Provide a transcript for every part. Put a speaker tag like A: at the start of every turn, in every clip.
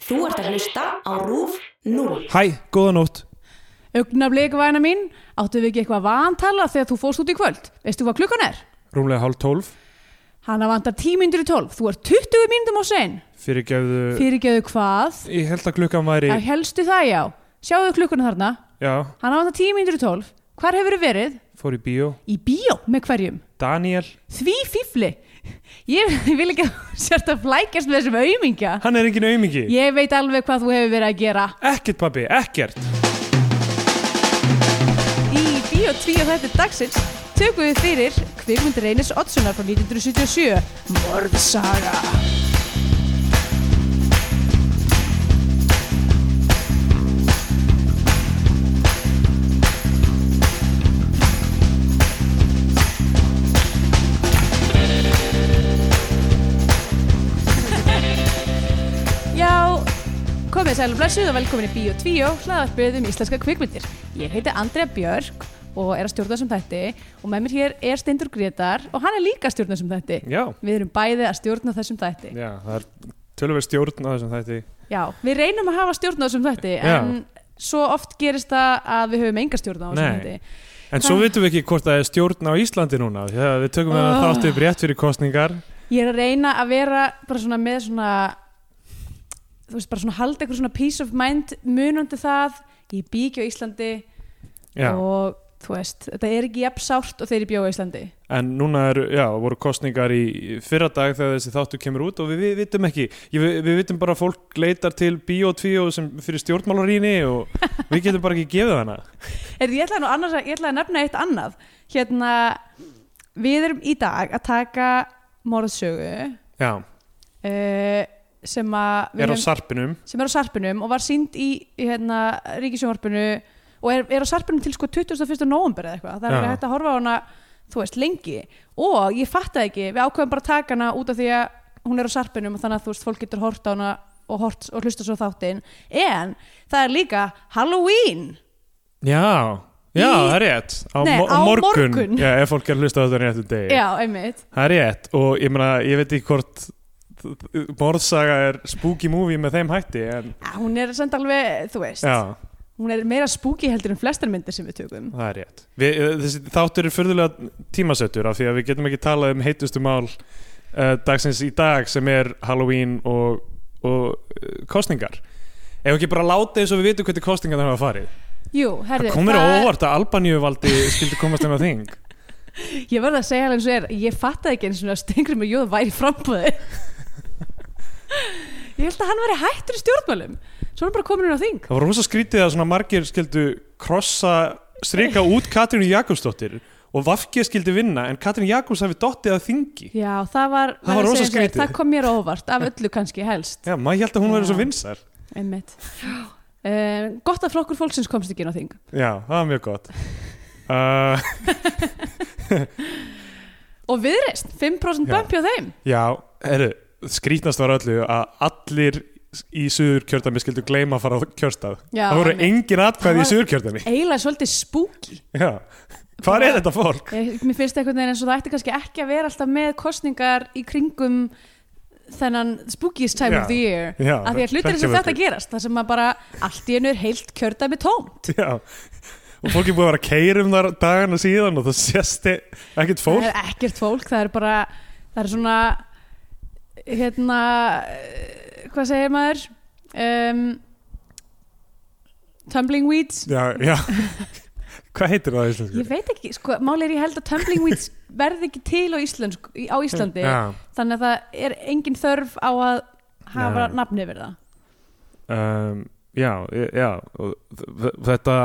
A: Þú ert að hlusta á RÚF 0.
B: Hæ, góða nótt
C: Augnablik væna mín, áttu við ekki eitthvað vantala þegar þú fórst út í kvöld? Veistu hvað klukkan er?
B: Rúmlega hálf tólf
C: Hanna vantar 10 myndir í 12, þú er 20 myndum á sein.
B: Fyrir gefðu
C: Fyrirgeðu hvað?
B: Ég held að klukkan væri
C: Það helstu það já. Sjáðu klukkuna þarna.
B: Já,
C: Hanna vantar 10 myndir í 12. Hvar hefur þið verið?
B: fór í bíó
C: Í bíó með hverjum?
B: Daniel,
C: Því fífli. Ég vil ekki að þú sért að flækjast með þessum aumingja.
B: hann er engin aumingi
C: Ég veit alveg hvað þú hefur verið að gera.
B: Ekkert pabbi, ekkert
C: Í Bíó 2 þætti dagsins tökum við fyrir kvikmyndir Einis Oddssonar frá 1977 Morðsaga Já, Komið sæl og blessuð og velkomin í Bíó 2, hlaðarpið um íslenska kvikmyndir. Ég heiti Andrea Björk og er að stjórna sem þætti og með mér hér er Steindur Gretar og hann er líka að stjórna sem þætti.
B: Já,
C: Við erum bæði að stjórna þessum þætti.
B: já, það er tölverð stjórn á þessum þætti
C: Já, við reynum að hafa stjórna þessum þætti
B: Já.
C: en svo oft gerist það að við höfum enga stjórna á þessum
B: Nei.
C: þætti.
B: En svo
C: Það-
B: vitum við ekki hvort það er stjórn á Íslandi núna því að Við tökum það
C: Oh.
B: oh. þátt upp rétt fyrir kostningar
C: Ég er að reyna að vera bara svona með svona, þú veist, bara svona halda eitthvað svona peace of mind munandi það, ég bíkja á Íslandi
B: Já,
C: og þú veist, þetta er ekki jafn sárt og þeir í bjóðu á Íslandi.
B: en núna er, já, voru kostningar í fyrra dag þegar þessi þáttu kemur út og við, við vitum ekki, ég, við, við vitum bara að fólk leitar til bíó 2 sem fyrir stjórnmálarýni og við getum bara ekki gefið hana
C: Er, ég, ætlaði nú annars, að- ég ætlaði að nefna eitt annað hérna, við erum í dag að taka morðsögu
B: Já,
C: uh, sem, að við
B: er á
C: höfum-
B: sarpinum
C: sem er á sarpinum og var sínd í í, hérna, ríkisjónvarpinu og er, er á sarpinum til sko 21. november eða eitthvað, það er
B: Já.
C: alveg hægt að horfa á hana þú veist, lengi og ég fattaði ekki, við ákveðum bara að taka hana út af því að hún er á sarpinum og þannig að þú veist, fólk getur hort á hana og, hort, og hlusta svo á þáttinn en það er líka Halloween
B: Já, já,
C: Í-
B: það er rétt Á,
C: Nei,
B: mo-
C: á morgun.
B: Já, ef fólk er að hlusta á þetta réttum degi
C: Já, einmitt
B: Það er rétt og ég meina, ég veit ekki hvort Morðsaga er spooky movie með þeim hætti en,
C: Ja, hún er samt alveg, þú veist
B: Já,
C: hún er meira spooky heldur en flestar myndir sem við tökum
B: það er rétt við, eh, þessi, Þáttur er fyrðulega tímasettur af því að við getum ekki talað um heitustu mál uh, dagsins í dag sem er Halloween og, og uh, kostningar Ef ekki bara láta eins og við vitum hvernig kostningar það hafa farið
C: Jú, herri,
B: Það komir á óvart að Albaníu valdi skildi komast um að þing
C: ég verð að segja alveg eins og er ég fattaði ekki eins og stengri með jóð væri frambúði ég held að hann væri hættur í stjórnmálum svo er hann bara komin inn á þing
B: Það var rosa skrítið að svona margir skildu krossa, strika út Katrínu Jakobsdóttir og Vafki skildi vinna en Katrín Jakobs hafi dottið að þingi
C: já, það var,
B: Það var
C: verð að
B: rosa
C: segja eins og er,
B: skrítið.
C: það kom mér á óvart af öllu kannski helst
B: Já, maður held að hún verið svo
C: Já.
B: vinsar
C: einmitt um, gott að flokkur fólksins komst ekki inn á þing
B: Já, það var mjög gott uh,
C: og viðreist, 5%
B: Já.
C: bömpi á þeim
B: Já, herru, skrítnast var öllu að allir í suður kjördæmi skildu gleyma að fara á kjörstað
C: Já,
B: Það voru
C: einmitt.
B: engin atkvæði
C: Það
B: í
C: var-
B: suður kjördæmi
C: eiginlega svolítið spooky
B: Já, hvað er þetta fólk?
C: Ég- Mér finnst einhvern veginn eins og það ætti kannski ekki að vera alltaf með kostningar í kringum þennan spookiest time
B: Já,
C: of the year
B: já,
C: af því að hlutir eins og
B: hrekkjavöku.
C: þetta gerast þar sem maður bara allt í einu er heilt kjördæmi tómt
B: Já, og fólk er búið að vera að keirum þar dagana síðan og það sést e- ekkert fólk
C: Það er ekkert fólk, það er bara það er svona hérna eh, hvað segir maður um, tumbling weeds
B: Já, já Hvað heitir það á íslensku?
C: ég veit ekki, sko, máli er ég held að tumbling weeds verði ekki til á, Íslands, á Íslandi
B: Já,
C: þannig að það er engin þörf á að hafa
B: Nei.
C: nafni yfir það
B: um, já, e- já og þ- þ- Þetta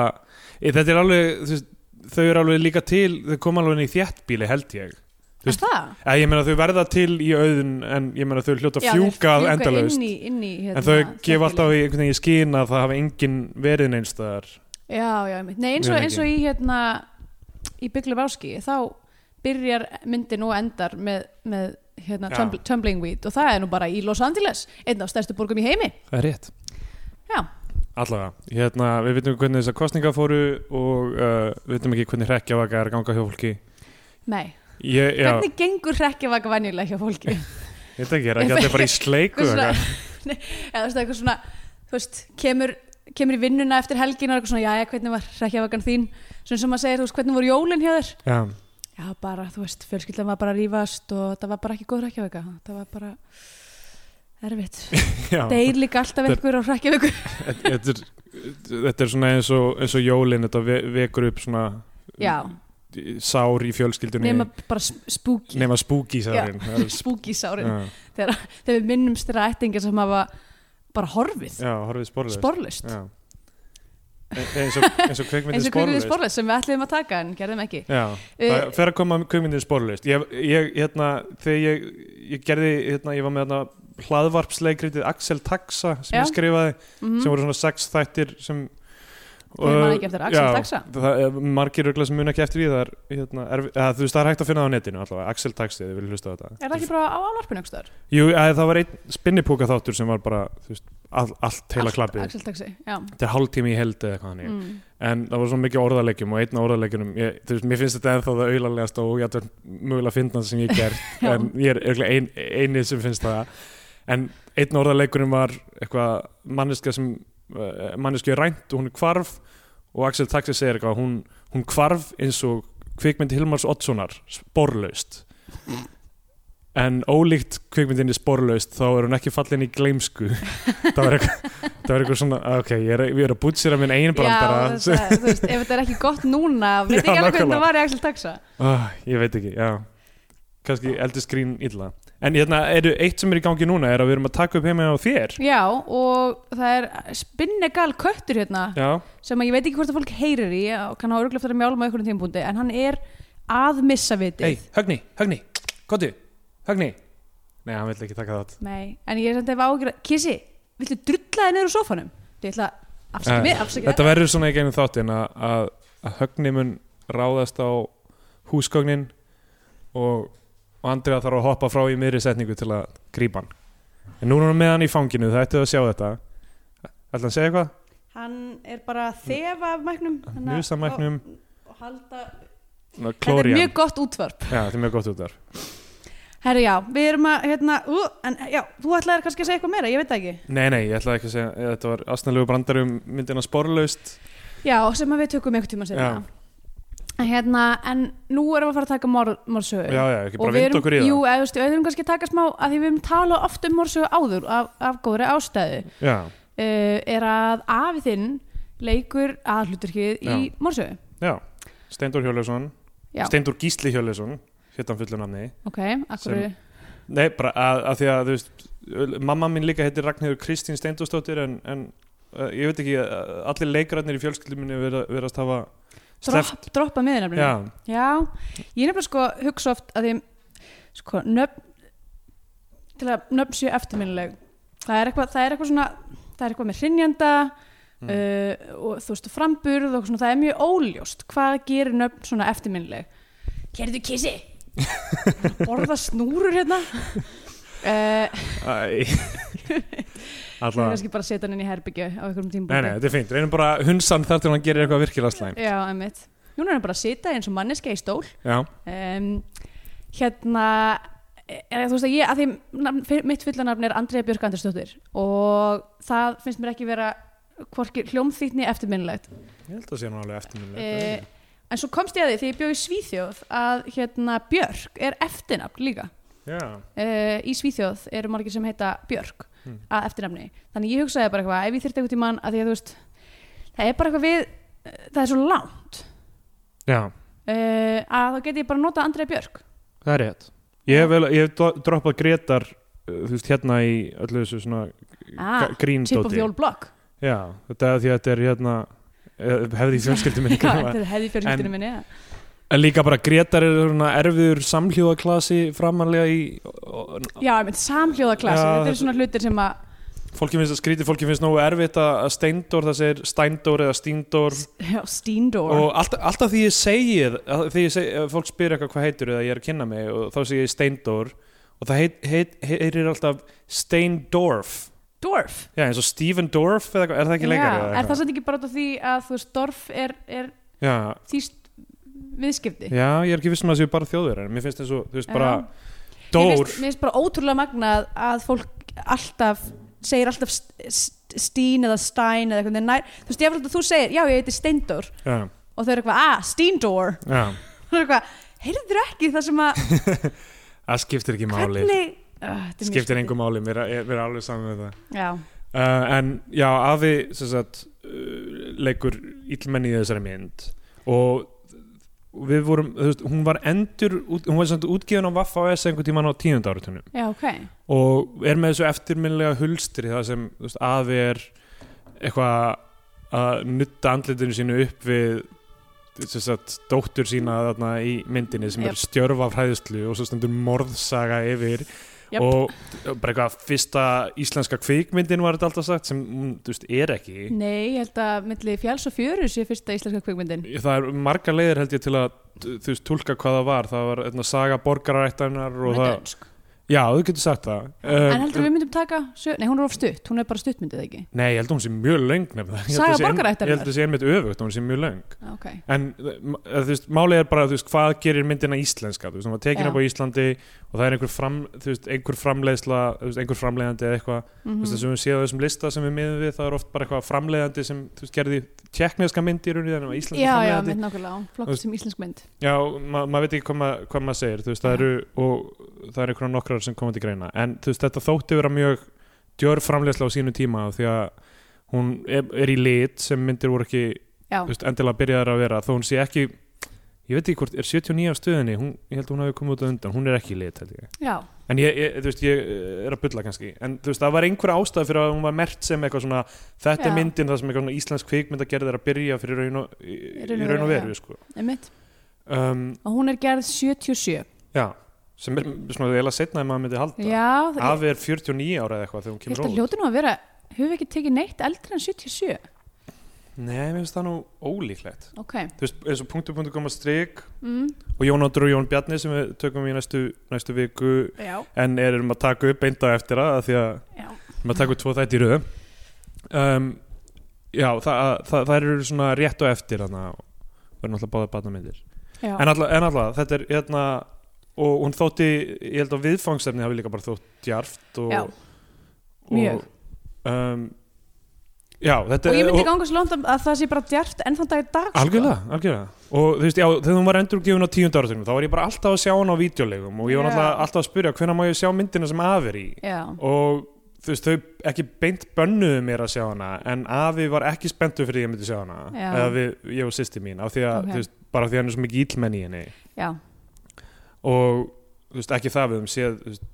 B: e, Þetta er alveg þú veist, Þau eru alveg líka til, þau koma alveg inn í þéttbíli held ég Þú
C: Er
B: veist,
C: það?
B: Eða, Ég meina þau verða til í auðun En ég meina þau hljóta
C: Já, þeir
B: fjúkað
C: fjúka
B: endalaust
C: inn í, inn í, hérna,
B: En þau gefa
C: þéttbýli.
B: alltaf í einhvern veginn í skýn að það hafa engin verið neins þar
C: Já, já, einmitt. Nei, eins og,
B: Mjög
C: eins og í hérna í Bygglum Áski þá byrjar myndin og endar með, með hérna,
B: Já.
C: tumbl, Tumbling Weed og það er nú bara í Los Angeles einn af stærstu borgum í heimi
B: Það er rétt
C: Já,
B: Allavega, hérna, við veitum hvernig þessar kostninga fóru og uh, við veitum ekki hvernig hrekkjavaka er að ganga hjá fólki
C: nei
B: ég, já,
C: Hvernig gengur hrekkjavaka venjulega hjá fólki?
B: Ég veit ekki, er ekki allir bara í sleik og
C: Hversu-
B: eitthvað?
C: Nei, eða þú veist, eitthvað svona þú veist, kemur, kemur í vinnuna eftir helgin og er eitthvað svona, jæja, hvernig var rekjavagan þín svona sem maður segir, þú veist, hvernig voru jólin hjá þér
B: Já,
C: já, bara, þú veist, fjölskyldan var bara að rífast og það var bara ekki góð rekjavaga það var bara erfitt
B: já.
C: deyr líka alltaf einhver á rekjavagu
B: Þetta er, þetta er svona eins og, eins og jólin, þetta ve- vekur upp svona
C: já,
B: sár í fjölskyldunni
C: nema bara sp- spooky
B: nema spooky sárin. Það er sp-
C: spooky sárin
B: Já,
C: þegar við minnumst þeirra ættingar sem hafa bara horfið,
B: já, horfið sporlaust.
C: sporlaust
B: Já. E- Eins og, eins og
C: eins
B: kveikmyndin
C: og kvikmyndið
B: sporlaust.
C: sporlaust sem við ætliðum að taka en gerðum ekki
B: Já,
C: Eh,
B: það fer að koma kveikmyndin sporlaust. Ég, ég, hérna, þegar ég, ég gerði, hérna, ég var með hérna, hlaðvarpsleikritið Axel Taxa sem
C: Já.
B: ég skrifaði
C: Mhm.
B: sem voru svona sex þættir sem
C: Ég man ekki eftir Axel
B: Já,
C: Taxa.
B: það er margir örgla sem mun ekki eftir því það er, hérna, erfi, að, þú veist það er hægt að finna það á netinu allavega, Axel Taxi, þið vilja hlusta á þetta
C: er það ekki bara á álvarpinu einhverstaðar?
B: Jú, að, það var einn spinnipúka þáttur sem var bara þú veist, all, allt heila klappið
C: Axel Taxi, já
B: þetta er hálftími í held eða eitthvað hannig
C: mm.
B: en það var svona mikið orðalegjum og einn af orðalegjunum ég, þú veist, mér finnst þetta ennþá það auðalegast og ég ætlum mögulega að finna það sem ég hef gert
C: Já.
B: en ég er örugglega ein, einið sem finnst það en einn orðalegjunum var eitthvað manneska sem uh, manneski er rænt og hún er kvarf og Axel Taxi segir eitthvað hún, hún kvarf eins og kvikmyndi Hilmars Oddssonar sporlaust en ólíkt kvikmyndinni sporlaust þá er hún ekki fallin í gleimsku það var eitthvað, það var eitthvað svona ok, ég er, ég er að bútsýra minn eigin brandara
C: Já, þetta, þú veist, ef þetta er ekki gott núna veit ekki
B: Já,
C: alveg hvernig
B: nákvæmlega.
C: það var í Axel Taxa
B: Ah, ég veit ekki, já kannski eldi skrín illa En hérna, eru, eitt sem er í gangi núna er að við erum að taka upp heima á þér
C: Já, og það er spinnegal köttur hérna
B: Já,
C: sem að ég veit ekki hvort að fólk heyrir í og kann á örgulega eftir að mjálma ykkur um tímpúndi en hann er að missa vitið
B: hei, högni, högni, kottu, högni Nei, hann vill ekki taka þátt
C: Nei, en ég er samt að hafa ágjör að Kissi, viltu drulla þið niður úr sófanum? Þú ætla að afsaka
B: Eh,
C: mig, afsaka
B: Þetta verður svona í gegnum þáttin að, að, að högni mun ráðast á húsgögnin og, og Andrea þarf að hoppa frá í miðri setningu til að grípa hann En núna er hann með hann í fanginu, það ættu að sjá þetta Ætla hann segja eitthvað?
C: Hann er bara að þefa af mæknum þannig að-
B: Nusa mæknum,
C: og, og halda... Þetta er
B: klóri hann
C: mjög gott útvarp
B: Já, þetta er mjög gott út þar
C: Herru, já, við erum að, hérna, ú, en já, þú ætlaðir kannski að segja eitthvað meira, ég veit það ekki.
B: Nei, nei, ég ætlaði ekki að segja eh, Þetta var astanlegu brandari um myndina sporlaust
C: Já, sem að við tökum einhvern tíma
B: Já.
C: sérna. En hérna, en nú erum við að fara að taka mor, morsögu.
B: Já, já, ekki
C: Eh, Og
B: bara
C: við
B: vinda
C: erum-
B: okkur í það
C: Jú, eða, þú veist, við erum kannski að taka smá, að því við erum talað oft um morsögu áður af, af góðri ástæðu,
B: Já,
C: uh, er að afi þinn leikur aðhluturkið í
B: Já.
C: morsögu.
B: já, Steindur Hjörleifsson
C: Já,
B: Steindur Gísli Hjörleifsson Hitt hann fullu nafni
C: ok, akkur,
B: Sem- Nei, bara að, að því að, þú veist Mamma mín líka heitir Ragnhildur Kristín Steindurstóttir En, en uh, ég veit ekki uh, Allir leikrarnir í fjölskyldum minni vera, verast hafa sleppt-
C: dropp, droppa miður nefnilega.
B: Já,
C: Já, ég er nefnilega sko hugsa oft að ég sko, nöfn til að nöfn séu eftirminnileg það er eitthvað, það er eitthvað svona það er eitthvað með hrinjanda
B: Mm.
C: uh, og þú veist framburð og svona, það er mjög óljóst hvað gerir nöfn svona eftirminnileg Gerðu kissi borða snúrur hérna uh,
B: æ
C: það er
B: Alla
C: kannski bara að um setja hann inn í herbyggju á
B: Nei,
C: einhverjum
B: nei,
C: tímbúti
B: þetta er fínt, reynum bara hunsan þar til hann gerir eitthvað virkilega slæm
C: Já, einmitt Núna er hann bara að sita eins og manneska í stól
B: Já,
C: um, hérna er, þú veist að ég, að því nafn, fyr- mitt fullanafn er Andrea Björk Andersdóttir og það finnst mér ekki vera hvorki hljómþýtni eftirminnilegt
B: ég held að sé nú alveg eftir minni
C: uh, en svo komst ég að því því ég bjóð í Svíþjóð að hérna Björk er eftirnafn líka
B: Já,
C: uh, í Svíþjóð eru margir sem heita Björk
B: Hmm.
C: að eftirnafni þannig ég hugsaði bara eitthvað ef ég þyrfti eitthvað tímann að því að þú veist það er bara eitthvað við það er svo langt
B: já
C: uh, að þá geti ég bara notað Andrea Björk
B: Það er rétt. Ég hef, vel, ég hef dro- droppað Gretar uh, þú veist, hérna í öllu þessu svona
C: Ah,
B: ah, gríndóti.
C: Chip of the old block
B: Já, þetta er því að þetta er hérna eh, hefði í fjölskyldum minni
C: Já, þetta er hefði
B: En-
C: fjölskyldinu minni já.
B: en líka bara Gretar er svona erfiður samhljóðaklasi framanlega í og- og-
C: Já, ég meint samhljóða klassi,
B: Já,
C: þetta
B: þetta-
C: eru svona hlutir sem að
B: fólki finnst að skríti, fólki finnst nógu erfitt að að steindór, það segir steindór eða stíndór
C: Já, Steindor
B: og alltaf, alltaf því ég segi að- því ég segi, ef fólk spyr eitthvað hvað heitir eða ég er að kynna mig og þá segi ég steindór og það heit, heit, heyrir alltaf steindorf
C: Dorf
B: Já, eins og Stephen Dorff eða eitthvað, er það ekki leikari?
C: Já,
B: eða
C: er það
B: eitthvað?
C: samt ekki bara út af því að þú veist, Dorf er, er
B: Já,
C: þýst viðskipti
B: já, ég er ekki viss um að það séu bara þjóðverðar, en mér finnst eins og, þú veist, bara
C: Mér
B: Dór,
C: finnst, mér finnst bara ótrúlega magnað að fólk alltaf segir alltaf st- st- Stín eða Stein eða eitthvað nær, þú veist, ég vil að þú segir, já, ég heiti Steindor
B: já,
C: og þau eru eitthvað, ah, Steindor
B: já
C: og þau eru eitthvað, heyrður ekki það sem að
B: það skiptir ekki máli
C: hvernig uh,
B: skiptir engum máli, mér er, mér er alveg saman með það
C: já,
B: uh, en já, afi sem sagt, uh, leikur illmenni í þessari mynd og við vorum, þú veist, hún var endur út- hún var samt útgefin á Vaffa OS einhvern tímann á tíund áratunum
C: já, ok
B: og er með þessu eftirminlega hulstri það sem þú veist, afi er eitthvað að nutta andlitinu sínu upp við sem sagt, dóttur sína þarna í myndinni sem
C: Jep.
B: er stjörf af hræðslu og svo stendur morðsaga yfir
C: Jep.
B: og bara eitthvað fyrsta íslenska kvikmyndin var þetta alltaf sagt sem hún, þú veist, er ekki
C: nei, ég held að milli fjáls og fjöru sé fyrsta íslenska kvikmyndin
B: það er margar leiðir held ég til að þú veist, tólka hvað það var, það var eitthvað saga borgarættarinnar og
C: Hún er
B: það,
C: dönsk.
B: já, þú getur sagt það Eh,
C: en heldur við myndum taka, sjö, nei, hún er of stutt hún er bara stuttmyndið ekki
B: Nei, ég held að hún sé mjög löng nefnilega. Ég held að
C: Saga
B: það sé ein-
C: borgarættarinnar?
B: Ég held að það sé einmitt öfugt, hún sé mjög löng
C: Já, ok,
B: En m- eða, þú veist, málið er bara, þú veist, hvað gerir myndina íslenska Þú veist, hún var tekin
C: Já.
B: upp á Íslandi og það er einhver, fram, þú veist, einhver framleiðsla þú veist, einhver framleiðandi eða eitthvað
C: mm
B: Þú veist, þessum við séð á þessum lista sem við miðum við það er oft bara eitthvað framleiðandi sem, þú veist, gerði tjekkneska myndi í rauninni, þannig að íslenska
C: já, já,
B: framleiðandi
C: mynd nákvæmlega hún
B: Þú
C: flokkast
B: veist-
C: sem íslensk mynd
B: Já, ma maður veit ekki hvað, ma hvað maður segir þú veist, það
C: Já.
B: eru, og það eru einhverjum nokkrar sem koma til greina, en þú veist, þetta þótti vera mjög djör framleysla á sínu tíma af því að hún er, er í lit sem myndir voru ekki,
C: já,
B: þú veist, endilega byrjaðar að vera þó hún sé ekki, ég veit ekki hvort er 79 á stöðinni, hún, ég held að hún hafi komið út á undan, hún er ekki í lit, held ég
C: já,
B: en ég, ég, þú veist, ég eh, er að bulla kannski en þú veist, það var einhver ástæð fyrir að hún var mert sem eitthvað svona, þetta
C: Já.
B: er myndin það sem eitthvað svona íslensk kvikmynd að er að byrja fyrir raun og, í, í
C: raun og
B: raun og
C: veru,
B: veru, sko
C: einmitt
B: um,
C: og hún er gerð 77
B: Já, sem er svona eiginlega setna en maður myndi halda.
C: já, það
B: Afi er 49 ára eða eitthvað þegar hún
C: ég
B: kemur
C: held að hljóti nú að vera höfum við ekki tekið neitt eldri en 77
B: Nei, mér finnst það nú ólíklegt.
C: ok,
B: Þú veist, eins og punktu punktu koma strik
C: mm,
B: og Jón Áttur og Jón Bjarni sem við tökum í næstu, næstu viku
C: já,
B: en erum að taka upp einn dag eftir að því að
C: já
B: maður taka upp tvo þætti í röðum. Um, já, það, það, það eru svona rétt og eftir þannig að verður náttúrulega báða batnamyndir.
C: Já,
B: En alltaf, en alltaf, þetta er hérna og hún þótti, ég held að viðfangsefni hafi líka bara þótt djarft og,
C: Já, mjög.
B: og um, já, þetta
C: og ég myndi ganga svo langt að- að það sé bara djart enn þann dag í dag sko.
B: algjörlega, algjörlega og þú veist, já, þegar hún var endurgefin á tíund áratögnum þá var ég bara alltaf að sjá hana á vídeolegum og ég var
C: Já.
B: alltaf, alltaf að spyrja hvenær má ég sjá myndina sem afi er í
C: Já,
B: og þú veist, þau ekki beint bönnuðu mér að sjá hana en afi var ekki spenntur fyrir því að ég myndi sjá hana
C: Já.
B: eða við, ég og sýsti mín af því að,
C: Ok.
B: þú veist, bara af því að hann er svo mikið íllmenn í henni
C: já,
B: og þú veist, ekki það við höfum séð þú veist,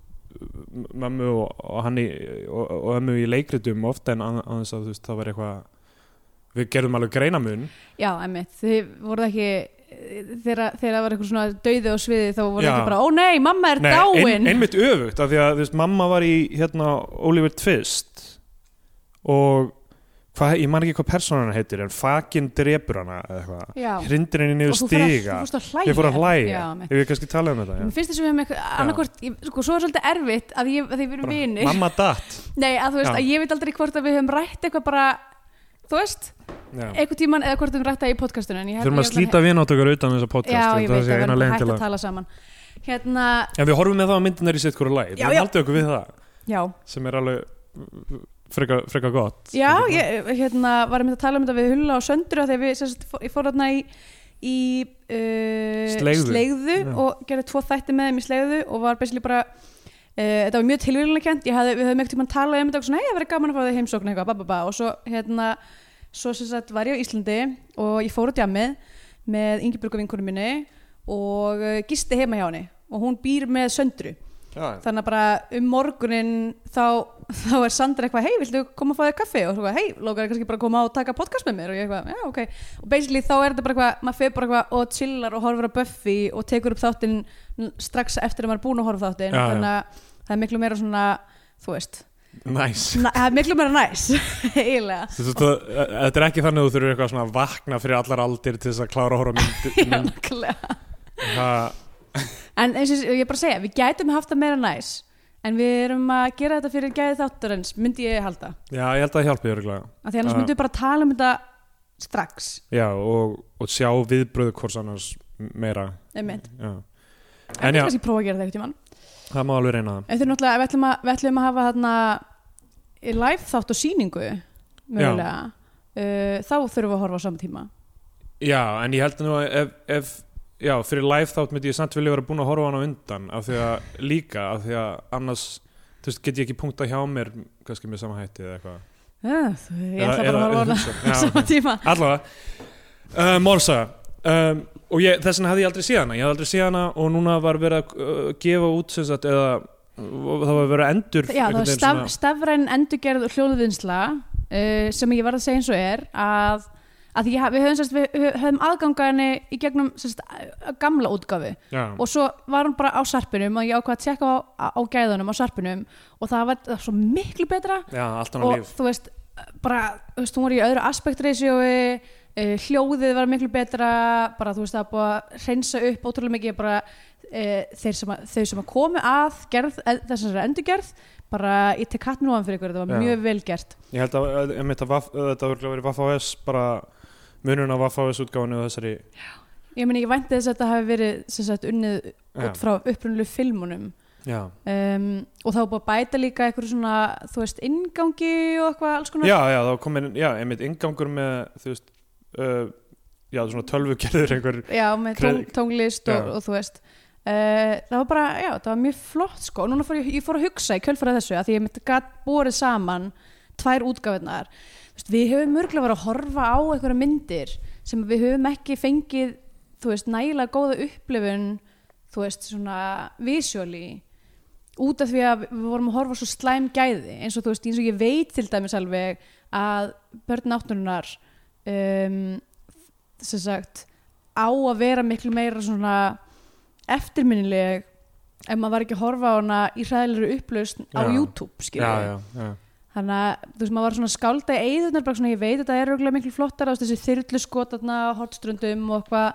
B: m- mömmu og, og hann í, og, og ömmu í leikritum ofta en að- aðeins að þú veist, það var eitthvað við gerðum alveg greinamun
C: já, einmitt Þið voruð ekki þegar þegar það var eitthvað svona dauði á sviði þá voruð
B: Já.
C: ekki bara, ó nei, mamma er dáin
B: einmitt öfugt af því að þú veist, mamma var í hérna Oliver Twist og hvað, ég man ekki hvað persónana heitir en fakin drepur hana eða eitthvað
C: Já,
B: hrindir henni
C: og
B: niður
C: þú fer að-
B: stiga
C: þú fórst að hlæja
B: ég fór að hlæja,
C: Já, einmitt.
B: ef ég kannski talað um þetta
C: Mér
B: já.
C: finnst þess að við hefum eitthvað annarkvort, ég- sko, svo er svolítið erfitt að, ég, að því við erum vinir
B: mamma datt
C: Nei, að þú veist,
B: Já.
C: að ég veit aldrei hvort að við höfum rætt eitthvað bara, þú veist,
B: Já.
C: eitthvað tíman eða hvort við höfum rætt það í podcastinu en ég held-
B: þurfum að
C: ég held
B: slíta vinátökur utan þessa podcast
C: Já,
B: ég
C: ég
B: held að
C: veit,
B: það sé
C: það
B: eina
C: verður
B: leiðin
C: hægt
B: til
C: að tala saman Hérna,
B: En við horfum með það að myndin er í sitt hverju lagi
C: Já,
B: Við
C: já.
B: haldum okkur við það
C: já,
B: sem er alveg uh, frekar freka gott
C: já, ég, hérna var að mynda að tala um þetta við Hulla og Söndru af því að við, sérst, ég fór hérna í í uh,
B: Sleigðu. Já.
C: og gerði tvo þætti með þeim í Sleigðu og var basically bara Uh, þetta var mjög tilvílunarkent, við höfum ekkert tímann talað um þetta og svona, hei, það verið gaman að fá þau heimsókn eitthvað, bababa, og svo hérna svo sem sagt var ég á Íslandi og ég fór á djamið með Ingeborgu vinkunum minni og uh, gisti heima hjá henni og hún býr með söndru
B: já,
C: þannig að bara um morgunin þá, þá er Sandra eitthvað hei, viltu koma að fá þér kaffi og svo eitthvað, hei, lókar kannski bara að koma og taka podcast með mér og ég eitthvað, já, ok og basically þá er þetta bara eitthvað, maður fer bara eitthvað og chillar og horfir á Buffy og tekur upp þáttinn strax eftir að maður er búin að horfa á þáttinn
B: Já, já.
C: þannig að það er miklu meira svona þú veist,
B: Næs
C: na- það er miklu meira næs eiginlega
B: Þú veist, það- Þetta er ekki þannig að þú þurfir eitthvað svona að vakna fyrir allar aldir til þess að klára að horfa á mynd,
C: Já,
B: mynd
C: nákvæmlega.
B: það,
C: en eins og ég er bara að segja, við gætum haft það meira næs en við erum að gera þetta fyrir gæði þátturins, myndi ég halda
B: Já, ég held að það hjálpi örgulega
C: af því annars
B: Já.
C: myndum við bara tala um þetta strax,
B: Já, og, og sjá viðbröðu hvors annars meira
C: einmitt
B: já.
C: En
B: En já,
C: kannski prófa að gera það eitthvað tímann
B: það má alveg reyna það
C: En þau náttúrulega, við ætlum að, við ætlum að hafa þarna eh, live þátt og sýningu mögulega uh, þá þurfum við að horfa á sama tíma
B: Já, en ég held nú að ef, ef já, fyrir live þátt myndi ég samt vilja vera búin að horfa á hana á undan af því að líka, af því að annars þú veist, get ég ekki punktað hjá mér kannski með sama hætti eða eitthvað
C: uh, þú- ég
B: Eða-
C: ætla
B: eða-
C: bara að horfa á hana
B: hugsa.
C: á
B: Já,
C: sama tíma
B: Allavega uh, Morsa um, og ég, þess vegna hafði ég aldrei séð hana ég hafði aldrei séð hana og núna var verið að uh, gefa út sem sagt eða uh, það var verið að endur
C: Já, það
B: einhvern
C: var
B: veginn
C: staf,
B: svona-
C: stafræn endurgerð og hljóðuvinnsla uh, sem ég var að segja eins og er að, að ég, haf- við höfum, sérst, við hö- höfum aðgangani í gegnum sérst, að- gamla útgafu
B: Já,
C: og svo var hún bara á sarpinum og ég ákvað að tjekka á, á gæðunum á sarpinum og það var, það var svo miklu betra
B: já, allt annað
C: og
B: líf
C: þú veist bara, þú veist, hún var í öðru aspektreisjói uh, hljóðið var miklu betra bara, þú veist, það var búið að reynsa upp ótrúlega mikið bara uh, þeir sem að, þau sem að komu að gerð, eh, þessari endurgerð bara, ég tek hatt nú fyrir ykkur, það var
B: Já.
C: mjög vel gert
B: Ég held að, að, að, að, að þetta verið verið Vaff AS bara munurinn á Vaff AS útgáfinu og þessari
C: ég meni, ég vænti þess að þetta hafi verið sem sagt, unnið
B: já,
C: út frá upprunalegu filmunum
B: já.
C: um, og þá er búið að bæta líka eitthvað svona, þú veist, inngangi og eitthvað alls konar
B: já, já, þá komin já, einmitt ingangur með þú veist uh, já, svona tölvugerður einhver
C: já, með
B: Kre-
C: tóng, tónglist og,
B: Já.
C: og þú veist uh, það var bara, já, það var mjög flott sko, og núna fór ég, ég fór að hugsa í kjölfæra þessu að því ég myndi gæt borið saman tvær útgáfinnar við höfum mörglega verið að horfa á einhverja myndir sem við höfum ekki fengið þú veist, nægilega góða upplifun þú veist, svona visually út af því að við vorum að horfa á svo slæm gæði eins og þú veist, eins og ég veit til dæmis alveg að börn áttununar um, sem sagt á að vera miklu meira svona eftirminnileg ef maður var ekki að horfa á hana í hræðilegri upplausn á
B: Já.
C: YouTube
B: já,
C: skilur
B: já, já,
C: þannig að þú veist maður var svona að skálda í eðunar bara svona ég veit að það er auðvitað miklu flottar þú veist, þessi þyrlu skotarna, hortströndum og hvað,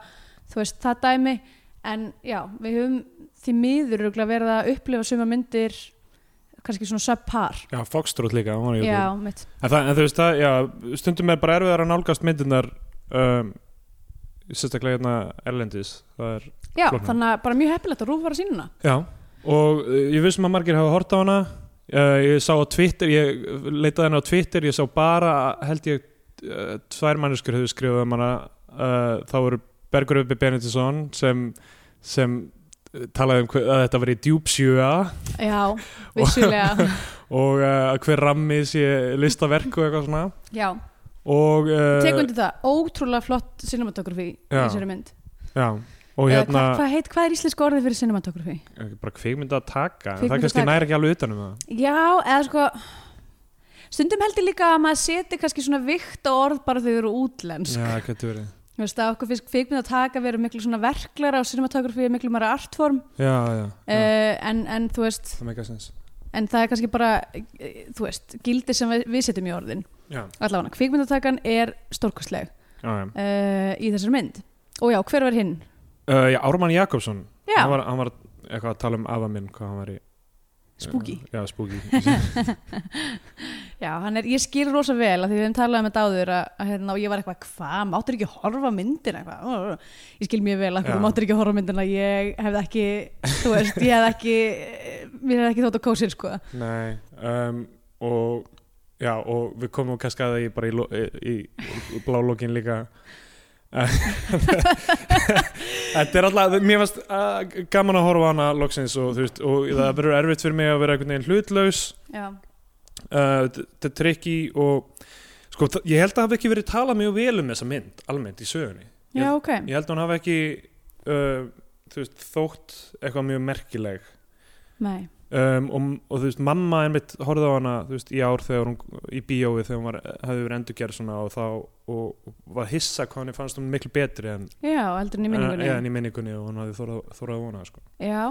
C: þú veist það dæmi en já, við höfum því miður auðvitað verið að upplifa suma myndir kannski svona subpar
B: já Foxtrot líka hún var í
C: já,
B: YouTube.
C: mitt,
B: en, það, en þú veist það, já, stundum er bara erfiðar að nálgast myndirnar um, sérstaklega hérna erlendis það er,
C: já
B: Flóknar.
C: þannig að bara mjög heppilegt að rúf var að sína hana.
B: já og uh, ég vissum að margir hafa hort á hana uh, ég sá á Twitter, ég leitaði henni á Twitter ég sá bara, held ég uh, tvær manneskur hefur skrifað um hana uh, þá voru Bergur Uppi Benedisson sem, sem uh, talaði um hver, að þetta var í djúpsjúa
C: já, vissulega
B: og uh, að hver rammi sé listaverk og eitthvað svona
C: já,
B: og uh,
C: tekundi það, ótrúlega flott cinematografi í
B: Já.
C: þessari mynd
B: já, og hérna
C: Eða
B: eh,
C: hvað, hvað, heit, hvað er íslensku orðið fyrir cinematografi?
B: bara kvikmynda að taka en
C: Kvikmyndataka.
B: það kannski næri ekki alveg utanum það
C: Já, eða sko stundum heldur líka að maður seti kannski svona vikt á orð bara þegar þau eru útlensk
B: já, það getur verið
C: Þú veist að okkur finnst kvikmynd að taka vera miklu svona verklara og cinematografi er miklu meira artform
B: já, já, já,
C: uh, en, en þú veist
B: það meika sens
C: en það er kannski bara, eh, þú veist gildi sem við, við setjum í orðin
B: já,
C: allavega, kvikmyndatakan er stórkostleg
B: já, já
C: uh, í þessar mynd og já, hver var hinn?
B: Uh, já, Ármann Jakobsson
C: Já.
B: hann var, hann var eitthvað að tala um afa minn hvað hann var í
C: Spooky.
B: Já, spooky
C: Já, hann er, ég skil rosa vel að því við höfum talað um þetta áður að, að hérna, og ég var eitthvað, hvað, máttur ekki horfa á myndina eitthvað, ég skil mjög vel að
B: Já.
C: þú máttur ekki horfa á myndina, ég hefði ekki þú veist, ég hefði ekki mér hefði ekki þótt að kósir, sko
B: Nei um, og, já, og við komum kannski að því bara í, lo- í, í blálókin líka Eh, Þetta er alltaf mér varst uh, gaman að horfa á hana loksins og, þú veist, og það verður erfitt fyrir mig að vera einhvern veginn hlutlaus
C: Já,
B: Uh, þetta er tricky og sko, þa- ég held að það hafi ekki verið talað mjög vel um þessa mynd almennt í sögunni
C: Já ok
B: Ég held að hún hafi ekki uh, þú veist, þótt eitthvað mjög merkileg
C: Nei,
B: um, og, og þú veist, mamma einmitt horfði á hana þú veist, í ár þegar hún, í bíói þegar hún var, hafði verið endurgerð svona og þá og, og var hissa hvað henni fannst hún miklu betri en,
C: já, heldur en í minningunni
B: Eh, en, en í minningunni og hún hafði þórað þóra vona sko.
C: Já,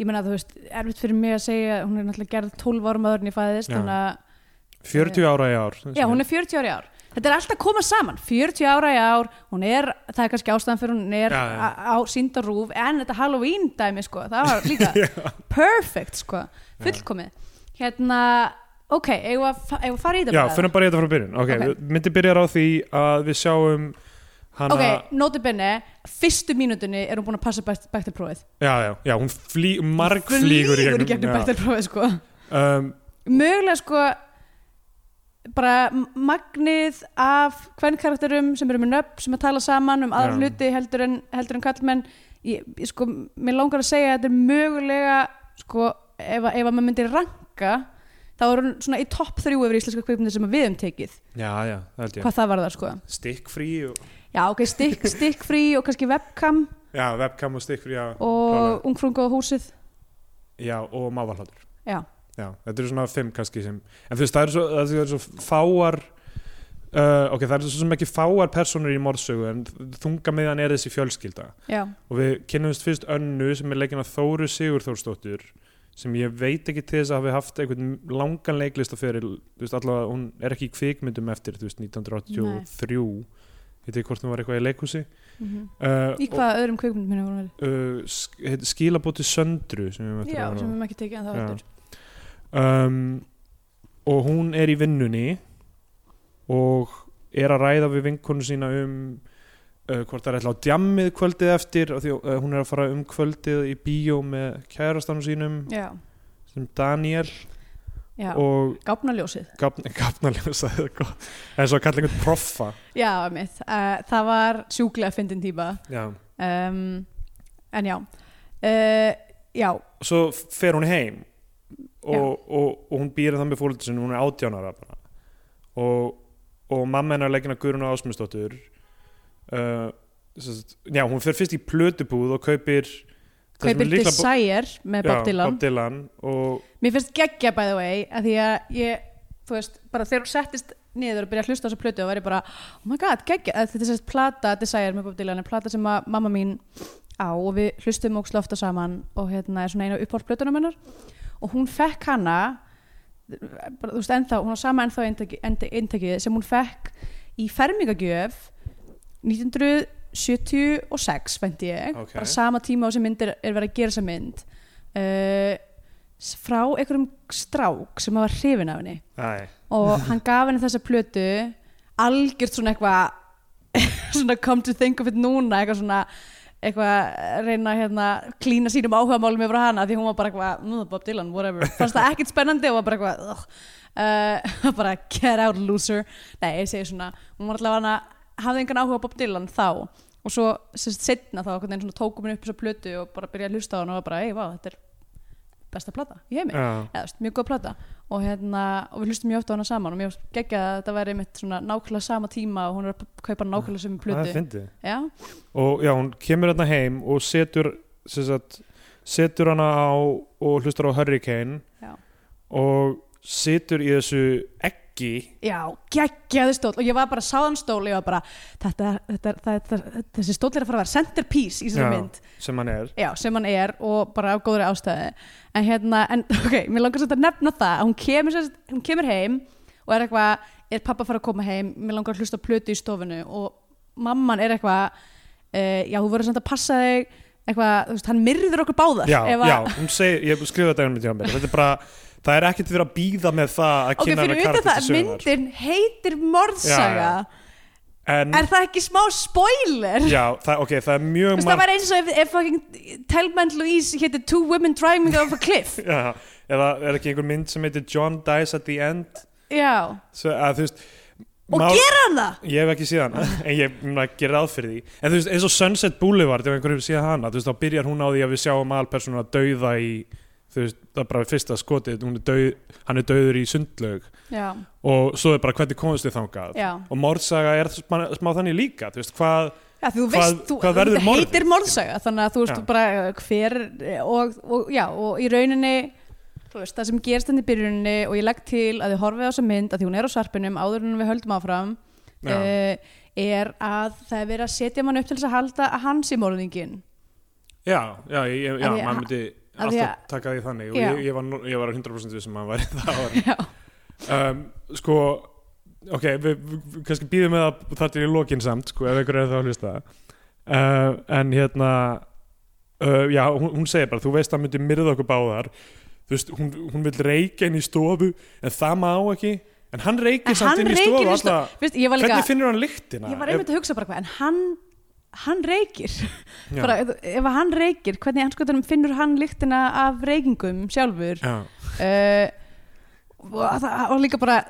C: ég meina þú veist, erfitt fyrir mig að segja hún er náttúrulega gerð 12 árum áður en ég fæðist
B: Já.
C: þannig að
B: 40 ára í ár
C: Já, hún er 40 ára í ár. Þetta er alltaf að koma saman, 40 ára í ár, hún er, það er kannski ástæðan fyrir hún er
B: Já, já.
C: á- á síndarúf, en þetta Halloween dæmi, sko, það var líka perfect, sko, fullkomið. Hérna, ok, eigum við að fa- eigum við að fara í þetta
B: Já,
C: bara?
B: fyrir bara í þetta frá byrjun okay,
C: Ok.
B: okay. myndi byrjar á því að við sjáum hana
C: Ok, notabene, eh, fyrstu mínútunni er hún búin að passa bæktarprófið.
B: já, já, já, hún flý, marg flýgur í
C: Flýgur í gegnum
B: já.
C: bæktarprófið, sko.
B: um,
C: Mögulega, sko, bara m- magnið af hvern karakterum sem eru með nöfn sem að tala saman um aðra
B: Já.
C: hluti heldur en, heldur en kallmenn ég, ég, sko, mér langar að segja að þetta er mögulega sko, ef, að- ef að maður myndi ranka þá er hún svona í topp þrjú yfir íslenska kveikmyndir sem að við um tekið
B: já, já, það held ég
C: hvað það var það sko
B: stikkfrí og...
C: já ok, stikk, stikkfrí og kannski webcam
B: já, webcam og stikkfrí já,
C: og ungfrunga og húsið
B: já, og mávalhaldur
C: já,
B: já, þetta eru svona fimm kannski sem en þú veist, það eru svo, það eru svo fáar uh, ok, það eru svo sem ekki fáar personur í morðsögu en þungamiðan er þessi fjölskylda
C: já,
B: og við kynnumst fyrst önnu sem er leikin að Þóru Sigurþórsdóttur sem ég veit ekki til þess að hafi haft einhvern langan leiklista fyrir veist, allavega, hún er ekki í kvikmyndum eftir þú veist, 1983 veit ekki hvort hún var eitthvað í leikhúsi
C: mm
B: uh,
C: í hvaða öðrum kveikmyndum minni voru verið
B: og, uh, sk- heit- skilabóti Söndru sem við möttum
C: já,
B: áðan.
C: sem við hefum ekki tekið en það
B: Já.
C: var
B: um, og hún er í vinnunni og er að ræða við vinkonu sína um uh, hvort það er ætla á djammið kvöldið eftir og því uh, hún er að fara um kvöldið í bíó með kærastanum sínum
C: já,
B: sem Daniel
C: já,
B: og
C: gáfnaljósið
B: gafnarlega sagði það gott en svo að kalla einhvern proffa
C: Já, mitt. Uh, það var sjúklega fyndin típa.
B: já.
C: Um, en já. Uh, já,
B: svo fer hún heim og, og, og, hún býr það með fólöldur sinni hún er átjánara bara og, og mamma hennar leggina Guðrun og Ásmundsdóttur uh, sem sagt- já, hún fer fyrst í plötubúð og kaupir það sem
C: kaupir
B: er líklega bó-
C: Desire með
B: Já,
C: Bob Dylan.
B: Bob Dylan og,
C: Mér finnst geggja by the way, að því að ég, þú veist, bara þegar hún settist niður og byrja að hlusta á þessa plötu og var ég bara, oh my god, geggja, að þetta er sérst plata Desire með Bob Dylan, er plata sem að mamma mín á og við hlustum ógst lofta saman og hérna er svona einu uppáhald plötunum hennar og hún fekk hana bara, þú veist, ennþá, hún á sama ennþá eintaki, endi- eintakið sem hún fekk í fermingagjöf 1976 fændi ég,
B: Ok.
C: bara sama tíma á sem myndir er verið að gera þessa mynd uh, frá einhverjum strák sem var hrifin af henni
B: Æ,
C: og hann gaf henni þessa plötu algjört svona eitthvað svona come to think of it núna eitthvað svona eitthvað að reyna að hérna, klína sínum áhugamálum yfir á hana því hún var bara eitthvað, "Mm, Bob Dylan, whatever fannst það ekkert spennandi og var bara eitthvað "Ugh." uh, bara get out loser nei, ég segi svona, hún var allavega hana hafði engan áhuga á Bob Dylan þá og svo sérst setna þá, hvernig svona tókum henni upp þessa plötu og bara byrjaði að hlusta á hana og var bara, ei, vá, þetta er besta plata í heimi
B: já,
C: eða þú veist, mjög góð plata og, hérna, og við hlustum mjög oft á hana saman og mér geggja að þetta væri mitt svona nákvæmlega sama tíma og hún er að p- kaupa nákvæmlega sem
B: það er
C: plötu
B: fyndið
C: já,
B: og já, hún kemur hérna heim og setur sem sagt, setur hana á og hlustar á Hurricane
C: Já.
B: og setur í þessu eggi
C: já, geggjaði stól og ég var bara sáðan stól og ég var bara þetta, þetta, þetta, þetta, þessi stól er að fara að vera centerpiece í þessari
B: Já.
C: mynd
B: sem hann er
C: já, sem hann er og bara af góðri ástæði en hérna, en ok, mér langar svolítið að nefna það að hún kemur, sem sagt- hún kemur heim og er eitthvað, er pappa að fara að koma heim mér langar að hlusta á plötu í stofunu og mamman er eitthvað uh, já, þú voru samt að passa þig eitthvað, þú veist, hann myrður okkur báðar
B: já,
C: ef að-
B: já, hún segir, ég skrifa þetta einhvern veginn hjá mér þetta er bara, það er ekkert verið að býða með það að
C: ok,
B: kynna
C: fyrir
B: hana
C: utan það,
B: karakter
C: að
B: til sögunar
C: myndin heitir morðsaga
B: Já, en,
C: er það ekki smá spoiler?
B: já, það, ok, það er
C: Þú
B: mjög
C: veist, það var eins og ef, ef fucking Telma and Louise hétti Two Women Driving Off a Cliff
B: já, eða er ekki einhver mynd sem heitir John Dies at the End
C: já,
B: svo, að, þú veist
C: og
B: mál-
C: gera hann það?
B: Ég hef ekki síðan, en ég muna að gera ráð fyrir því En þú veist, eins og Sunset Boulevard ef einhverjum síðan hana, þú veist, þá byrjar hún á því að við sjáum aðalpersonuna dauða í þú veist, það er bara fyrsta skotið hún er dauð, hann er dauður í sundlaug
C: já,
B: og svo er bara hvernig komast við þangað
C: já
B: og morðsaga er smá, smá þannig líka þú veist, hvað,
C: Já, því þú
B: Hvað-
C: veist, þú,
B: hvað verður
C: þetta
B: morðið?
C: heitir morðsaga þannig að þú veist
B: Já.
C: þú bara eh, hver eh, og, og, já, og í rauninni þú veist, það sem gerst hann í byrjuninni og ég legg til að þið horfið á þessa mynd að því hún er á sarpinum áður en við höldum áfram
B: Já.
C: uh, er að það er verið að setja mann upp til þess að halda að hann sé morðingin
B: já, já, ég, já,
C: Af því að-
B: maður myndi
C: af því
B: alltaf
C: að-
B: taka því þannig og
C: Já.
B: ég, ég, var, nú- ég var 100% við sem um hann væri það ára
C: já,
B: um, sko ok, við, við kannski býðum með það þar til í lokin samt, sko, ef einhver er það að hlusta uh, en hérna uh, já, hún, hún segir bara þú veist að myndi myrða okkur báðar þú veist, hún, hún vil reykja inn í stofu en það má ekki en hann reykir
C: en
B: samt
C: hann
B: inn í
C: reykir
B: stofu
C: í stofu
B: alla,
C: Veist, ég var líka,
B: hvernig finnur hann lyktina
C: ég var einmitt að hugsa bara hvað en hann, hann reykir
B: Já.
C: bara, ef að hann reykir, hvernig hann skoðanum finnur hann lyktina af reykingum sjálfur
B: já,
C: uh, og, það- og líka bara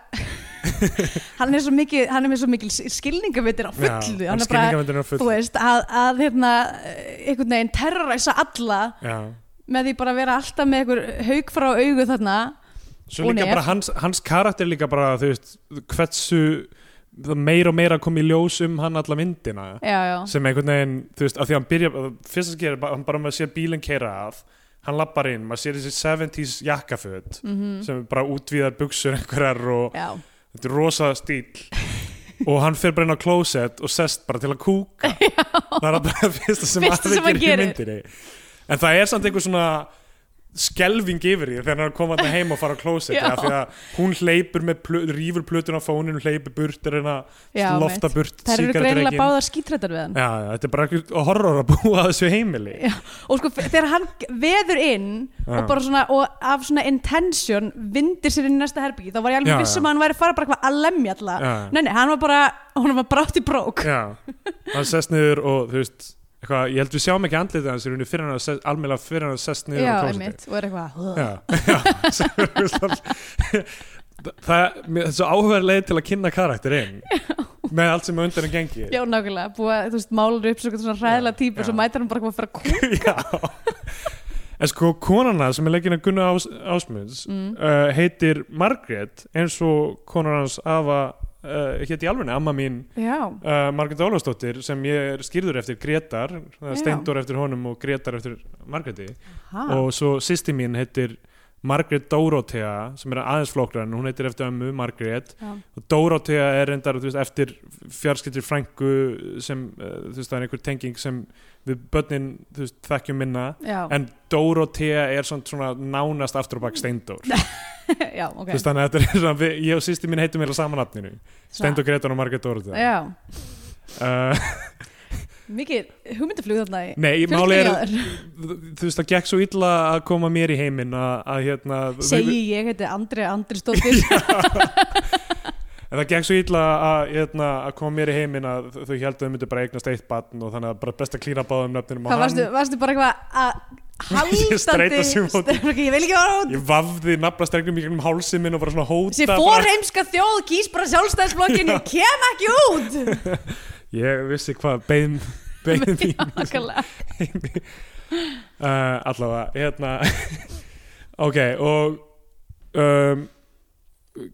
C: hann er svo mikið, hann er með svo mikið skilningavitir á fullu hann er bara,
B: skilningamöndurinn er full
C: þú veist, að, að hérna, einhvern veginn terroræsa alla
B: já.
C: með því bara að vera alltaf með einhver haug frá augu þarna
B: Svo
C: Og
B: líka
C: nef.
B: bara hans, hans karakter líka bara þú veist, hversu það meira og meira kom í ljós um hann alla myndina
C: já, já,
B: sem einhvern veginn, þú veist, af því hann byrja fyrst að skera, hann bara maður sér bílinn keira að hann lappar inn, maður sér þessi 70s jakkaföt
C: Mhm.
B: sem er bara útvíðar buksur einhverjar og
C: já,
B: þetta er rosa stíl og hann fer bara inn á klósett og sest bara til að kúka það er bara það fyrsta sem,
C: Fyrsta sem
B: afi
C: hann
B: gerir í
C: gerir.
B: myndinni en það er samt einhver svona skelving yfir því þegar hann er komað heim og fara á klósett
C: Já.
B: af því að hún hleypur með plö, rífur plötun á fóninu, hleypur burt er henn
C: já
B: að lofta
C: mitt.
B: burt
C: þær eru
B: sígarettureykinn.
C: greinilega báðar skítrættar við hann
B: Já, já, þetta er bara einhver horror að búa að þessu heimili
C: Já, og sko þegar hann veður inn og bara svona, og af svona intention vindir sér inn í næsta herbyggi þá var ég
B: Já,
C: alveg
B: já.
C: vissum að hann væri að fara bara eitthvað að lemja alla
B: Já.
C: nei, nei, hann var bara, hann var brátt í brók
B: Já, hann sest niður og þú veist, eitthvað, ég held við sjáum ekki andlitið hans í rauninni fyrir hann að sest, almela fyrir hann að sest niður á klósetti.
C: einmitt, og er eitthvað
B: Já, já sem er, þú veist, all- Það mér- þetta er svo áhugaverð leið til að kynna karakterinn með allt sem á undan er gengi
C: Já, nákvæmlega, búið að, þú veist, málar upp svona, svona hræðilega típur,
B: já.
C: svo mætir hann bara eitthvað að fara að kú
B: En sko konana sem er leikinn að Gunna Ás, Ásmunds
C: Mm.
B: uh, heitir Margrét eins og konan hans afa uh, hétt í alvegni, amma mín
C: Já,
B: uh, Margrét Ólafsdóttir sem ég er skýrður eftir Gretar, það
C: Já.
B: er Steindór eftir honum og Gretar eftir Margréti
C: ha,
B: og svo sýsti mín heitir Margrét Dórótea sem er aðeins flóklar en hún heitir eftir ömmu Margrét
C: Já.
B: og Dórótea er reyndar þú veist, eftir fjarskiptir frængu sem uh, þú veist, það er einhver tenging sem við börnin þú veist, þekkjum minna
C: já,
B: en Dórótea er svona, svona nánast aftur á bak Steindór þú
C: já, ok
B: veist, þannig að þetta er svona, við, ég og sýsti mín heitum meira samanatninu Steindór Gretar og Margrét Dórótea
C: Já,
B: uh,
C: mikið hugmyndaflug þarna í
B: Nei,
C: Fjölskyldu
B: máli er
C: hjá þér.
B: þú veist, það gekk svo illa að koma mér í heiminn að, að hérna
C: Segi ég, heiti Andri Andri Stóttir
B: En það gekk svo illa að, hérna, að koma mér í heiminn að þau heldur að þau myndu bara eignast eitt batn og þannig að bara best að klína báðum nöfninum á
C: Hvað varstu, varstu bara eitthvað að haldandi
B: Ég streita sig út.
C: Ég vil ekki vera út
B: Ég vafði nafnastrengnum í gegnum hálsinn minn og bara svona hóta
C: Sér
B: bara-
C: fórheimska þjóð kýs bara sjálfstæðsblokkin Ég kem ekki út
B: Ég vissi hvað bein, bein mín
C: Nákvæmlega.
B: heimi uh, allavega hérna ok og um,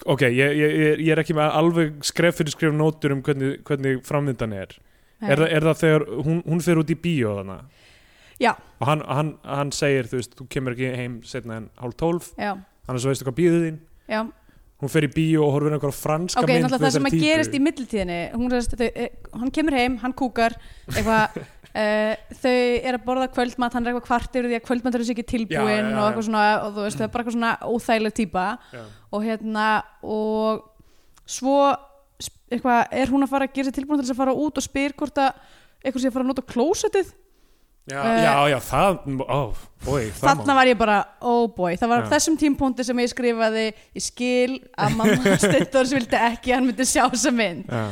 B: ok ég, ég, ég- ég er ekki með alveg skref fyrir skref nótur um hvernig, hvernig framvindan er
C: Nei.
B: er, það- er það þegar hún, hún fer út í bíó þannig
C: Já.
B: og hann, hann, hann segir þú veist þú kemur ekki heim setna en hálf tólf
C: Já,
B: annars veistu hvað býður þín
C: já
B: hún fer í bíó og horfir á einhverja franska
C: Ok,
B: mynd
C: náttúrulega það sem að gerist í millitíðinni hún, er- þau, eh, hann kemur heim, hann kúkar eitthvað Uh, þau eru að borða kvöldmat, hann er eitthvað kvart yfir því að kvöldmat eru sér ekki tilbúin
B: Já, já, já,
C: og eitthvað svona, og þú veist, það er bara eitthvað svona óþægileg típa
B: Já.
C: og hérna, og svo sp- eitthvað, er hún að fara að gera sér tilbúin til þess að fara út og spyr hvort að eitthvað sé að fara að nota klósettið
B: já,
C: eh,
B: já, já, það, ó, oi, það
C: þarna var ég bara, oh boy það var
B: Já.
C: á þessum tímpóndi sem ég skrifaði ég skil að mamma Steindors vildi ekki að hann myndi sjá þessa mynd
B: já,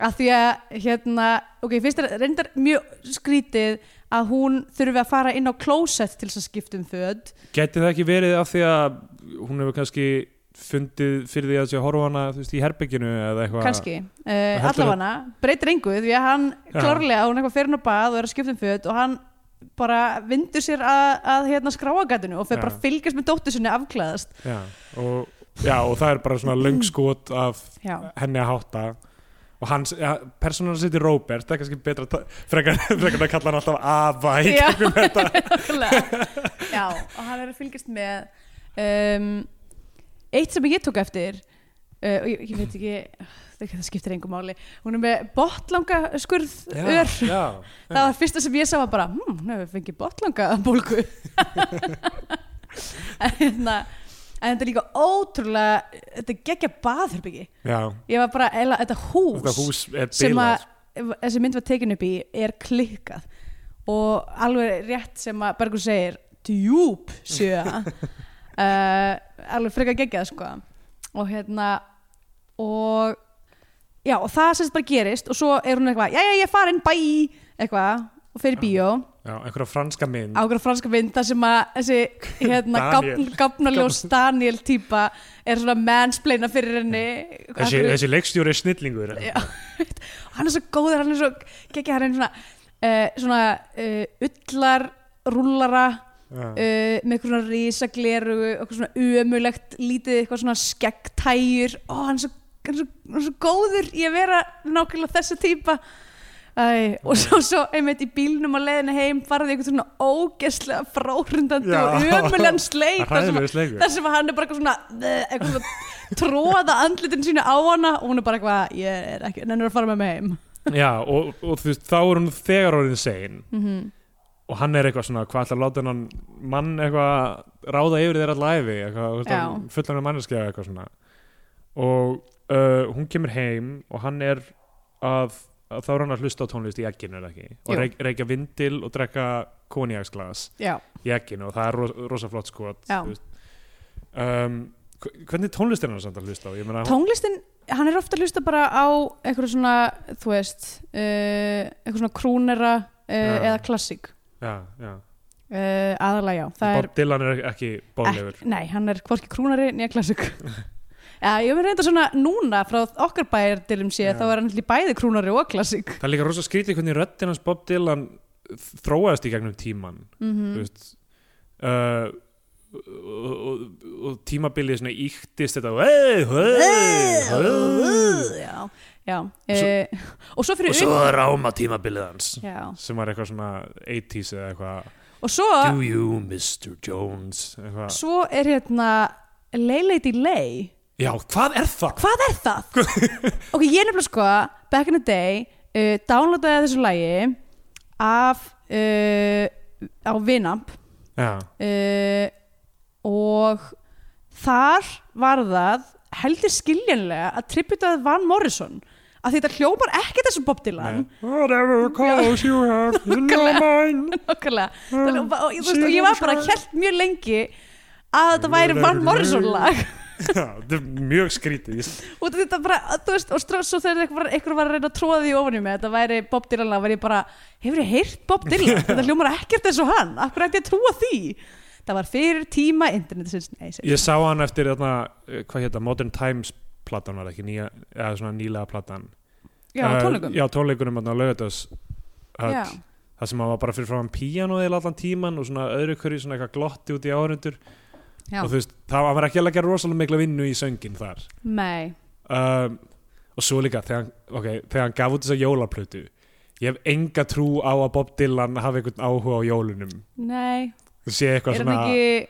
C: að því að hérna ok, finnst þér reyndar mjög skrítið að hún þurfi að fara inn á klósett til þess að skipta um föt
B: Gæti það ekki verið af því að hún hefur kannski fundið fyrir því að sé að horfa á hana þú veist, í herbygginu eða eitthvað
C: kannski,
B: heldur
C: uh,
B: að-
C: allavega breytir engu því að hann
B: Já.
C: klárlega hún er eitthvað fyrir hann á bað og er að skipta um föt og hann bara vindur sér að, að hérna skráagatinu og fer
B: Já.
C: bara að fylgjast með dóttur sinni afklæðast
B: já og, já, og það er bara svona löng skot af
C: já,
B: henni að hátta og hans, ja, persónan sitt í Robert það er kannski betra að ta- frekar, frekar að kalla hann alltaf afa í
C: Já.
B: gegnum þetta
C: Nákvæmlega. Já, og hann er að fylgjast með um, Eitt sem ég tók eftir uh, og ég, ég veit ekki það það skiptir engum máli hún er með botlanga skurð ör
B: já,
C: það var fyrsta sem ég sá var bara hm, hún hefur fengið botlanga bólgu en hérna en þetta er líka ótrúlega þetta er geggja baðherbyggi
B: já.
C: ég var bara, eila, þetta hús,
B: þetta hús er
C: sem
B: bilað
C: að þessi mynd var tekin upp í er klikkað og alveg rétt sem að Bergur segir djúp sjö uh, alveg frekar geggjað sko og hérna og já og það sem sagt bara gerist og svo er hún eitthvað, já já ég er farin, bæ eitthvað og fer í bíó
B: já, einhverja franska mynd
C: ákveður franska mynd þar sem að þessi hérna,
B: Daniel.
C: gafnaljós Daniel típa er svona mansplaina fyrir henni
B: þessi,
C: Hann-
B: þessi leikstjóri er snillingur
C: Já, hann er svo góður hann er svo geggja hann er svona uh, svona uh, ullar rúllara
B: Já.
C: uh, með eitthvað svona risagleru eitthvað svona umulegt lítið eitthvað svona skeggtægjur og hann er svo, hann er svo, hann er svo góður í að vera nákvæmlega þessi típa Æ, og svo, svo einmitt í bílnum á leiðinu heim farði eitthvað svona ógeslega frórundandi
B: Já.
C: og ömulegan
B: Það er
C: sleik þar sem að-
B: hræðilegur sleikur.
C: þar sem að hann er bara eitthvað svona "Bleh", eitthvað svona tróða andlitin sína á hana og hún er bara eitthvað ég er ekki, nennir að fara með mig heim
B: já, og, og þú veist, þá er hún þegar orðin sein og hann er eitthvað svona, hvað ætlar að láta hennan mann eitthvað ráða yfir þeirra læfi
C: Já.
B: eitthvað, fullan af manneskja eitthvað svona og uh, hún kemur heim og hann er að, að þá er hann að hlusta á tónlist í egginu er það ekki, og
C: Jú.
B: reik, reikja vindil og drekka koniaksglas
C: já,
B: í egginu og það er ros, rosa flott skot
C: Já.
B: þú veist. um, hv- hvernig tónlist er hann samt að hlusta á? Ég meina, hún-
C: tónlistin hann er ofta að hlusta bara á eitthvað svona, þú veist uh, eitthvað svona krúnera uh,
B: Já.
C: eða klassík
B: já, já.
C: uh, aðalega já, það er
B: Bob Dylan er ekki bóðlegur
C: Ek- Nei, hann er hvorki krúnari nýja klassik Já, ég verði reynda svona núna frá okkar bæjardilum sé
B: Já.
C: þá er hann til í bæði krúnari og klassik
B: Það er líka rosa skrítið hvernig röddinn hans Bob Dylan þróaðist í gegnum tíman
C: mm
B: þú veist uh, og, og, og tímabilið svona íktist þetta hey, hey, hey.
C: Já, já
B: Og svo-
C: eh, Og svo fyrir
B: og svo
C: upp-
B: ráma tímabilið hans
C: Já,
B: sem var eitthvað svona 80s eða eitthvað
C: og svo,
B: Do you Mr. Jones eitthvað.
C: svo er hérna Lay Lady Lay
B: Já, hvað er það?
C: Hvað er það? ok, ég nefnilega sko back in the day uh, downloadaði þessu lagi af uh, á Vinamp
B: Já,
C: uh, og þar var það heldur skiljanlega að tributaði Van Morrison að þetta hljópar ekkert þessu Bob Dylan
B: nei. Whatever cause you have you know mine
C: Nákvæmlega. Þannig- og, og, þú veist, og ég var bara held mjög lengi að þetta væri Van Morrison lag
B: Já, Þetta er mjög skrítið ég-
C: og þetta bara, þú veist, og strá, svo þegar einhver, var- einhver var að reyna að tróða því ofan í mig að þetta væri Bob Dylan lag, var ég bara, hefur ég heyrt Bob Dylan? þetta hljómar ekkert eins og hann af hverju ætti ég að trúa því? það var fyrir tíma internetsins nei, ég segi-
B: Ég sá hann eftir þarna, eh, hvað hétta, Modern Times platan var það ekki, nýja, eða svona nýlega platan
C: já,
B: Eh,
C: tónleikum
B: Já, uh, tónleikunum hann á Laugardags
C: Já.
B: Það sem hann var bara fyrir frá hann píanóið allan tíman og svona öðru hverju svona eitthvað glotti út í áhörundur
C: Já.
B: og þú veist, það hann var ekki að leggja rosalega mikla vinnu í söngin þar
C: nei,
B: um, og svo líka þegar, hann- ok, þegar hann gaf út þessa jólaplötu ég hef enga trú á að Bob Dylan hafi einhvern áhuga á jólunum
C: nei
B: þú sé eitthvað
C: er hann
B: svona
C: ekki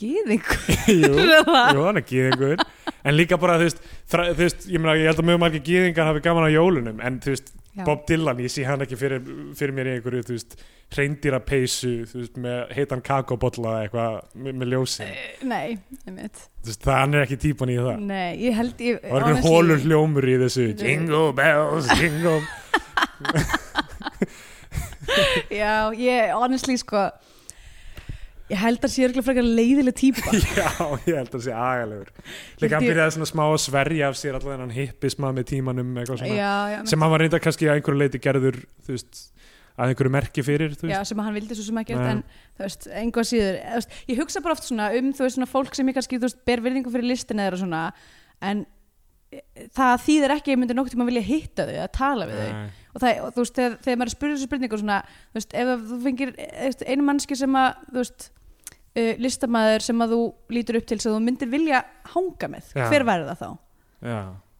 C: gýðingur
B: Jú.
C: eða?
B: Jú, hann er gýðingur En líka bara, þú veist, þra, þú veist ég, meina, ég held að mjög margir gýðingar hafi gaman á jólunum En þú veist,
C: Já.
B: Bob Dylan, ég sé hann ekki fyrir, fyrir mér í einhverju Þú veist, reyndýra peysu, þú veist, með heitan kakóbolla eða eitthvað með, með ljósin
C: nei, einmitt.
B: Þú veist, það hann er ekki típan í það
C: nei, ég held ég,
B: Það var einhver
C: Eh, honestly- Eh.
B: hólur hljómur í þessu
C: Þetta er-
B: Jingle bells, jingle
C: já, ég, honestly sko ég held að sé örgulega frekar leiðileg típa
B: Já, ég held að sé agalegur Líka hann
C: Vildi-
B: byrjaði svona smá að sverja af sér allan þennan hippisma með tímanum eitthvað svona
C: já, já,
B: sem hann var reynda kannski að einhverju leiti gerður þú veist, að einhverju merki fyrir þú
C: já,
B: veist,
C: sem að hann vildi svo sem ekkert
B: Nei.
C: en þú veist, engu að síður eða, þú veist, ég hugsa bara oft svona um þú veist svona fólk sem ég kannski, þú veist, ber virðingu fyrir listin eða svona, en e, það þýðir ekki að ég myndi nokkuð tíma vilja hitta þau að tala við þau
B: Nei.
C: og, það, og þú veist, þegar, þegar maður spyrir þessu spurningu svona, þú veist, ef að þú fengir e, þú veist, einu mannski sem að, þú veist uh, listamaður sem að þú lítur upp til sem þú myndir vilja hanga með
B: Já.
C: hver væri það þá?
B: já,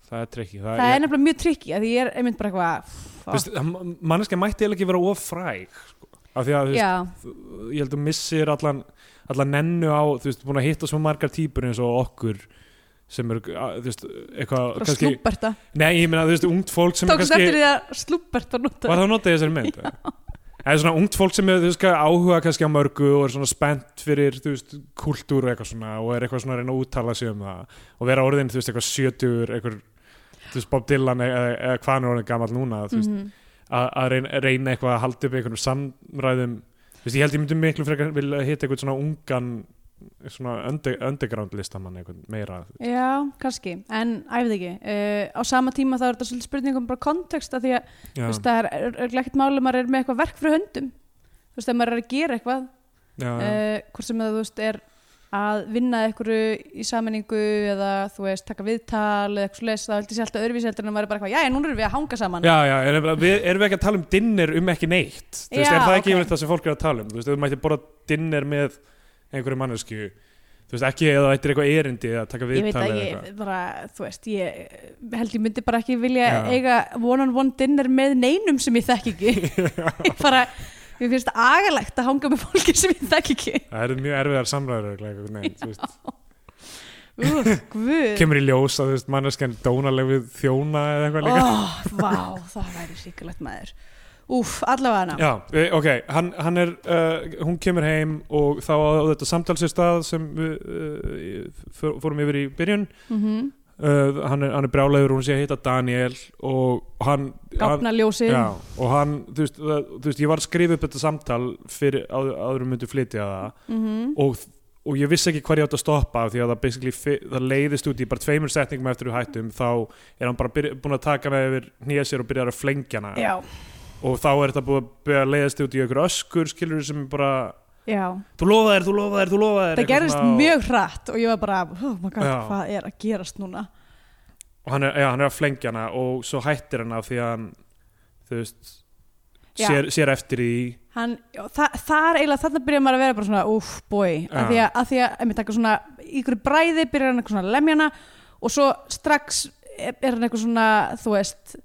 B: það er trikki
C: Það, er nefnilega mjög trikki að því ég er einmitt bara eitthvað
B: nefnilega manneskja mætti eiginlega ekki vera of fræg sko. af því að þú veist,
C: Já,
B: ég held að þú missir allan, allan nennu á þú veist, búin að hitta svo margar típur eins og okkur sem eru, að, þú veist, eitthvað
C: bara
B: kannski,
C: slúberta
B: nei, ég meina, þú veist, ungt fólk sem er
C: Tókst eftir því að slúberta nota
B: Var það notað í þessari mynd? Það er svona ungt fólk sem er, þú veist, áhuga kannski á mörgu og er svona spennt fyrir, þú veist, kultúr og eitthvað svona og er eitthvað svona að reyna að úttala sig um það og vera orðin, þú veist, eitthvað sjötugur, eitthvað, þú veist, Bob Dylan eða, eða hvað hann er orðin gamall núna, þú veist,
C: Mhm.
B: að að reyna, reyna eitthvað að halda upp einhvernum samræðum, þú veist, ég held ég myndi miklu frekar vilja hitta eitthvað svona ungan, svona under, underground listamann eitthvað meira,
C: Já, kannski, en æfði ekki uh, á sama tíma þá er þetta svolítið spurningum bara kontekst að því að
B: já,
C: þú veist, það er, er, er ekkert málum að maður er með eitthvað verk fyrir höndum þú veist, ef maður er að gera eitthvað
B: já, já.
C: uh, hvort sem það, þú veist, er að vinna að einhverju í sammenningu eða, þú veist, taka viðtal eða eitthvað svoleiðis, þá heldur sér alltaf öðruvísi heldur en að maður er bara eitthvað, já, nú erum við að hanga saman
B: Já, já, er, við, erum við ekki að tala um dinner um ekki neitt þú veist,
C: Já,
B: er það ekki
C: ok.
B: yfirleitt það sem fólk er að tala um þú veist, ef þú mætti borða dinner með einhverju mannesku þú veist, ekki eða þetta er eitthvað erindi að taka
C: ég veit
B: viðtal
C: að
B: eða
C: ég
B: eitthvað
C: bara, þú veist, ég held ég myndi bara ekki vilja
B: Já.
C: eiga one-on-one dinner með neinum sem ég þekk ekki ég bara, mér finnst agalegt að hanga með fólki sem ég þekk ekki
B: Það eru mjög erfiðar samræður örugglega, einhvern veginn, þú veist.
C: Úr, guð
B: kemur í ljós að þú veist, manneskjan dónaleg við þjóna eða eitthvað
C: Ó,
B: líka
C: vá, það væri ríkulegt maður Úf, allavega hana
B: Já, eh, ok, hann, hann er, uh, hún kemur heim og þá á þetta samtalsir stað sem við uh, fór- fórum yfir í byrjun
C: mm
B: uh, hann, er, hann er brjálæður, hún sé að hitta Daniel og hann hann-
C: Gáfna ljósið
B: Já, og hann, þú veist, það, þú veist ég var að skrifa upp þetta samtal fyrir áður, áður en við myndum flytja það
C: Mhm.
B: og, og ég vissi ekki hvað ég átt að stoppa af því að það, basically fi- það leiðist út í bara tveimur setningum eftir við hættum þá er hann bara byrja, búin að taka með yfir nýja sér og byrjar að flengja hana
C: Já,
B: og þá er þetta búið að byrja að leiðast út í ykkur öskur skilur sem er bara
C: já
B: þú lofa þér, þú lofa þér, þú lofa þér
C: Það
B: eitthvað
C: gerðist
B: svona, og-
C: mjög hratt og ég var bara, oh my god,
B: Já.
C: hvað er að gerast núna
B: og hann er, já, hann er að flengja hana og svo hættir hana af því að hann þú veist
C: Já.
B: sér, sér eftir í
C: hann, já, þa það er eiginlega þarna byrjar maður að vera bara svona uff, boi,
B: Já.
C: að því að, að, því að einmitt, eitthvað svona, í ykkur bræði byrjar hann eitthvað svona að lemja hana og svo strax er er hann eitthvað svona, þú veist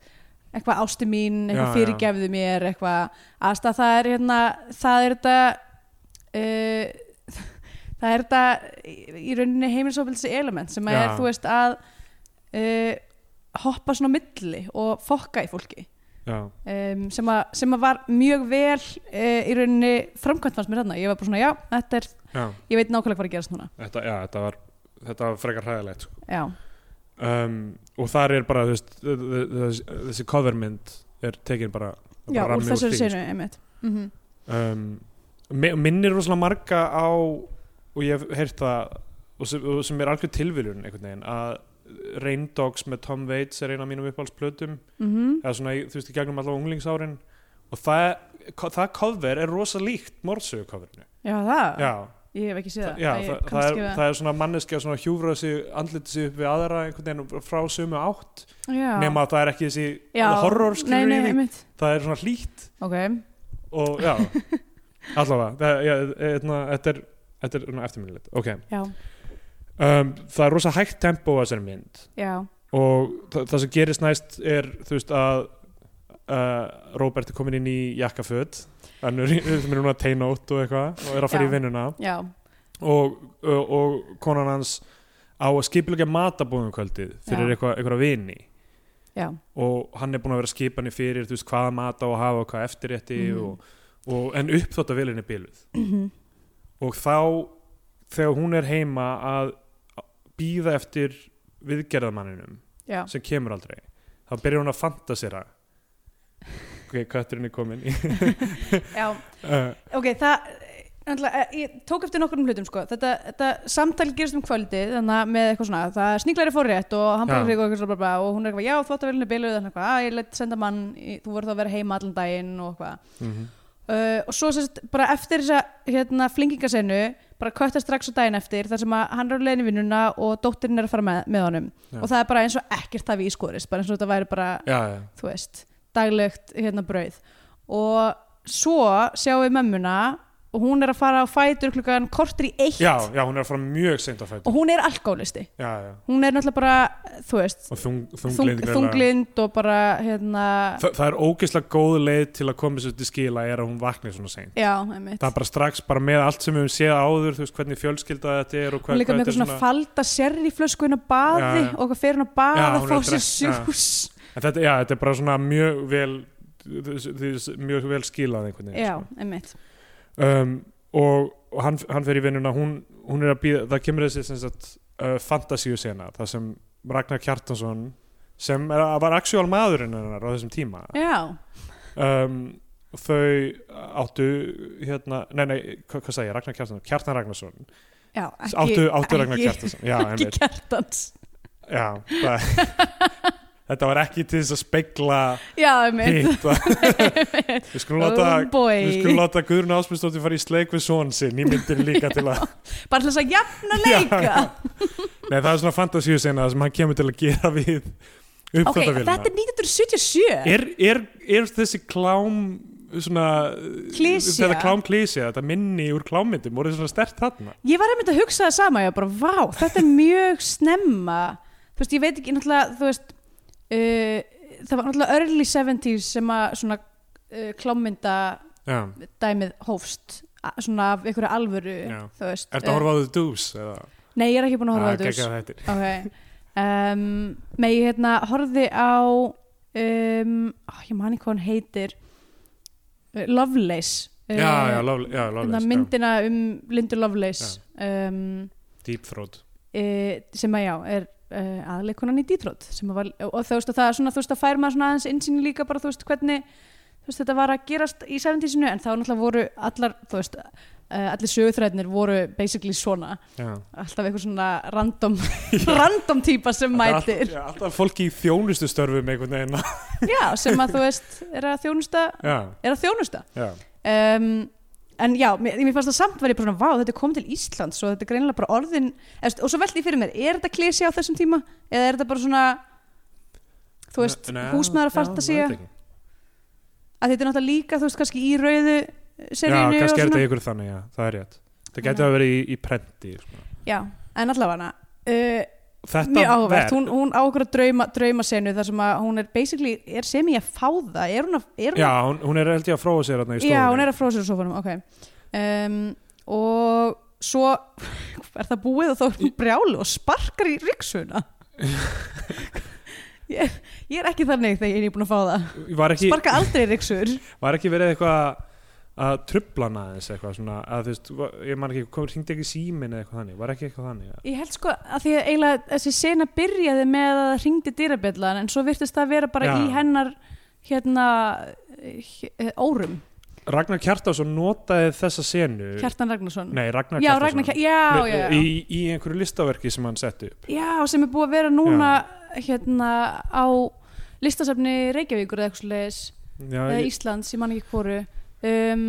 C: eitthvað ásti mín,
B: Já,
C: eitthvað
B: já.
C: fyrirgefðu mér eitthvað, aðstæð það er hérna, það er þetta uh, það er þetta í- í rauninni heimilisofbilsi element sem að
B: Já.
C: er, þú veist, að uh, hoppa svona á milli og fokka í fólki
B: já,
C: um, sem, að, sem að var mjög vel uh, í rauninni framkvæmt fannst mér þarna ég var bara svona, já, þetta er,
B: já,
C: ég veit nákvæmlega hvað er að gerast núna
B: þetta, já, þetta var þetta var frekar hræðilegt sko.
C: já,
B: um, og þar er bara þú veist, þ- þ- þ- þessi covermynd er tekin bara,
C: já
B: bara
C: úr
B: rammi
C: þessari
B: því,
C: senu, einmitt mm -hmm.
B: sko. um, mi- minnir rosalega marga á og ég hef heyrt það og sem, og sem er algjör tilviljun einhvern veginn að Rain Dogs með Tom Waits er eina af mínum uppáhaldsplötum
C: Mhm.
B: eða svona, í- þú veist, í gegnum allavega unglingsárin og það, ko- það cover er rosa líkt morðsögu coverinu
C: já, það,
B: já,
C: ég hef ekki séð
B: það,
C: það
B: já,
C: ég
B: það,
C: kannast
B: það,
C: ekki
B: er,
C: við-
B: það er svona manneski að svona hjúfra sig, andlita sig upp við aðra einhvern veginn og frá sömu átt
C: já.
B: nema að það er ekki þessi
C: já.
B: horror
C: nei,
B: skilur
C: nei,
B: í því,
C: einmitt
B: það er svona hlýtt
C: ok,
B: og já, allavega það, já, eitna, þetta er, þetta er eftirminnilegt ok,
C: já,
B: um, það er rosa hægt tempo að þessari mynd
C: já,
B: og það, það sem gerist næst er þú veist að uh, Robert er komin inn í jakkaföt hann er, sem er núna að teina út og eitthvað og er að fara
C: Já.
B: í vinnuna
C: já
B: og, og, og konan hans á að skipilega matabóðum kvöldið fyrir
C: Já.
B: eitthvað, eitthvað vini
C: já,
B: og hann er búin að vera skipani fyrir þú veist hvaða mat á að hafa og hvað eftirrétti
C: Mhm.
B: og, og, en uppþóttavélinni biluð og þá þegar hún er heima að býða eftir viðgerðamanninum
C: já
B: sem kemur aldrei þá byrjar hún að fantasera ok, kötturinn er komin í
C: já,
B: uh,
C: ok, það Ætla, ég tók eftir nokkrum hlutum sko. þetta, þetta samtal gerist um kvöldið þannig að með eitthvað svona, það sníklari fór rétt og hann bara
B: Já.
C: hrigur og eitthvað svona bara, og hún er eitthvað, já, þvóttavélinu biluð hérna þannig eitthvað, að ég leitt senda mann í, þú voru þá að vera heima allan daginn og eitthvað uh, og svo sérst, bara eftir þessa hérna, flingingasennu, bara kötta strax á daginn eftir, þar sem að hann er á leiðin í vinnuna og dóttirinn er að fara með, með honum
B: Já.
C: og það er bara eins og ekkert hafi ískorist bara eins og þetta væri bara
B: já, já,
C: þú veist, daglegt hérna brauð og svo sjáum við mömmuna og hún er að fara á fætur klukkan kortur í eitt
B: já, já, hún er að fara mjög seint á fætur
C: og hún er alkoholisti
B: já, já.
C: hún er náttúrulega bara, þú veist
B: og þung,
C: þung,
B: þunglind,
C: þunglind og bara hérna,
B: Þa, það er ógeðslega góð leið til að koma sér til skila er að hún vaknir svona seint
C: já, einmitt
B: það er bara strax, bara með allt sem við höfum séð áður þú veist hvernig fjölskylda þetta er og
C: hún
B: hvað,
C: er líka
B: hvað
C: með
B: þetta
C: eitthvað svona falda sérri flösku hérna á baði
B: Já, já.
C: og eitthvað fer hérna að
B: Já,
C: baða
B: hún er
C: fá
B: að
C: sér
B: drekka,
C: sjús
B: en þetta, já, þetta er bara svona mjög vel þess- þess- mjög vel skilað einhvern veginn
C: já,
B: sko.
C: einmitt
B: um, og, og hann, hann fer í vinnuna hún, hún er að býða, það kemur þessi sem sagt, uh, fantasíu sena það sem Ragnar Kjartansson sem er, var actual maðurinn hennar á þessum tíma
C: já,
B: um, þau áttu hérna, nei nei, hva, hvað sagði ég Ragnar Kjartansson, Kjartan Ragnarsson
C: já, ekki
B: áttu, áttu Ragnar
C: ekki,
B: Kjartansson já,
C: ekki
B: einmitt.
C: kjartans
B: já, það Þetta var ekki til þess að spegla
C: já, einmitt
B: hitt Við skulum láta,
C: Oh boy.
B: við skulum láta Guðrun Ásbjörnsdóttir fara í sleik við són sinn í myndinu líka til að
C: bara til þess að jafna
B: Já,
C: leika
B: Nei, það er svona fantasíu sinna sem hann kemur til að gera við
C: ok,
B: uppþáttavélina
C: þetta er 1977
B: er, er, er þessi klám svona
C: Klisja.
B: Þetta klám klísja, þetta minni úr klámmyndum voru svona stert þarna
C: Ég var einmitt að hugsa það sama, ég var bara, vá, þetta er mjög snemma. Þú veist, ég veit ekki, náttúrulega, þú veist, uh, það var náttúrulega early 70s sem að svona uh, klámynda
B: Já,
C: dæmið hófst, a- svona af einhverju alvöru,
B: Já.
C: þú veist.
B: ertu að horfa Ah, á The Deuce? Eða?
C: Uh, nei, ég er ekki búin að horfa á þetta.
B: þetta
C: þess. Ok. Um, með ég hérna horfði á, um, ó, ég man ekki hvað hann heitir, uh, Lovelace. uh,
B: Já, já, lofleg, já,
C: hérna
B: lofleg
C: myndina um Lindu Lovelace um,
B: Deep Throat
C: e, sem að já er uh, aðleikunan í dýtrót sem að var, og þú veist að það er svona þú veist að fær maður svona aðeins innsýn í líka bara þú veist hvernig þú veist þetta var að gerast í 70-sinu en þá náttúrulega voru allar þú veist uh, allir sögutræðnir voru basically svona
B: Já.
C: alltaf eitthvað svona random random típa sem mætir
B: Allt- Alltaf fólki í þjónustustörfum einhvern veginn
C: já sem að þú veist er að þjónusta
B: Já,
C: er að þjónusta
B: já,
C: um, en já, mér, mér fannst það samt var ég bara svona, vá, þetta kom til Íslands og þetta er greinilega bara orðin eðst, og svo veldi ég fyrir mér, er þetta klísi á þessum tíma eða er þetta bara svona þú veist,
B: Nei,
C: húsmaður að farta sig
B: já,
C: að
B: veit ekki.
C: þetta er náttúrulega líka, þú veist, kannski í rauðu
B: Já,
C: seríunni
B: kannski
C: og
B: er
C: svona
B: þetta ykkur þannig, já, það er rétt Það getur að vera í, í prenti sko.
C: já, en allavega uh,
B: Þetta
C: mjög áhugavert,
B: verk-
C: hún, hún á okkur að drauma, drauma senu þar sem að hún er basically er sem ég að fá það, er hún að, er hún
B: Já, hún, hún er held ég að fróa sér þarna í stofunni
C: Já, hún er að fróða sér á sofanum, ok um, Og svo er það búið og þá er hún brjálu og sparkar í ríksuna ég, ég er ekki þannig þegar ég er búin að fá það
B: Var ekki,
C: Sparka aldrei í ríksur
B: var ekki verið eitthvað að trubla hana aðeins eitthvað svona að þú veist, va- ég man ekki, kom, hringdi ekki símin eða eitthvað þannig, var ekki eitthvað þannig ja.
C: Ég held sko að því að eiginlega þessi sena byrjaði með að það hringdi dyrabjallan en svo virtist það vera bara
B: Já.
C: í hennar hérna hér, órum,
B: Ragnar Kjartason notaði þessa senu
C: Kjartan Ragnarsson
B: Nei, Ragnar
C: Já,
B: Kjartason
C: Ragnar Kjartan, já, já, já.
B: Í, í einhverju listaverki sem hann setti upp
C: Já, sem er búið að vera núna hérna á listasafni Reykjavíkur eða eitthvað svoleiðis
B: Já,
C: eða
B: ég,
C: Íslands, ég man ekki hvoru um,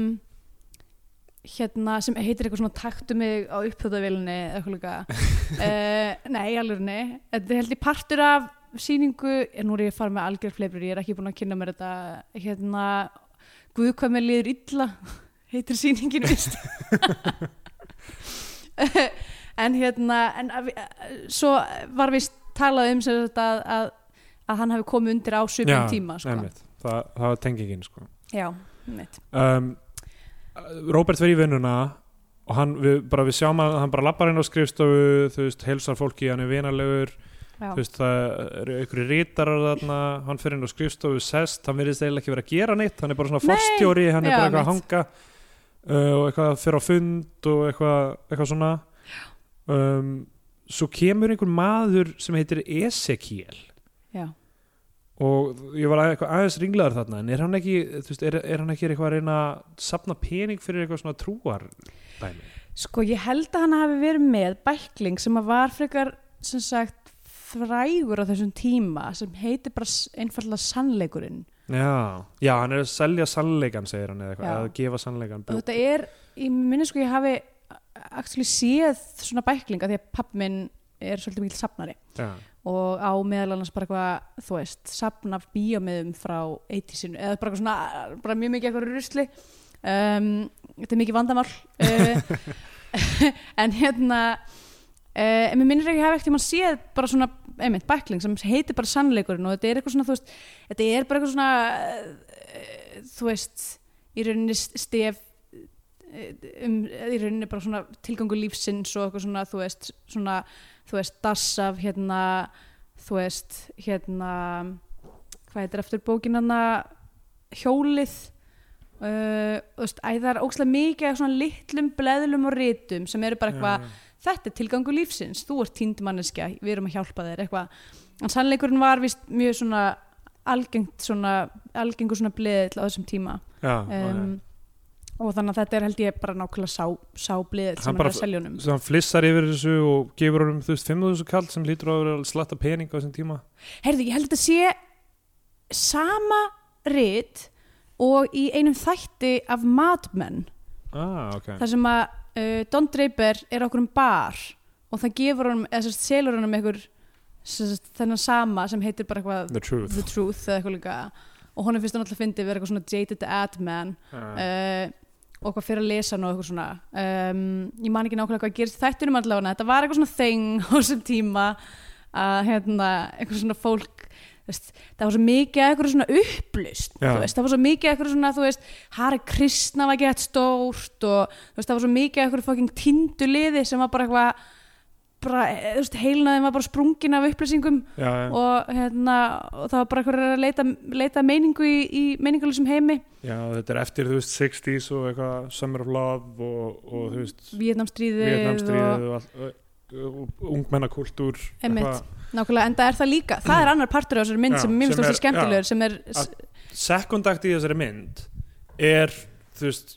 C: hérna sem heitir eitthvað svona taktu mig á uppþjóðavélinni eða eitthvað líka uh, Nei, alveg nei, þetta er held ég partur af sýningu, en nú er ég að fara með algjör fleifur, ég er ekki búin að kynna mér þetta hérna, Guð hvað mér liður illa heitir sýningin vist en hérna en að, vi- að- svo var vist talað um sem þetta að, að, að hann hafi komið undir á sögum
B: Já,
C: tíma sko.
B: einmitt. það, það var tengingin sko.
C: Já, mitt.
B: um, Robert verið í vinnuna og hann, við, bara við sjáum að hann bara lappar inn á skrifstofu, þú veist, heilsar fólki hann er vinalegur,
C: Já.
B: þú veist, það eru einhverju rítarar þarna hann fyrir inn á skrifstofu, sest, hann virðist eiginlega ekki verið að gera neitt, hann er bara svona
C: Nei.
B: forstjóri hann er
C: Já,
B: bara eitthvað að hanga uh, og eitthvað fyrir á fund og eitthvað, eitthvað svona um, svo kemur einhver maður sem heitir Ezekiel
C: Já.
B: og ég var eitthvað aðeins ringlaður þarna en er hann ekki, þú veist, er, er hann ekki eitthvað að reyna að sapna pening fyrir eitthvað svona trúar dæmi?
C: Sko, ég held að hann hafi verið með bækling sem að var frekar, sem sagt, frægur á þessum tíma sem heitir bara s- einfallega sannleikurinn.
B: Já, já, hann er að selja sannleikan segir hann eða eitthvað,
C: Já.
B: eða gefa sannleikan
C: Og þetta er, ég minni sko, ég hafi actually séð svona bæklinga því að papp minn er svolítið mikil safnari
B: Já,
C: og á meðal annars bara eitthvað, þú veist, safna bíómiðum frá 80-sinu eða bara eitthvað svona, bara mjög mikið eitthvað rusli um, þetta er mikið vandamál uh, en hérna uh, en mér minnir ekki að hafa ekkert mann séð bara svona, einmitt, bækling sem heitir bara sannleikurinn og þetta er eitthvað svona, þú veist þetta er bara eitthvað svona uh, þú veist, í rauninni stef eh, um, í rauninni bara svona tilgangu lífsins og eitthvað svona, þú veist, svona þú veist, dass af hérna þú veist, hérna hvað heitir eftir bókin hana hjólið uh, þú veist, æ, það er ókslega mikið af svona litlum bleðlum og ritum sem eru bara eitthvað, þetta er tilgangu lífsins þú ert týnd manneskja, við erum að hjálpa þér eitthvað, en sannleikurinn var vist mjög svona algengt svona algengur svona bleðill á þessum tíma
B: já, já,
C: um, og þannig að þetta er held ég bara nákvæmlega sá, sáblið
B: Hann
C: sem
B: bara-
C: er að selja honum
B: Svo hann flissar yfir þessu og gefur honum þú veist 5.000 kall sem lítur á að vera slatta pening á þessum tíma
C: Herði, ég held að þetta sé sama rit og í einum þætti af Mad Men
B: ah, okay.
C: þar sem að uh, Don Draper er á okkur um bar og það gefur honum, eða sérst selur honum einhver sem sagt, þennan sama sem heitir bara eitthvað
B: The truth
C: The Truth eða eitthvað líka og honum finnst hann alltaf fyndið vera eitthvað svona jaded ad man
B: uh,
C: uh, og eitthvað fyrir að lesa hann og eitthvað svona um, ég man ekki nákvæmlega hvað gerist í þættinum allavega þetta var eitthvað svona þing á þessum tíma að hérna eitthvað svona fólk þú veist, það var svo mikið að eitthvað svona upplust
B: Já.
C: þú veist, það var svo mikið að eitthvað svona þú veist, Harry Kristna var gett stórt og þú veist, það var svo mikið að eitthvað fucking tindu liði sem var bara eitthvað bara, eh, þú veist, heilnaðin var bara sprungin af upplýsingum
B: já, og,
C: og hérna, og það var bara eitthvað að leita, leita meiningu í, í meiningulisum heimi
B: já, þetta er eftir þú veist 60s og eitthvað Summer of Love og, og þú veist
C: Vietnamstríðið
B: Vietnamstríðið og, og, og, og ungmennakúltúr
C: Einmitt.
B: eitthvað.
C: Nákvæmlega, en það er það líka, það er annar partur á þessari mynd
B: Já,
C: sem
B: sem
C: mér finnst
B: er-
C: þótti skemmtilegur sem er,
B: Að- second act í þessari mynd er þú veist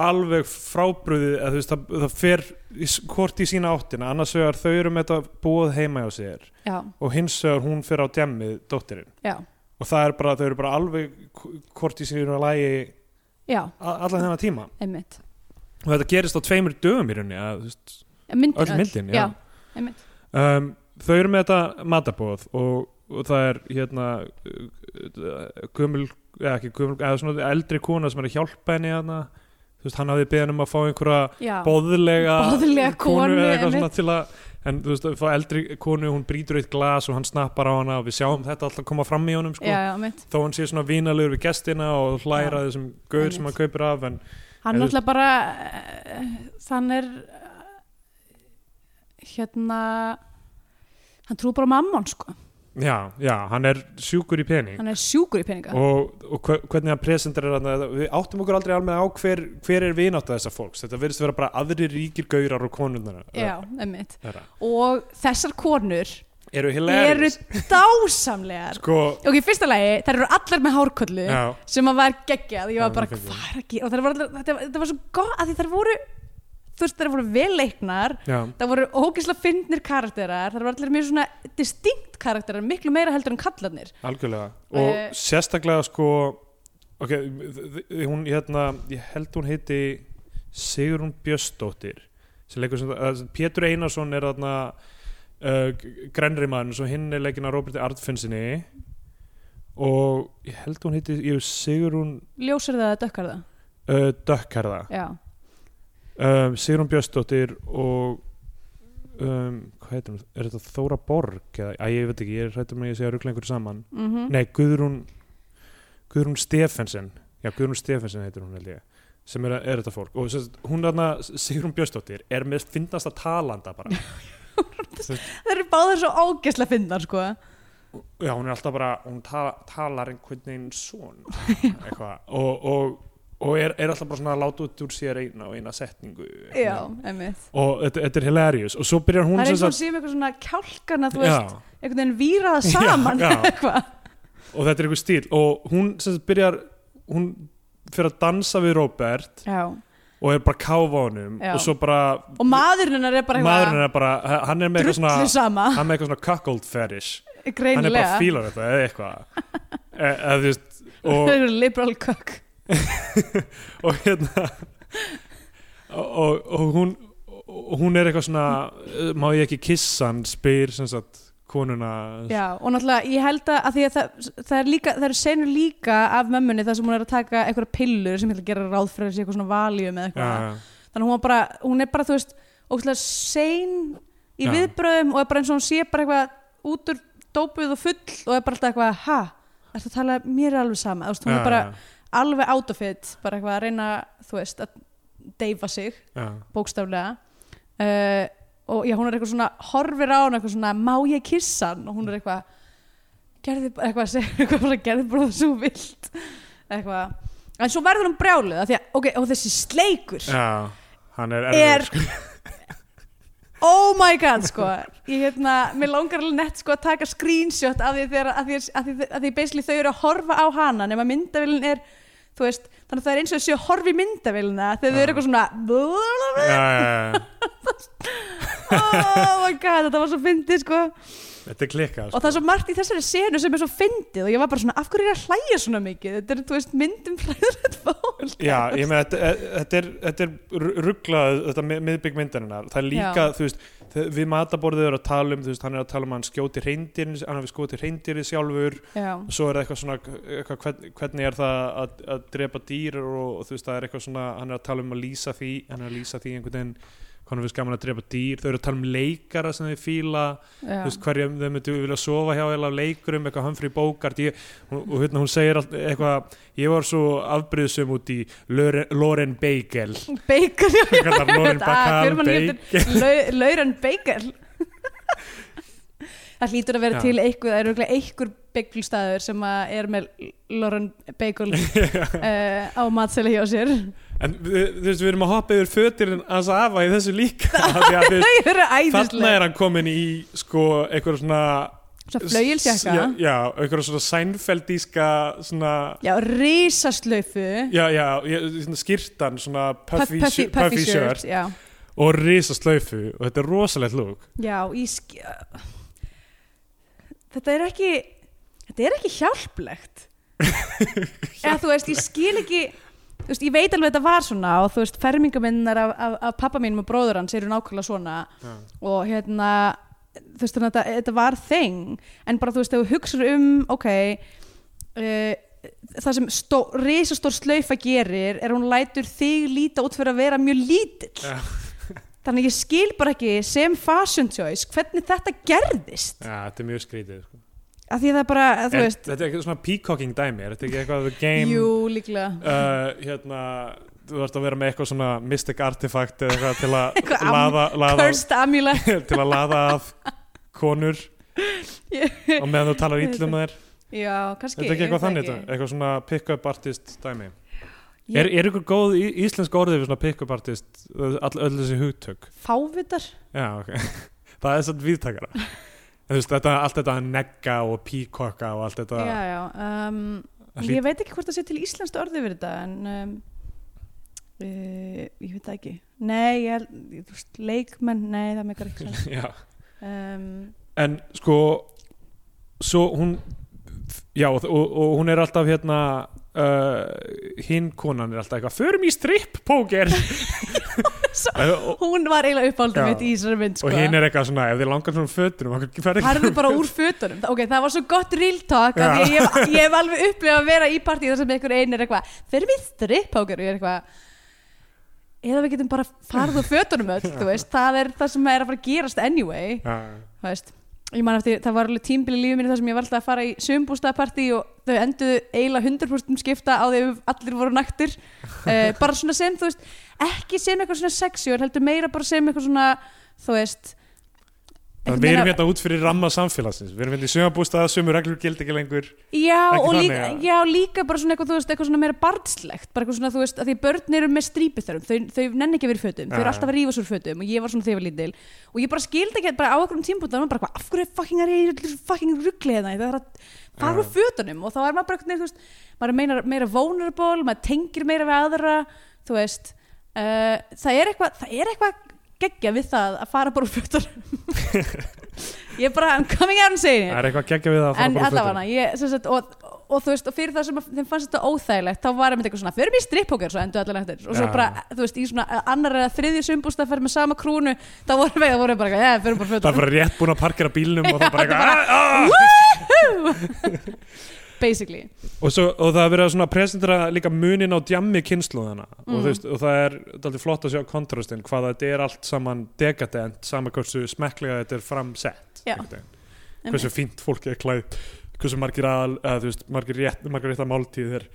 B: alveg frábrúðið að þú veist það, það fer í, s- hvort í sína áttina annars vegar þau eru með þetta búið heima hjá sér
C: já,
B: og hins vegar hún fer á djemmið dóttirinn
C: já,
B: og það er bara, þau eru bara alveg k- hvort í sína lagi
C: já,
B: a- allan þennan tíma
C: einmitt
B: og þetta gerist á tveimur dögum í rauninni að, þú veist,
C: Myndin
B: öll myndin
C: já, einmitt
B: um, þau eru með þetta matabóð og, og það er hérna uh, gömul eða ekki gömul, eða svona eldri kona sem er að hjálpa henni hérna þú veist, hann hafði beðið hann um að fá einhverja
C: já,
B: boðlega,
C: Boðlega konu,
B: eða eitthvað
C: einmitt.
B: svona til að en þú veist, að fá eldri konu, hún brýtur eitt glas og hann snappar á hana og við sjáum þetta alltaf koma fram í honum, sko,
C: já, já, einmitt
B: þó hann sé svona vínalegur við gestina og hlæra þessum gaur sem hann kaupir af, en
C: Hann
B: En þú-
C: náttúrulega bara uh, þann er uh, hérna hann trú bara á mammon sko
B: já, já, hann er sjúkur í pening
C: hann er sjúkur í peninga
B: og, og hve- hvernig hann presentar er hann við áttum okkur aldrei alveg á hver, hver er vinátt þessa fólks, þetta verðist vera bara aðrir ríkir gaurar og konundana
C: já, einmitt og þessar konur
B: eru
C: eru
B: hilarious
C: dásamlegar
B: sko,
C: ok, í fyrsta lagi, þær eru allar með hárköllu
B: já,
C: sem að var geggjað ég var
B: Já,
C: bara,
B: geggjað.
C: hvað er að gera og það var, allar, þetta, þetta var svo gott að því þær voru þú veist, þær voru vel leiknar
B: já,
C: það voru ógeðslega fyndnir karakterar þær voru allir mjög svona distinkt karakterar miklu meira heldur en kallarnir
B: algjörlega og
C: Eh.
B: sérstaklega sko ok, þ- þ- hún hérna ég held hún heiti Sigrun Björnsdóttir sem leikur sem, að, Pétur Einarsson er þarna uh, grænri mann svo hinn er leikin að Róberti Artfinnsinni og ég held hún heiti ég, Sigrun
C: ljósir það að dökkar það
B: uh, dökkarða
C: já,
B: um, Sigrun Björnsdóttir og um, hvað heitir hún, er þetta Þóra Borg eða, að ég veit ekki, ég er hrættur með að ég segja rugla einhverju saman,
C: mm
B: nei Guðrún Guðrún Stefensen já Guðrún Stefensen heitir hún held ég sem er, er þetta fólk og sérst, hún þarna Sigrun Björnsdóttir er með finnasta talanda bara
C: þær eru báðar svo ógeðslega fyndnar sko
B: já hún er alltaf bara, hún tala, talar einhvern veginn svona eitthvað og, og, og er, er alltaf bara svona að láta út úr sér eina og eina setningu
C: já, einmitt
B: og þetta, þetta er hilarious og svo byrjar hún
C: það er
B: sem
C: eins og
B: sagt-
C: séum eitthvað svona kjálkana þú veist,
B: já,
C: einhvern veginn víraða saman
B: Já, já.
C: eitthvað
B: og þetta er einhver stíl og hún sem sagt byrjar hún fyrir að dansa við Robert
C: já.
B: og er bara að káfa á honum
C: Já.
B: og svo bara,
C: og maðurinn hennar er bara
B: maðurinn er bara hann er með eitthvað svona,
C: drullu sama
B: hann er með eitthvað svona cuckold fetish hann er bara
C: greinilega
B: að fíla þetta eða eitthvað e, eða, þú veist,
C: Þau
B: og,
C: eru liberal cook
B: og hérna og, og, og hún og hún er eitthvað svona eh, má ég ekki kissa hann spyr sem sagt konuna
C: Já, og náttúrulega ég held að, að, því að það, það, er líka, það eru senur líka af mömmunni þar sem hún er að taka einhverja pillur sem ég ætla að gera ráð fyrir þessi eitthvað svona valjum eða
B: Já,
C: eitthvað þannig að hún, var bara, hún er bara, þú veist, ógustlega sein í
B: Já.
C: viðbröðum og er bara eins og hún sé bara eitthvað út úr dópuð og full og er bara alltaf eitthvað, ha, ertu að tala mér er alveg sama, þú veist, hún
B: já,
C: er bara
B: já,
C: alveg out of it, bara eitthvað að reyna þú veist, að deyfa sig
B: já.
C: bókstaflega uh, og já, hún er eitthvað svona horfir á hann eitthvað svona, má ég kissa hann og hún er eitthvað gerði bara eitthvað, segir eitthvað bara, gerði bara það svo vilt eitthvað, en svo verður hún brjálið af því að, ok, og þessi sleikur
B: Já, hann er
C: er
B: erfiður sko.
C: oh my god, sko ég hérna, mér langar alveg nett sko að taka screenshot af því þegar, af því, af því, af því, af því basically þau eru að horfa á hana nema myndavillin er, þú þú veist, þannig að það er eins og þessi horfi myndavélina þegar þau eru eitthvað svona
B: Já, já, já, já.
C: oh my god, þetta var svo fyndið sko
B: Þetta er klikkað sko.
C: og það er svo margt í þessari senu sem er svo fyndið og ég var bara svona, af hverju er ég að hlæja svona mikið þetta er, þú veist, myndum fræðilegt fólk
B: Já, ég með þetta, e- þetta er, þetta er rugglað, þetta mi- miðbygg myndarinnar það er líka, þú veist, þe- við mataborðið er að tala um, þú veist, hann er að tala um að hann skjóti reyndirinn, hann hafi skjóti reyndirinn sjálfur
C: já,
B: og svo er það eitthvað svona eitthvað, hvern- hvernig er það að, að drepa dýr og, og þú veist, það er eitthvað svona, hann er að tala um að lýsa því, hann er að lýsa því einhvern veginn hvernig við skaman að drepa dýr, þau eru að tala um leikara sem þau fíla,
C: já.
B: þú veist, hverjum þau myndu vilja sofa hjá eða leikurum, eitthvað Humphrey Bogart ég, og, og hérna hún segir allt, eitthvað ég var svo afbrýðsum út í Lauren, Lauren Bagel
C: Bacon, já,
B: Hún kallar Lauren
C: Þetta, ah,
B: Bacall
C: fjörmann
B: Bagel
C: Lau- Lauren Bagel Það hlýtur að vera
B: Já.
C: til eitthvað, það eru örugglega einhver bagelstaður sem að er með Lauren Bagel uh, á matseli hjá sér
B: en við- þú veist, við erum að hoppa yfir fötirinn hans afa í þessu líka af því að, þú veist,
C: Þau eru
B: þarna
C: æðislega
B: er hann komin í sko, eitthvað svona
C: Svo flögilsjaka
B: já, já, eitthvað svona sænfeldíska svona
C: Já, risaslaufu
B: Já, já, ég- svona skýrtan, svona puffy,
C: Puff- Puffy, puffy shirt Já,
B: og risaslaufu og þetta er rosalegt lúk
C: já ég sk... Þetta er ekki Þetta er ekki hjálplegt Eða þú veist, ég skil ekki Þú veist, ég veit alveg að þetta var svona og þú veist, fermingaminnar af, af, af pappa mínum og bróður hans eru nákvæmlega svona
B: Já.
C: og hérna þú veist, þannig að þetta, þetta var þing en bara þú veist, þegar þú hugsar um ok, uh, það sem stó, risastór slaufa gerir er að hún lætur þig líta út fyrir að vera mjög lítill
B: Já.
C: þannig að ég skil bara ekki sem fashion choice hvernig þetta gerðist
B: Já, þetta er mjög skrítið sko.
C: af því að það bara, að þú
B: Er-
C: veist
B: Þetta er eitthvað svona peacocking dæmi Er þetta ekki eitthvað the game
C: jú, líklega
B: uh, Hérna Þú þarfst að vera með eitthvað svona mystic artifact eða eitthvað til
C: Eitthvað
B: að
C: am-
B: laða, laða
C: cursed amulet
B: til að laða að konur og meðan þú talar illum þær
C: já, kannski
B: Þetta er ekki
C: ég veit
B: eitthvað
C: það
B: þannig þetta, eitthvað svona pick-up artist dæmi
C: Ég-
B: Er, er eitthvað góð í, íslensk orðið við svona pick-up artist öll, öll þessi hugtök
C: fávitar
B: Já, ok. Það er svona viðtakara. En þú veist, þetta, allt þetta að negga og píkokka og allt þetta.
C: já, já, um,
B: Það
C: ég veit ekki hvort það sé til íslenskt orði fyrir þetta en um, uh, ég veit það ekki nei, ég, held- ég, þú veist, leikmenn nei, það meikar ekki sens.
B: Já.
C: um,
B: En sko, svo hún, já, og, og, og hún er alltaf hérna, uh, hinn konan er alltaf eitthvað, förum í strippóker.
C: Svo-
B: og
C: hún var eiginlega
B: Já.
C: uppáldum mitt í þessari mynd sko.
B: og hinn er eitthvað svona, ef þið langar svona fötunum, okkur ferði ekki.
C: Harðu bara úr fötunum Þa- Ok, það var svo gott real talk af því að ég, hef- ég hef alveg upplega að vera í partíð þar sem einhver einn er eitthvað Fyrir við strippóker og ég er eitthvað Eða við getum bara farið úr fötunum öll, þú veist Það er það sem er að fara að gerast anyway
B: Já,
C: þú veist ég man eftir, það var alveg tímbili lífið minni þar sem ég var alltaf að fara í sömbústaðpartí og þau enduðu eiginlega 100% skipta á því að allir voru naktir uh, bara svona sem, þú veist, ekki sem eitthvað svona sexy og heldur meira bara sem eitthvað svona þú veist
B: Það
C: einhvern
B: við erum
C: veginn
B: hérna út fyrir ramma samfélagsins, við erum hérna í sömabústaða, sömu reglur gild ekki lengur.
C: Já,
B: Ekki
C: og
B: þannig,
C: líka,
B: eða?
C: já, líka bara svona eitthvað, þú veist, eitthvað svona meira barnslegt bara eitthvað svona, þú veist, að því börn eru með strípithörum þau, þau nenni ekki að vera í fötum, þau
B: Já,
C: eru alltaf að rífa sér úr fötum og ég var svona þegar ég var lítil og ég bara skildi ekki, bara á einhverjum tímpúntum bara eitthvað, af hverju fucking er ég í fucking ruggli hérna, það er að fara
B: Já.
C: úr fötunum og þá er maður bara eitthvað, þú veist, maður er meira, meira vulnerable, maður tengir meira við aðra þú veist, uh, það er eitthvað, það er eitthvað geggja við það að fara bara úr fötunum ég er bara, I'm coming out and saying it
B: Það er eitthvað geggja við það að fara bara
C: en
B: úr fötunum.
C: allavega ég, sem sagt, og, og þú veist, og fyrir það sem að þeim fannst þetta óþægilegt þá var einmitt eitthvað svona, förum í strippóker svo endur allir eftir, og svo
B: Já.
C: bara, þú veist, í svona annar eða þriðju sumbústa fer með sama krúnu þá voru við, þá voru við bara, eitthvað, já, förum bara
B: Það er
C: fötum
B: bara rétt búin að parkera bílnum og það bara
C: þetta
B: eitthvað "Ah, ah!"
C: basically,
B: og, svo, og það er verið að svona presentera líka munin á djammi kynsluðana og,
C: Mhm.
B: þú veist, og það er alltaf flott að sjá kontrastin hvað þetta er allt saman dekadent sama hversu smekklega þetta er framsett
C: Já.
B: einhvern veginn. hversu fínt fólk er klæð hversu margir, að, að, veist, margir, rétt, margir rétta máltíð er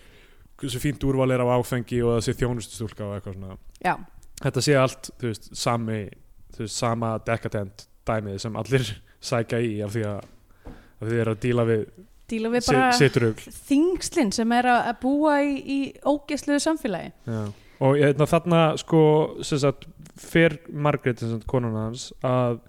B: hversu fínt úrval er á áfengi og það sé þjónustustúlka og eitthvað svona
C: já,
B: þetta sé allt þú veist, sami, þú veist, sama dekadent dæmið sem allir sækja í af því að af því þeir eru að díla við
C: díla við bara
B: siturugl
C: þingslinn sem er að að búa í, í ógesluðu samfélagi
B: og einna, þarna sko sem sagt, fer Margrét sem sagt, konan hans að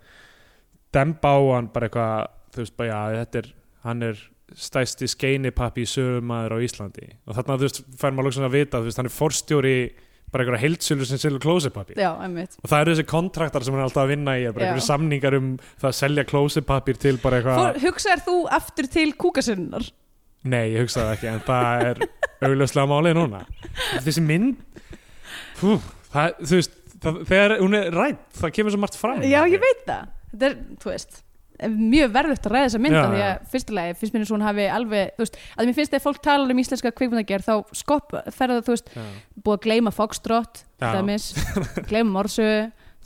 B: demba á hann bara eitthvað þú veist bara já þetta er hann er stæsti skeinipappi sögumadur á Íslandi og þarna þú veist fær maður lóksum að vita þú veist hann er forstjóri bara einhverja heildsölu sem selur klósipappi
C: já, einmitt
B: og það eru þessi kontraktar sem hann er alltaf að vinna í er bara
C: Já.
B: einhverju samningar um það að selja klósipappir til bara eitthvað
C: Fór, hugsaðir þú aftur til kúkasunnar
B: Nei, ég hugsaði ekki, en það er augljóslega málið núna Þessi mynd fú, það, Þú veist, það, þegar hún er rætt það kemur svo margt fram
C: já, ég veit það þetta er, þú veist mjög verðugt að ræða þessa mynd
B: Já,
C: af því
B: já.
C: að fyrstulega finnst mér eins og hún hafi alveg þú veist, að mér finnst þegar fólk talar um íslenska kvikmyndagerð þá skopp ferða þú veist
B: Já.
C: búið að gleyma Foxtrot
B: Já.
C: dæmis, gleyma Morsu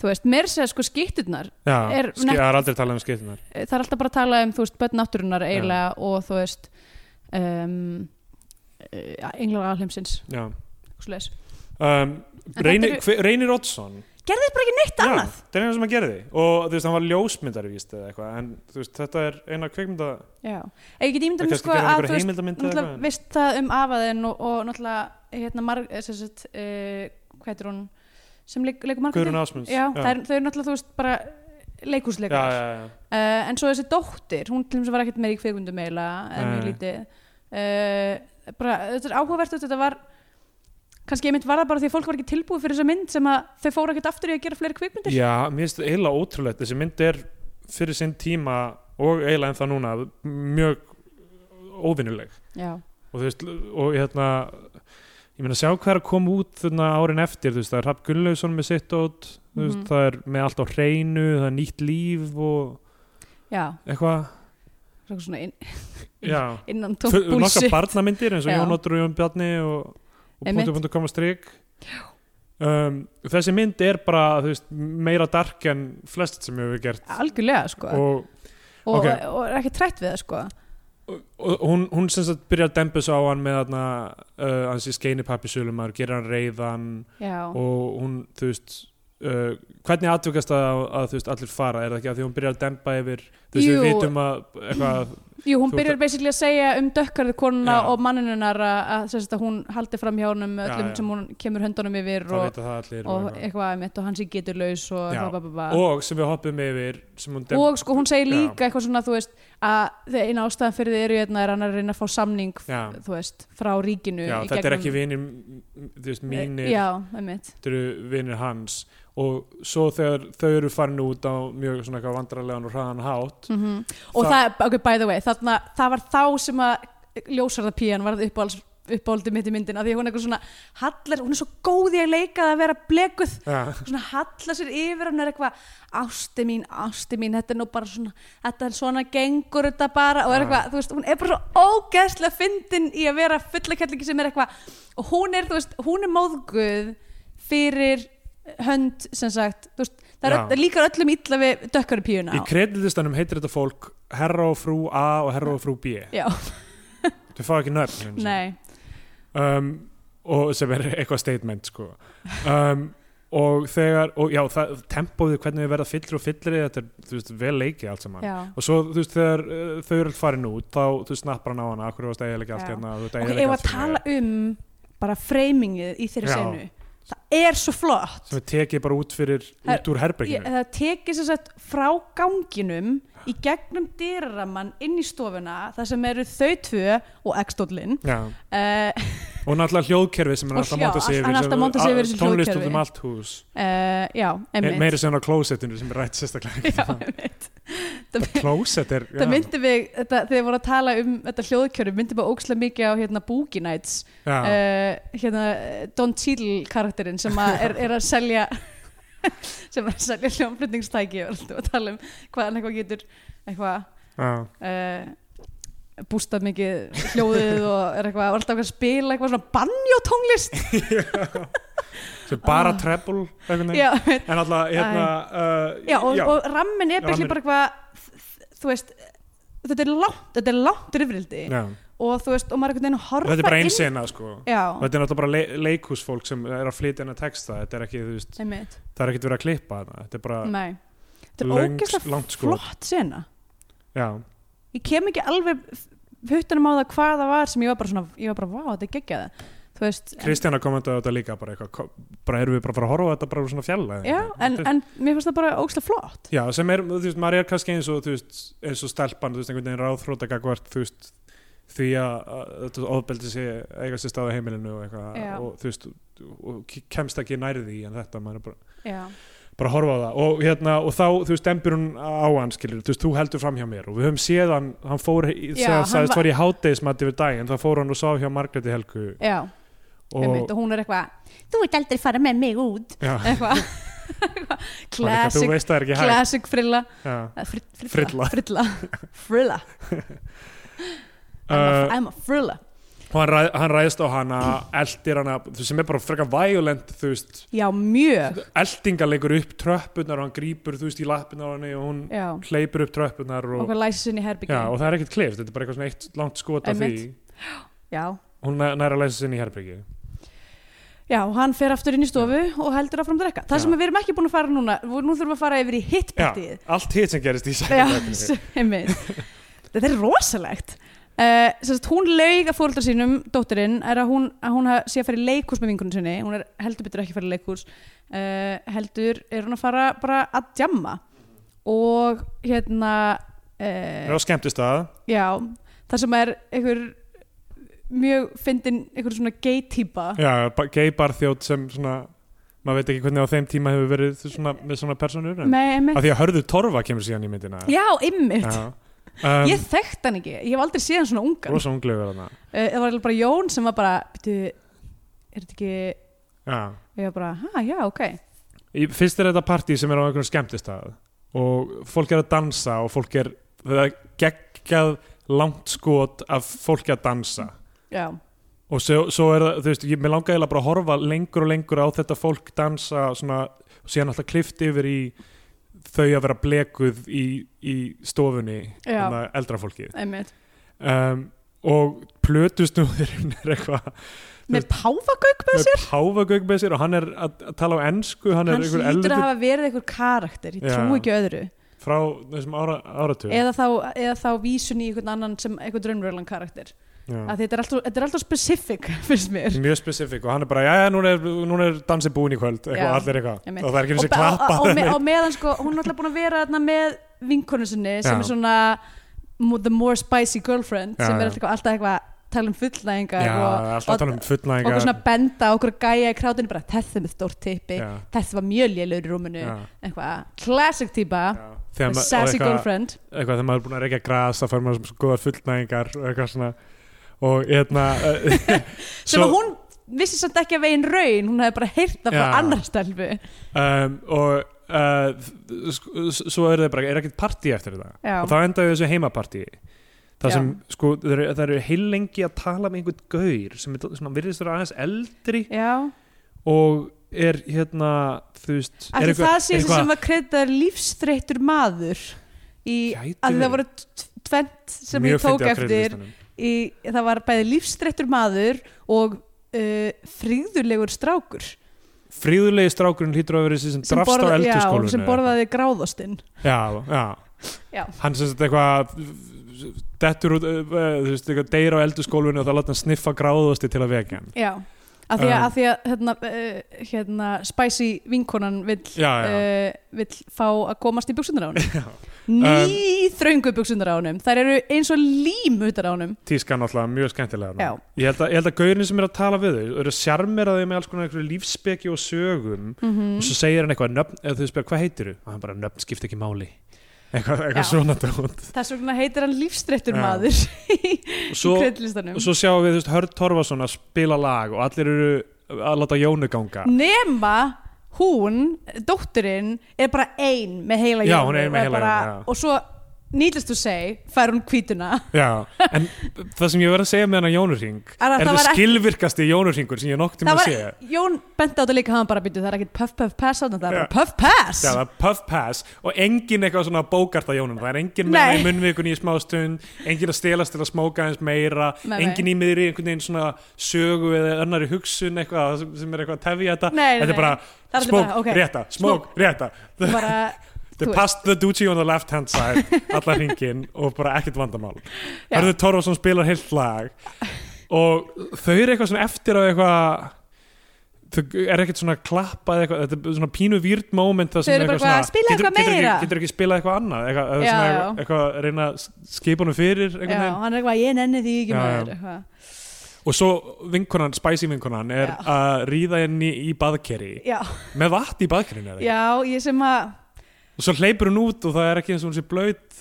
C: þú veist, mér segja sko skýtturnar
B: Já,
C: Er
B: ski-
C: nett-
B: það er aldrei talað um skiptunar
C: það er alltaf bara að tala um, þú veist, börn náttúrunar eiginlega og þú veist um, uh, englar alheimsins
B: Já
C: svoleiðis.
B: um,
C: þetta
B: Reynir,
C: eru-
B: hver- Reynir Oddsson
C: gerðist bara ekki neitt
B: Já,
C: annað
B: það er eina sem hann gerði og þú veist, hann var ljósmyndari víst eða eitthvað, en þú veist, þetta er eina kvikmynda
C: Já, Ef ég get ímynda
B: Það
C: mér
B: kannski
C: sko
B: gerði
C: að
B: einhverja
C: þú veist,
B: heimildamynd eða
C: náttúrulega
B: eitthvað.
C: veist það um afaðinn og, og náttúrulega hérna marg, eh, sem sagt, uh, hvað heitir hún sem leik, leikur margur
B: Guðrún Ásmunds
C: Já,
B: já.
C: það er, þau eru náttúrulega þú veist bara
B: já, já,
C: leikúsleikar
B: já, já.
C: uh, en svo þessi dóttir, hún til þess að var ekkert meira í kvikmyndum eiginlega, en mjög
B: Nei.
C: lítið uh, bara, þetta er áhugavert þetta var, kannski ég mynd var það bara því að fólk var ekki tilbúið fyrir þessa mynd sem að þau fóru ekkert aftur í að gera fleiri kvikmyndir
B: Já, mér finnst það eiginlega ótrúlegt þessi mynd er fyrir sinn tíma og eiginlega en það núna mjög óvinnuleg
C: Já,
B: og þú veist, og hérna ég meina sjá hver að koma út þarna árin eftir, þú veist, það er Rapp Gunnlaugsson með sitt át, þú veist,
C: Mhm.
B: það er með allt á hreinu, það er nýtt líf og
C: já,
B: eitthvað
C: svo eitthvað svona inn,
B: Já,
C: innan
B: Full-
C: tómpúsi
B: nokkra barnamyndir eins og
C: Já.
B: Jón Otur og Jón Bjarni og, og
C: Einmitt.
B: punktu punktu koma strik um, þessi mynd er bara, þú veist, meira dark en flest sem hefur gert
C: Algjörlega sko
B: og
C: og,
B: Ok.
C: og er ekki trætt við það sko
B: og og hún, hún sem sagt byrjar að dempus á hann með þarna, uh, hans í skeinipappi sölumar, gerir hann reyðan
C: já,
B: og hún, þú veist uh, hvernig atvökast að, að þú veist, allir fara, er það ekki að því hún byrjar að dempa yfir, þú veist,
C: Jú.
B: við vitum að eitthvað,
C: jú hún
B: þú
C: byrjar
B: ert
C: basically að segja um dökkarðu konuna
B: Já.
C: og manninunar að, sem sagt að hún haldi fram hjá honum með
B: Já,
C: öllum
B: já.
C: sem hún kemur höndunum yfir
B: það
C: og,
B: vita það allir
C: og
B: eitthvað.
C: eitthvað mitt og hann sé getur laus og,
B: Já.
C: bla, bla, bla, bla.
B: og sem við hoppum yfir sem hún
C: og sko hún segir
B: Já.
C: líka eitthvað svona þú veist að þegar eina ástæðan fyrir þið eru hérna er hann að reyna að fá samning
B: já,
C: þú veist, frá ríkinu
B: já,
C: í
B: þetta er
C: gegnum-
B: ekki vinir þú veist, mínir
C: já, einmitt
B: þetta eru vinir hans og svo þegar þau eru farin út á mjög svona eitthvað vandrarlegan og hraðan hátt
C: mm og
B: Þa-
C: það, ok, by the way þarna, það var þá sem að ljósarðapían varð uppáhalds uppáhaldið mitt í myndina því að hún er eitthvað svona hallar, hún er svo góð í að leika að vera blekuð
B: já,
C: svona hallar sér yfir hún er eitthvað ásti mín, ásti mín þetta er nú bara svona, þetta er svona gengur þetta bara og
B: Já.
C: er eitthvað, þú veist, hún er bara svo ógeðslega fyndin í að vera fullakallingi sem er eitthvað og hún er, þú veist, hún er móðguð fyrir hönd sem sagt, þú veist, það er
B: Já.
C: öll, líkar öllum illa við dökkari píuna
B: Í kreditlistanum heitir þetta fólk herra og frú A og herra og frú B
C: Já,
B: þau fá ekki nörd
C: nei
B: um, og sem er eitthvað statement sko. um, og þegar og já, það, tempóið hvernig þau verða fyllri og fyllri þetta er þú veist, vel leikið allt saman
C: Já.
B: og svo þú veist þegar uh, þau eru alltaf farin út þá þú veist, snappar hann á hana, akkur varst eiginlega allt
C: Já.
B: hérna þú veist,
C: Og
B: eyðileggja
C: ef
B: allt
C: að
B: fyrir mér.
C: tala um bara framingið í þeirri
B: Já.
C: senu það er svo flott
B: sem er tekið bara út fyrir,
C: Það-
B: út úr
C: Ég,
B: herberginu
C: það tekið sér sett frá ganginum í gegnum dyraramann inn í stofuna þar sem eru þau tvö og ekstóllinn
B: Já.
C: uh,
B: og náttúrulega hljóðkerfi sem hann
C: Og
B: er alltaf
C: hljó-
B: að monta sig yfir
C: hann er alltaf að monta sig yfir þessu
B: tónlist út
C: hljóðkerfi.
B: um allt hús
C: uh, já,
B: Eh,
C: emmitt
B: meira sem hann á klósettinu sem er rætt sérstaklega
C: já, emmitt
B: Það klósett er
C: það myndi við, þetta, þegar voru að tala um þetta hljóðkjöru, myndi bara ókslega mikið á hérna Boogie Nights
B: já, já,
C: uh, hérna eh, Don Cheadle karakterinn sem að er, er að selja sem er að selja hljónflutningstæki og alltaf að tala um hvað hann eitthvað getur eitthvað
B: já,
C: uh, bústað mikið hljóðið og er eitthvað og alltaf eitthvað að spila eitthvað svona banjótónlist
B: sem bara treble einhvern veginn.
C: ah. já,
B: en alltaf hérna uh,
C: já, og,
B: já,
C: og rammin er
B: Ramminn-
C: byggjum bara eitthvað þú veist þetta er langt, þetta er langt rifrildi
B: já.
C: og þú veist, og maður er einhvern veginn að
B: Og
C: horfa
B: þetta er bara einn
C: inn
B: sena sko Og
C: já,
B: þetta er náttúrulega bara le leikhúsfólk sem er að flytja hennar texta þetta er ekki, þú veist,
C: einmitt,
B: það er ekkert verið að klippa þarna þetta er bara
C: nei þetta er
B: löng-
C: ógeðslega
B: langt sko
C: flott sena
B: já,
C: ég kem ekki alveg huttunum á það hvað það var sem ég var bara svona, ég var bara, vá, þetta er geggjað þú veist, en,
B: Kristjana kommentaði á þetta líka bara eitthvað, ko- bara erum við bara að fara að horfa á þetta bara úr svona fjalla eða
C: já,
B: eitthvað.
C: en,
B: Þetta er-
C: en mér finnst það bara ógslag flott
B: Já, sem er, þú veist, maður er kannski eins og, þú veist, eins og stelpan, þú veist, einhvern veginn ráðþróta gagvart, þú veist, því að að þetta ofbeldi sé eiga sér stað á heimilinu og
C: Já.
B: eitthvað og þú veist og ke- kemst ekki nærði en þetta maður er bara,
C: já,
B: bara að horfa á það og hérna og þá þú veist dembir hún á hann skilur þú veist þú heldur fram hjá mér og við höfum séð hann hann fór í-
C: Já,
B: þegar hann
C: hann
B: sagðist
C: var-
B: var í hádegismat yfir daginn þá fór hann og sá hjá Margréti Helgu
C: já, einmitt
B: og,
C: og hún er eitthvað þú ert aldrei fara með mig út
B: já,
C: eitthvað
B: bara eitthvað, þú
C: classic,
B: veist það er ekki hægt
C: classic frilla
B: Já.
C: Eh, fri-
B: Frilla.
C: frilla, frilla. I'm, a,
B: Uh,
C: I'm a frilla
B: og hann, ræð, hann ræðist á hana eldir hana, þú sem er bara frekar violent þú veist,
C: já, mjög
B: eldingar leikur upp tröppunar og hann grípur þú veist í lappina á henni og hún
C: já,
B: hleypur upp tröppunar og,
C: okkur læsir sinni herbyggi
B: já, og það er ekkert klift, þetta er bara eitthvað svona eitt langt skot af því,
C: Einmitt. já,
B: hún næ- nær að læsa sinni í herbyggi
C: Já, og hann fer aftur inn í stofu og heldur áfram að drekka. Það
B: Já.
C: sem við erum ekki búin að fara núna, nú þurfum við að fara yfir í
B: já,
C: hittpartíð.
B: allt hitt sem gerist í
C: Já,
B: sækjum
C: einmitt. Þetta er rosalegt. Uh, sérst, hún laug að fóreldra sínum, dóttirinn, er að hún, að hún ha- sé að fara í leikurs með vingunum sinni. Hún er heldur betur ekki að fara í leikurs. Uh, heldur er hún að fara bara að djamma. Og hérna,
B: það
C: uh,
B: var skemmtist að
C: já, það sem er einhver mjög fyndin, einhver svona gay típa.
B: já, ba- gay barþjóð sem svona maður veit ekki hvernig á þeim tíma hefur verið svona, með svona personur en,
C: Með,
B: af
C: með,
B: því að hörðu torfa kemur síðan í myndina
C: já, ymmit.
B: Um,
C: ég þekkt hann ekki, ég hef aldrei séð hann svona ungan uh,
B: rosa unglegur hana
C: Eh, það var eiginlega bara Jón sem var bara byrju, er þetta ekki og
B: já
C: ég var bara, hæ, já, ok
B: Í- Fyrst er þetta partí sem er á einhvern skemmtistað og fólk er að dansa og fólk er það er geggjað langt skot af fólki að dansa
C: já,
B: og svo, svo er það, þú veist, ég, mér langaði eiginlega bara að horfa lengur og lengur á þetta fólk dansa svona, og síðan alltaf klift yfir í þau að vera blekuð í, í stofunni
C: Já.
B: þarna eldra fólkið
C: einmitt
B: um, og plötusnúðurinn er eitthvað
C: með páfagauk með sér,
B: með páfagauk með sér og hann er að, að tala á ensku hann,
C: hann
B: er einhver
C: hlýtur að
B: elvitur
C: hafa verið einhver karakter ég
B: Já.
C: trú ekki öðru
B: frá þessum ára, áratug
C: eða þá, eða þá vísun í einhvern annan sem einhvern raunverulegan karakter
B: Já.
C: að þetta er alltaf, þetta er alltaf specific finnst mér
B: mjög spesifik og hann er bara, já, núna er, núna er dansi búin í kvöld
C: Já.
B: eitthvað, allir eitthvað,
C: Einmitt.
B: og það er ekki eins og
C: og, og,
B: klappa
C: og, og, me, og meðan sko, hún er alltaf búin að vera þarna með vinkonu sinni sem
B: Já.
C: er svona mo- the more spicy girlfriend
B: Já,
C: sem er
B: já.
C: alltaf, alltaf eitthvað að tala um fullnæðingar
B: já,
C: og,
B: alltaf að tala um
C: og okkur svona
B: fullnæðingar
C: benda á okkur gæja í krátinu bara þessi er með stórt tippi,
B: Já,
C: þessi var mjög lélur í rúminu,
B: já,
C: eitthvað classic típa,
B: já. Þegar ma-
C: a
B: og
C: sassy
B: eitthvað,
C: girlfriend
B: eitthvað þegar maður er búin að reykja gras þá fær maður svona góðar fullnæðingar og eitthvað svona og hérna
C: sem að hún vissi samt ekki að veginn raun, hún hefði bara heyrt það frá
B: Já.
C: annar stelfu
B: um, og uh, sk- s- svo er það bara, er ekkert partí eftir þetta
C: Já.
B: og þá endaði þessu heimapartí það
C: Já.
B: sem, sko, það eru- það eru heil lengi að tala með einhvern gaur sem er svona virðist vera aðeins eldri
C: Já,
B: og er hérna þú veist
C: af
B: er
C: því það sé
B: er
C: þessi sem var kreditaður lífsþreyttur maður í
B: Gæti
C: að það
B: verið.
C: voru t- tvennt sem
B: Mjög
C: ég tók
B: fyndið á
C: eftir
B: kreditlistanum.
C: í, það var bæði lífsdreittur maður og uh, fríðulegur strákur sem,
B: fríðulegi strákurinn hlýtur að vera þessi sem drafst á
C: borða- já,
B: eldurskólinu
C: sem borðaði gráðostinn
B: já, já.
C: Já.
B: hann sem sagt eitthvað dettur út, uh, uh, þú veist, eitthvað deyr á eldurskólinu og það láta hann sniffa gráðusti til að vekja hann
C: já, af því að,
B: Um.
C: af því að hérna, uh, hérna, spicy vinkonan vill,
B: Já, já.
C: eh, vill fá að komast í buksundar á honum ný
B: Um.
C: þröngu buksundar á honum þær eru eins og lím utar á honum
B: tískan alltaf mjög skemmtilega
C: Já.
B: þarna. ég held, að, ég held að gaurin sem er að tala við þau eru sjarmeraði með alls konar einhverju lífspeki og sögum og
C: Mm.
B: svo segir hann eitthvað nöfn, eða þau spyr hvað heitir og hann bara nöfn skipt ekki máli eitthvað, eitthvað
C: Já.
B: svona tótt
C: þess vegna heitir hann lífsdreittur
B: Já.
C: maður í,
B: og
C: í
B: svo,
C: kreidlistanum
B: og svo sjáum við þú veist, Hörð Torfason að spila lag og allir eru að láta Jónu ganga
C: nema hún, dótturinn er bara ein með heila
B: Já,
C: Jónu
B: hún er ein með
C: og
B: heila
C: bara-
B: Jónu, já.
C: og svo, needless to say, fær hún hvítuna
B: Já, en það sem ég verð að segja með hennar Jónurring
C: Er
B: er,
C: að það
B: er
C: var
B: það
C: ekki-
B: skilvirkasti Jónurringur sem ég nokk tíma
C: það
B: að
C: var,
B: segja
C: Jón benti á þetta líka hann bara býtu, það er ekkit puff puff pass þarna, það er
B: Já.
C: bara puff pass
B: Já, það er Puff Pass og engin eitthvað svona bókarta Jónum það er engin með
C: Nei.
B: hana í munnvikun í smá stund engin að stelast til að smóka hans meira
C: Nei, nei.
B: engin í miðri einhvern veginn svona sögu eða annari hugsun eitthvað sem- sem er eitthvað að tefja þetta
C: Nei, nei,
B: þetta er bara
C: Það er
B: smók,
C: bara, ok.
B: rétta, smók, rétta
C: bara,
B: They
C: Þú
B: passed the duchy on the left hand side allar hringin og bara ekkert vandamál
C: Já.
B: Hörður Torfason spilar heilt lag og þau eru eitthvað svona eftir á eitthvað þau er ekkert svona klappa eða eitthvað, þetta er svona pínu výrt moment það
C: Þau eru
B: er
C: bara eitthvað, "Spila
B: getur,
C: eitthvað
B: getur, ekki,
C: meira."
B: getur ekki spilað eitthvað annað eitthvað, eða
C: Já,
B: svona
C: já.
B: eitthvað, eitthvað að reyna að skipa honum fyrir einhvern
C: já,
B: veginn.
C: hann er eitthvað, ég nenni því ekki
B: Já, já.
C: maður eitthvað.
B: og svo vinkonan, spicy vinkonan er
C: Já.
B: að ríða henni í baðkeri
C: já,
B: með vatn í baðkerinu eða ekki?
C: já, ég sem að
B: og svo hleypur hún út og það er ekki eins og hún sé blöyt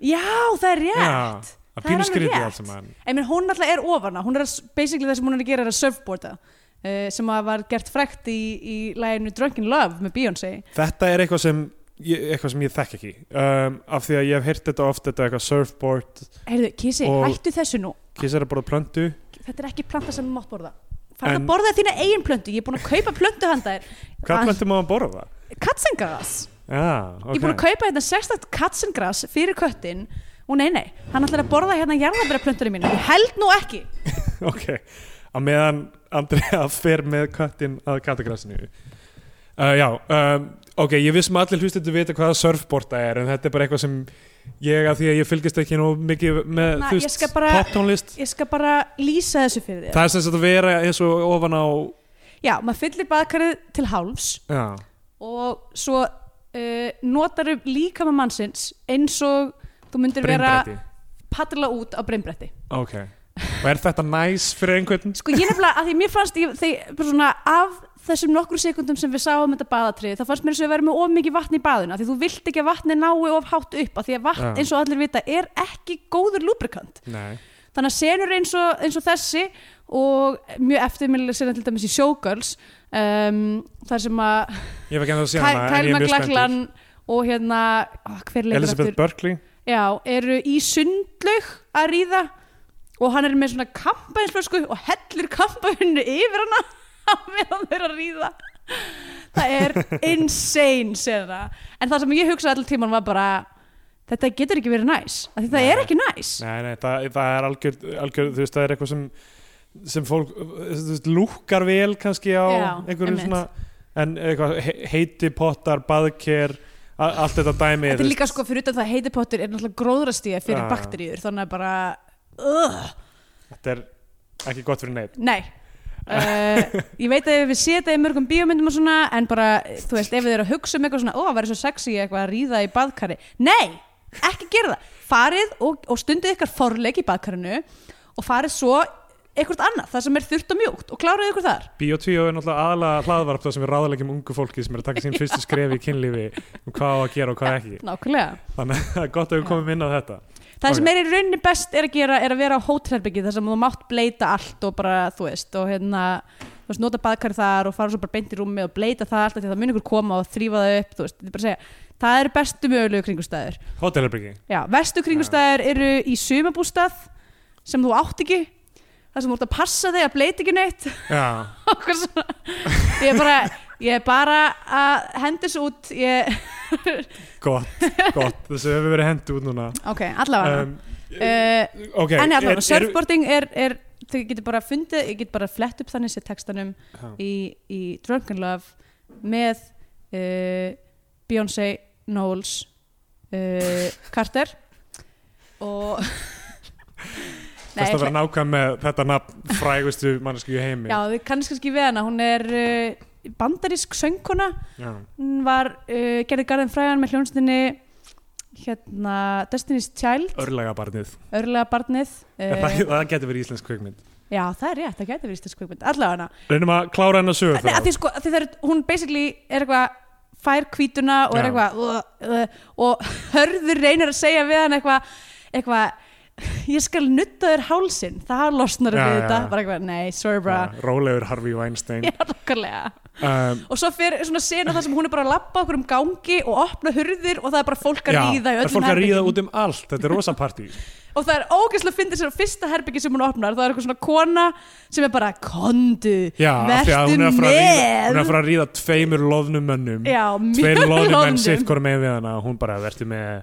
C: já, það er rétt
B: að
C: Það er
B: pínu
C: alveg
B: skrítið
C: rétt.
B: allt sem hann
C: Ég mean, hún alltaf er ofana, hún er að, basically það sem hún er að gera er að surfboarda uh, sem að var gert frækt í, í læginu Drunken Love með Beyoncé
B: þetta er eitthvað sem ég, eitthvað sem ég þekk ekki um, af því að ég hef heyrt þetta oft þetta er eitthvað surfboard,
C: Heyrðu, Kissi,
B: Og-
C: hættu þessu nú
B: kissar að borða plöntu
C: þetta er ekki planta sem þú mátt borða farð
B: En-
C: að borða þína eigin plöntu, ég er búin að kaupa plöntu handa þér
B: hvað
C: Að-
B: plöntu má hann borða það?
C: Katsengrass,
B: Já, ok
C: Ah. ég er búin að kaupa hérna sérstakt katsengrass fyrir köttin og nei, nei, hann ætlar að borða hérna jarðabæra plöntunum mínu, ég held nú ekki
B: ok, að meðan Andrea fer með köttin að katagrassinu uh, já, um, ok, ég vissum allir hlustendur vita hvaða surfboarda er en þetta er bara eitthvað sem ég að því að ég fylgist ekki nú mikið með
C: Na,
B: þú
C: ég
B: veist,
C: skal bara-
B: poptónlist
C: ég skal bara lýsa þessu fyrir þér
B: það er sem sagt að vera eins og ofan á
C: já, maður fyllir baðkarið til hálfs
B: já,
C: og svo uh, notarum líkama mannsins eins og þú myndir
B: brimbretti
C: vera padla út á breymbretti
B: ok, og er þetta næs fyrir einhvern
C: sko ég nefnilega, að því mér fannst ég, þeir, bara svona, af þessum nokkru sekundum sem við sáum þetta baðatrið, það fannst mér eins og við verðum með of mikið vatn í baðuna, af því þú vilt ekki að vatni nái of hátt upp, af því að vatn,
B: Já.
C: eins og allir vita, er ekki góður lúbrikant
B: nei,
C: þannig að senur eins og, eins og þessi og mjög eftirminnileg senur til dæmis í Showgirls um, þar sem að
B: ég hef ekki ennþá að sé hana en ég
C: Kyle
B: er mjög spenntur
C: McLachlan og hérna ah, hver leikur
B: Elizabeth
C: aftur?
B: Berkley
C: Já, eru í sundlaug að ríða og hann er með svona kampænsflösku og hellir kampæninu yfir hana á meðan þau eru að ríða það er insane sena. en það sem ég hugsaði allir tíman var bara þetta getur ekki verið næs af því það
B: Nei.
C: er ekki næs
B: Nei, nei, það, það er algjör, algjör þú veist, það er eitthvað sem sem fólk, þú veist, lúkkar vel kannski á
C: Já,
B: einhverju
C: einmitt.
B: svona en eitthvað, he- heiti pottar baðker, a- allt þetta dæmi þú
C: þetta er
B: veist.
C: líka sko fyrir utan það heitipottur er náttúrulega gróðrastíða fyrir
B: Já.
C: bakteríur þannig að bara uh,
B: Þetta er ekki gott fyrir neitt
C: Nei uh, Ég veit að við setja í mörgum bíómyndum og svona En bara, þú veist, ef þið eru að hugsa um eitthvað svona Ó, það væri svo sexy eitthvað að ríða í baðkari Nei, ekki gera það Farið og, og stundu ykkar forleik í baðkarinu Og farið svo eitthvað annað Það sem er þurrt og mjúkt Og kláraði ykkur þar
B: Bíotvíó er náttúrulega aðalega hlaðvarp það sem við ráðalegjum ungu fólki sem er að taka sín fyrstu skrefi í kynlífi um hvað á að gera og hvað ekki
C: Nákvæmlega
B: þannig að það er gott að við komum inn á þetta
C: Það
B: Ok.
C: sem er í rauninni best er að gera er að vera á hótelherbyggi þar sem þú mátt bleita allt og bara, þú veist, og hérna þú veist, nota baðkar þar og fara svo bara beint í rúmi og bleita það allt af því að það mun ykkur koma og þrýfa það upp, þú veist, þetta er bara að segja það eru bestu mögulegu kringustæður
B: Hótelherbyggi,
C: Já, vestu kringustæður eru í sumabústað sem þú átt ekki þar sem þú ert að passa þig að bleita ekki neitt
B: já,
C: og hvað svona ég er bara, ég er bara að hendis út ég,
B: gott, gott þessu hefur verið hendi út núna
C: ok, allavega um,
B: um, ok,
C: en allavega,
B: er-
C: surfboarding er, er þau getur bara fundið, ég get bara flett upp þannig sér textanum
B: Já.
C: í, í Drunken Love með uh, Beyoncé Knowles uh, Carter og
B: Best
C: ég
B: að vera nákvæm með þetta nafn frægustu mannesku í heimi
C: Já, þið kannski kannski við hana, hún er uh, bandarísk söngkona,
B: Já.
C: hún var uh, gerði garðin fræðan með hljónstinni hérna Destiny's Child,
B: Örlagabarnið
C: örlega barnið eh,
B: En það, það getur verið íslensk kvikmynd
C: Já, það er rétt, það gæti verið íslensk kvikmynd, allavega hana
B: Reynum að klára hennar sögur
C: Nei, að því sko, að því það er, hún basically er eitthvað fær hvítuna og er
B: Já.
C: eitthvað uh, uh, og hörður reynir að segja við hann eitthvað eitthvað ég skal nutta þér hálsin, það losnar
B: Já,
C: við
B: já,
C: þetta,
B: já.
C: bara eitthvað, nei, sorry bra
B: Já, Rólegur Harvey Weinstein
C: Já, okkarlega
B: um,
C: og svo fyrir svona sena þar sem hún er bara að lappa okkur um gangi og opna hurðir og það er bara fólk að
B: já,
C: ríða í
B: það er
C: öllum
B: fólk að ríða
C: herbergjum.
B: út um allt Þetta er rosa partí
C: og það er ógeðslega að fyndi sér á fyrsta herbyggi sem hún opnar það er eitthvað svona kona sem er bara kondu,
B: Já, af því að
C: vertu
B: hún er að fara að ríða, hún er að
C: með
B: fara að ríða tveimur loðnum mönnum
C: Já,
B: Tveir
C: mjög
B: loðnum
C: loðnum.
B: menn sitt hvora með við hana og Hún bara verður með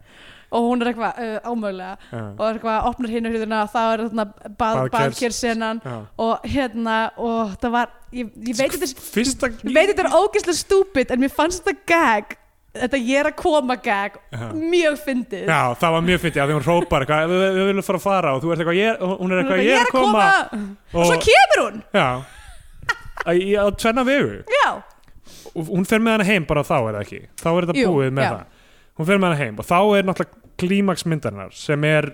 C: og hún er eitthvað uh, ámögulega
B: uh,
C: og er eitthvað opnar hinn hurðina og það er þarna bað,
B: Baðkers.
C: baðkersenan
B: já.
C: og hérna og það var, ég, ég veit þetta er-
B: Fyrsta
C: ég veit þetta er ógeðslega stúpid en mér fannst þetta gag þetta ég er að koma gag
B: Já.
C: mjög fyndið
B: Já, það var mjög fyndið að því hún rópar eitthvað "Við- Við við viljum fara að fara og þú ert eitthvað ég er- Hún er eitthvað ég er að koma
C: og svo kemur hún
B: Já að, í- á tvenna vegu
C: Já,
B: og hún fer með hana heim bara þá er það ekki þá er þetta
C: Jú,
B: búið með
C: já.
B: það hún fer með hana heim og þá er náttúrulega klímaks myndarinnar sem er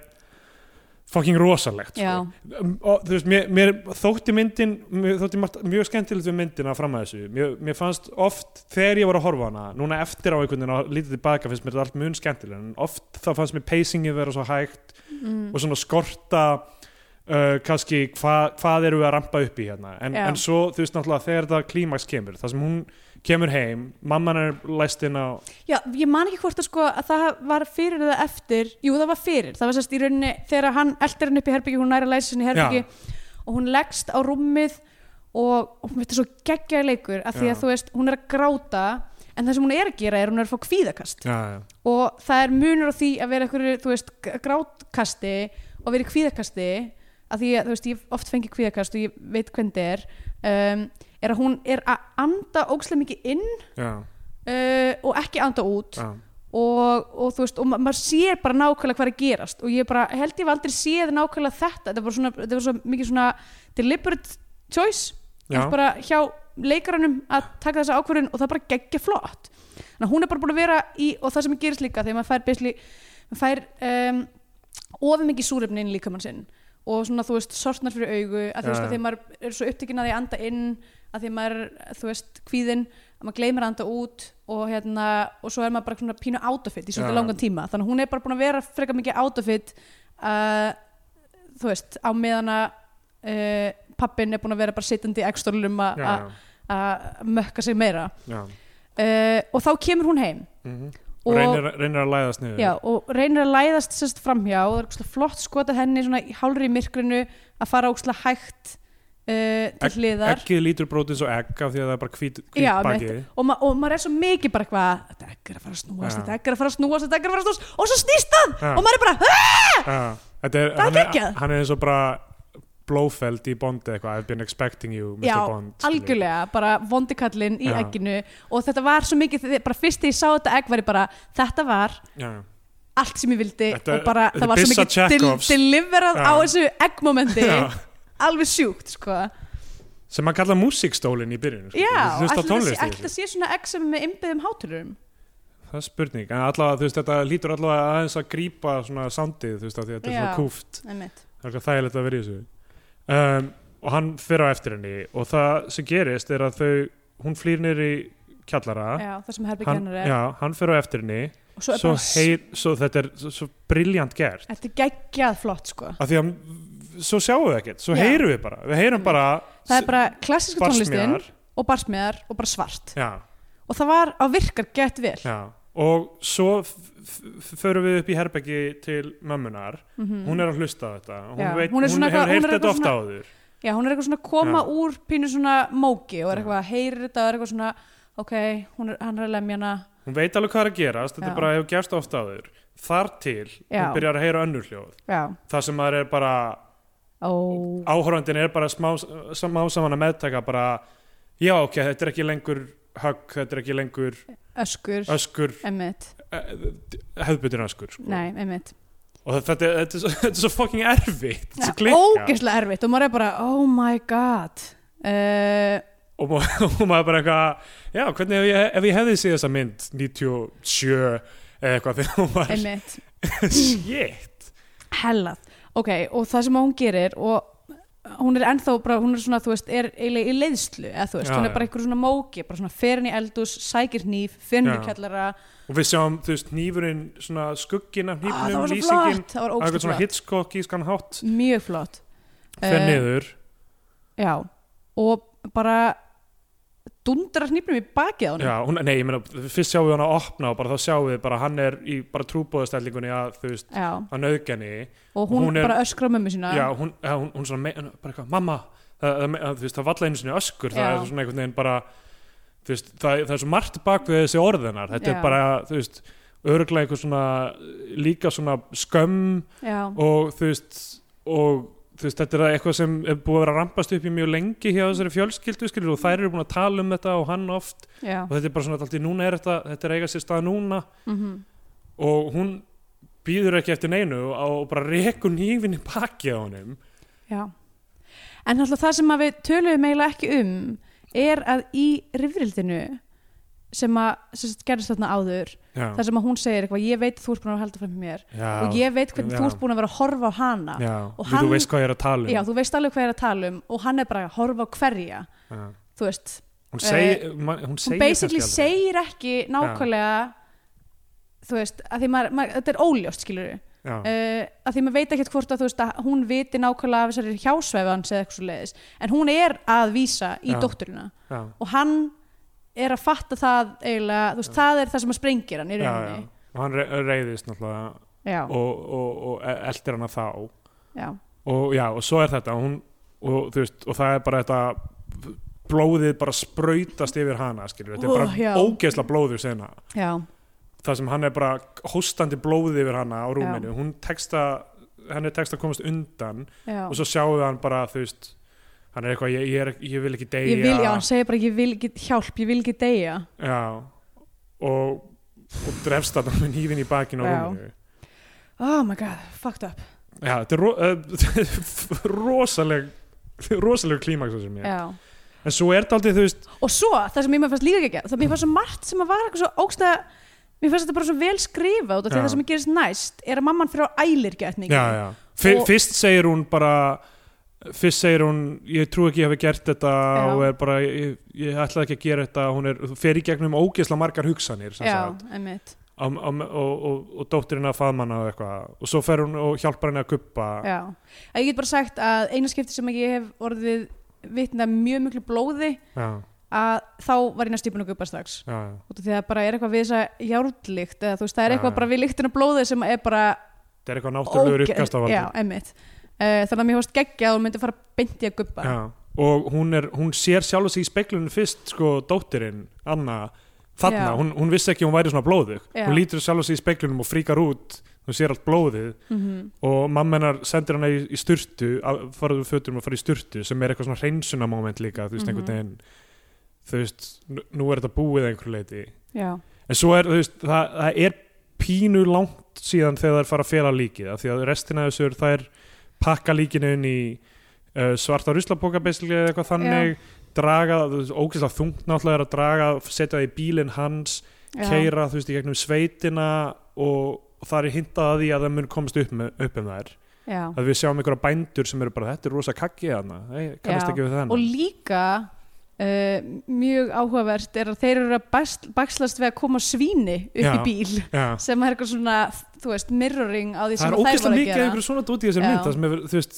B: fucking rosalegt
C: já,
B: sko. Um, og þú veist, mér, mér þótti myndin mér þótti margt, mjög skemmtilegt við myndina fram að þessu, mér, mér fannst oft þegar ég var að horfa á hana, núna eftir á einhvern veginn og lítið tilbaka finnst mér þetta allt mun skemmtilega en oft þá fannst mér pacingið vera svo hægt
C: mm,
B: og svona skorta uh, kannski hva, hvað erum við að rampa upp í hérna en,
C: Já.
B: en svo þú veist náttúrulega þegar það klímaks kemur þar sem hún kemur heim mamman er læst inn á
C: já, ég man ekki hvort að sko að það var fyrir eða eftir Jú, það var fyrir, það var sérst í rauninni þegar hann eldir hann upp í herbyggi, hún næra læsir sinni í herbyggi og hún leggst á rúmið og, og þetta er svo geggjaði leikur að
B: Já.
C: því að þú veist, hún er að gráta en það sem hún er að gera er hún er að fá kvíðakast
B: já, já.
C: og það er munur á því að vera eitthvað, þú veist, g- grátkasti og vera í kvíðakasti að því að, þú veist, ég oft fengi kvíðakast og ég veit hvernig þetta er um, er að hún er að anda ógslega mikið inn
B: Já,
C: uh, og ekki anda út
B: já.
C: og, og þú veist, og ma maður sér bara nákvæmlega hvað er að gerast og ég bara held ég hef aldrei séð nákvæmlega þetta þetta var svona, þetta var svo mikið svona deliberate choice
B: Já.
C: bara hjá leikaranum að taka þessa ákvörðun og það bara geggja flott þannig að hún er bara búin að vera í og það sem gerist líka þegar maður fær basically maður fær um, ofið mikið súrefni inn í líkamann sinn og svona þú veist sortnar fyrir augu að þú veist
B: Já.
C: að þegar maður er svo upptekinn að því að anda inn að því maður, er, þú veist, kvíðinn að maður gleymir að anda út og hérna og svo er maður bara svona pínu átafitt í svolítið
B: Já.
C: langan tíma þannig að hún er bara búin að vera frekar mikið átafitt uh, þú veist, á meðan að uh, pappin er búin að vera bara sittandi í ekstólum
B: Já,
C: að
B: já,
C: að mökka sig meira
B: já.
C: uh, og þá kemur hún heim
B: Mhm.
C: og,
B: og reynir, reynir að læðast niður
C: já, og reynir að læðast sérst framhjá og það er ógeðslega flott skotað henni svona í hálri í myrkrinu að fara ókslega hægt uh, til hliðar
B: Eggið lítur brótið svo egg af því að það er bara hvít, hvít
C: Já,
B: bakið
C: og, ma og maður er svo mikið bara eitthvað þetta egg er að fara að snúast,
B: Já.
C: þetta egg er að fara að snúast þetta egg er að fara að snúast og svo snýst það
B: Já.
C: og maður er bara, "Hæ?"
B: Já, þetta er,
C: Það er
B: hann,
C: geggjað.
B: er, hann er eins og bara Blofeld í Bond eða eitthvað I've been expecting you, Mr.
C: já,
B: Bond skilur.
C: algjörlega bara vondikallin í
B: Já.
C: egginu og þetta var svo mikið, þið- bara fyrst þegar ég sá þetta egg var ég bara, þetta var
B: Já,
C: allt sem ég vildi
B: Þetta-
C: og bara,
B: þetta
C: það
B: er
C: var svo
B: byssa
C: mikið del
B: Chekhovs.
C: deliverað
B: Já.
C: á þessu eggmomenti
B: já.
C: alveg sjúkt, sko
B: Sem maður kalla músíkstólinn í byrjun sko.
C: Já,
B: Þú veist á
C: ætli það sé-
B: tónlist í
C: ætli það
B: þessu.
C: sé svona egg sem er með innbyðum háturum
B: Það er spurning, en allavega þú veist þetta lítur allavega aðeins að grípa svona sandið þú veist af því að þetta er
C: Já.
B: svona kúft
C: Einmitt.
B: Það er eitthvað þægilegt að vera í þessu um, Og hann fyrir á eftir henni og það sem gerist er að þau hún flýr niður í kjallara
C: Já, það sem herbyggja
B: hann,
C: hennar er
B: já, hann fyrir á eftir henni
C: og svo er
B: svo,
C: bara, hei...
B: heyr, svo þetta er svo, svo briljant gert
C: þetta er geggjað flott sko
B: af því að m- svo sjáum við ekkert, svo
C: Já. Mm.
B: heyrum við bara við heyrum bara,
C: það er bara klassíska tónlistin
B: barsmíðar.
C: og barsmiðar og bara svart
B: já,
C: og það var á virkar gett vel
B: já. og svo f- f- förum við upp í herbeggi til mömmunar,
C: Mhm.
B: hún er að hlusta á þetta hún,
C: Já,
B: veit,
C: hún er
B: hún,
C: svona eitthvað-
B: hefur
C: hún er
B: heyrt þetta
C: eitthvað
B: ofta
C: svona-
B: áður
C: Já, hún er eitthvað svona að koma
B: Já.
C: úr pínu svona móki og
B: Já.
C: er eitthvað að heyri þetta og er eitthvað svona ok, hún er, hann er að lemja hana
B: hún veit alveg hvað er að gerast, þetta
C: Já.
B: er bara hefur gerst ofta áður þar til
C: Já.
B: hún byrjar að heyra önnur hljóð
C: Já,
B: það sem maður er bara,
C: ó,
B: áhorfandin er bara smá, smá saman að meðtaka bara, já ok, þetta er ekki lengur högg, þetta er ekki lengur
C: öskur
B: öskur,
C: Emmitt,
B: hefðbundin öskur sko.
C: nei, emmitt
B: og þetta, þetta, er svo, þetta er svo fucking erfitt þetta er svo klikkað.
C: Ógeðslega erfitt og maður er bara, oh my god uh,
B: og, ma- og maður bara eitthvað já, hvernig ef ég, ef ég hefði séð þessa mynd 97 eða eitthvað þegar hún var
C: Emmitt Mm.
B: shit
C: hellað ok, og það sem hún gerir og hún er ennþá bara, hún er svona, þú veist, er eiginlega í leiðslu, eða þú veist,
B: Já,
C: hún er
B: já.
C: bara einhver svona móki, bara svona fer henni í eldús, sækir hníf, fer henni í
B: Já.
C: kjallara
B: og við sjáum, þú veist, nýfurinn svona skuggin af
C: ah, það
B: nýfnum,
C: var svo
B: lýsingin
C: flott, það var
B: og eitthvað svona
C: ógstlega
B: Hitchcock í skan hátt
C: flott mjög flott
B: fer
C: Eh,
B: niður
C: já, og bara dundrar hnífnum í bakið á henni
B: já, hún, nei, ég meina, fyrst sjáum við hann að opna og bara þá sjáum við bara hann er í bara trúbóðastellingunni að, þú veist,
C: já,
B: að nauðgani
C: og hún,
B: Hún er-
C: bara öskra á mömmu sína
B: já, hún, ja, hún, hún svona, me- hún bara eitthvað, mamma það, það, það, þú veist, það valla einu sinni öskur það
C: Já.
B: er svona einhvern veginn bara þú veist, það, það er svo margt bak við þessi orðinar þetta
C: Já.
B: er bara, þú veist örglega einhver svona, líka svona skömm
C: já,
B: og þú veist og þú veist, þetta er eitthvað sem er búið að vera að rampast upp í mjög lengi hjá þessari fjölskyldu skilur, og þær eru búin að tala um þetta og hann oft
C: já,
B: og þetta er bara svona, alltaf núna er þetta þetta er að eiga sér stað núna
C: mhm
B: og hún býður ekki eftir neinu og bara rekur nýfinni baki á honum
C: Já. En alltaf það sem að við töluðum eiginlega ekki um er að í rifrildinu sem að sem sagt, gerðist þarna áður
B: Já.
C: þar sem að hún segir eitthvað, ég veit að þú ert búin að vera að halda fram hjá mér
B: Já.
C: og ég veit hvernig
B: Já.
C: þú ert búin að vera að horfa á hana
B: Já,
C: og
B: hann,
C: hann-
B: þú veist hvað ég er að tala um
C: já, þú veist alveg hvað ég er að tala um og hann er bara að horfa á hverja
B: Já.
C: þú veist,
B: Hún segir, uh, hún
C: Eh, hún
B: segir
C: basically
B: kannski aldrei.
C: segir ekki nákvæmlega þú veist, að því maður, maður þetta er óljóst skilur við
B: Já.
C: uh, að því maður veit ekkert hvort að þú veist að hún viti nákvæmlega af þessari hjásvefans eða eitthvað svo leiðis, en hún er að vísa í
B: Já.
C: dótturina
B: Já.
C: og hann er að fatta það eiginlega, þú veist, það er það sem að sprengir hann í
B: Já, já.
C: rauninni
B: og hann re- reiðist náttúrulega
C: já,
B: og, og, og eldir hana þá
C: já,
B: og já, og svo er þetta hún, og, þú veist, og það er bara þetta blóðið bara sprautast yfir hana skilur, þetta
C: Ó,
B: er bara
C: já.
B: ógeðsla blóður sena,
C: já,
B: það sem hann er bara hóstandi blóðið yfir hana á rúminu hún texta, henni texta komast undan
C: já.
B: og svo sjáum við hann bara þú veist, hann er eitthvað, ég, ég, er, ég vil ekki deyja
C: ég vil, já, hann segir bara ég vil ekki hjálp, ég vil ekki deyja
B: Já, og, og drefst þarna með nýfin í bakinu á
C: Já.
B: rúminu
C: oh my god, fucked up
B: Já, þetta er ro uh, rosaleg rosaleg klímaks sem ég
C: já.
B: en svo er þetta aldrei, þú veist
C: og svo, það sem ég maður fannst líka ekki að gera það mér fannst svo margt sem að var eitthvað svo ógstæða mér fannst þetta bara svo vel skrifa út af því að
B: Já.
C: það sem gerist næst er að mamman fyrir á ælir gett mikið
B: já, já. F
C: Og-
B: fyrst segir hún bara fyrst segir hún, ég trú ekki ég hafi gert þetta
C: Já.
B: og er bara ég, ég ætlaði ekki að gera þetta, hún er þú fer í gegnum ógeðsla margar hugsanir sem
C: já,
B: sagt,
C: einmitt
B: á, á, og, og, og dóttirinn að faðmanna og eitthvað og svo fer hún og hjálpar henni að kuppa
C: Já, að ég get bara sagt að eina skipti sem ég hef orðið vitna mjög miklu blóði
B: já,
C: að þá var ég næstu búin að guppa strax
B: já,
C: út af því að bara er eitthvað við þessa járnlíkt eða þú veist, það er
B: Já,
C: eitthvað
B: já.
C: bara við líktina blóði sem er bara
B: þetta er eitthvað náttúrulegur
C: óge-
B: uppkast
C: Já, emmitt uh, þannig að mér hóst geggja að hún myndi fara beint í að guppa
B: Já, og hún, er, hún sér sjálf sig í speklunum fyrst sko dóttirinn, Anna þarna,
C: Já.
B: hún, hún vissi ekki að hún væri svona blóðug
C: Já.
B: hún lítur sjálf sig í speklunum og fríkar út hún sér allt blóðið
C: Mhm.
B: og mamma hennar sendir hana í, í sturtu að- faraðu fötum og fara í sturtu sem er eitthvað svona hreinsunamóment líka þú veist,
C: Mhm.
B: einhvern veginn þú veist, nú- nú er þetta búið að einhverju leiti
C: Já,
B: en svo er, þú veist, það, það er pínu langt síðan þegar það er fara að fela líkið af því að restina af þessu er það er pakka líkinu inn í uh, svarta ruslapoka basically eða eitthvað þannig draga, þú veist, ógeðslega þungt náttúrulega er að draga, setja það í bílinn hans
C: já,
B: keira, þú veist, í gegnum sveitina og, og það er hintað að því að það mun komast upp, með, upp um þær
C: já.
B: að við sjáum einhverja bændur sem eru bara þetta er rosa kakki hana, Nei, kannast
C: Já.
B: ekki við
C: og
B: þennan
C: líka uh, mjög áhugavert er að þeir eru að bæsl- bakslast við að koma svíni upp
B: Já.
C: í bíl
B: Já.
C: sem er eitthvað svona, þú veist, mirroring á því
B: það er
C: sem að þær
B: ógeðslega
C: voru að
B: mikið
C: gera
B: einhver svona dóti í þessari
C: Já.
B: mynd það sem hefur, þú veist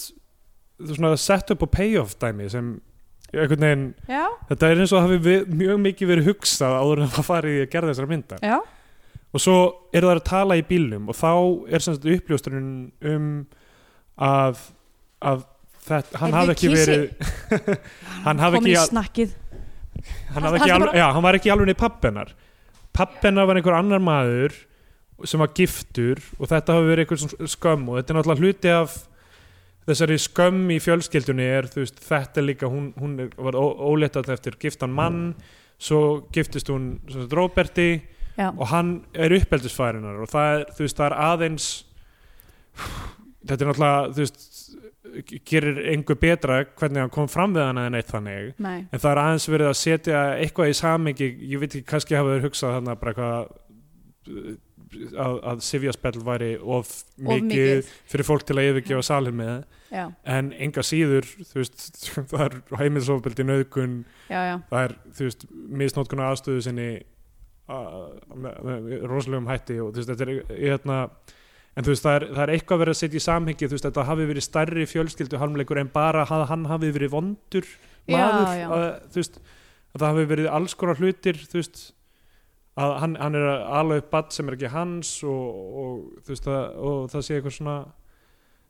B: þú veist, svona set up og payoff dæmi sem einhvern veginn,
C: já,
B: þetta er eins og það hafi við, mjög mikið verið hugsað áður en það farið í að gera þessari myndar
C: já,
B: og svo eru það að tala í bílnum og þá er sem sagt uppljóstrun um að, að þetta, hann
C: Heyrðu,
B: hafi ekki
C: kísi-
B: verið hann hafi
C: komin
B: ekki
C: í
B: að-
C: snakkið
B: hann,
C: Hann-
B: hann, ekki
C: hann
B: alveg,
C: bara-
B: já, hann var ekki alveg niður pappennar pappennar var einhver annar maður sem var giftur og þetta hafi verið einhver svona skömm og þetta er náttúrulega hluti af þessari skömm í fjölskyldunni er þú veist, þetta er líka, hún, hún er, var óléttat eftir giftan mann svo giftist hún sem sagt, Róberti
C: já,
B: og hann er uppeldisfærinar og það er, þú veist, það er aðeins þetta er náttúrulega þú veist, gerir einhver betra hvernig hann kom fram við hana en eitt þannig
C: nei,
B: en það er aðeins verið að setja eitthvað í samingi, ég veit ekki kannski hafa þeir hugsað þarna bara eitthvað uh, að, að sifjaspell væri of mikið,
C: of mikið
B: fyrir fólk til að yfirgefa salin með
C: já,
B: en enga síður, þú veist það er heimilsofbeldi nöðgun
C: já, já,
B: það er, þú veist, misnótkun á aðstöðu sinni að- með með rosalegum hætti og þú veist, þetta er í hérna en þú veist, það er, það er eitthvað verið að setja í samhengi þú veist, þetta hafi verið stærri fjölskyldu harmleikur en bara að hann hafi verið vondur
C: Já,
B: maður,
C: já.
B: Að, þú veist að það hafi verið alls konar hlutir þú veist, að hann, hann er að ala upp badd sem er ekki hans og, og þú veist, að, og það sé eitthvað svona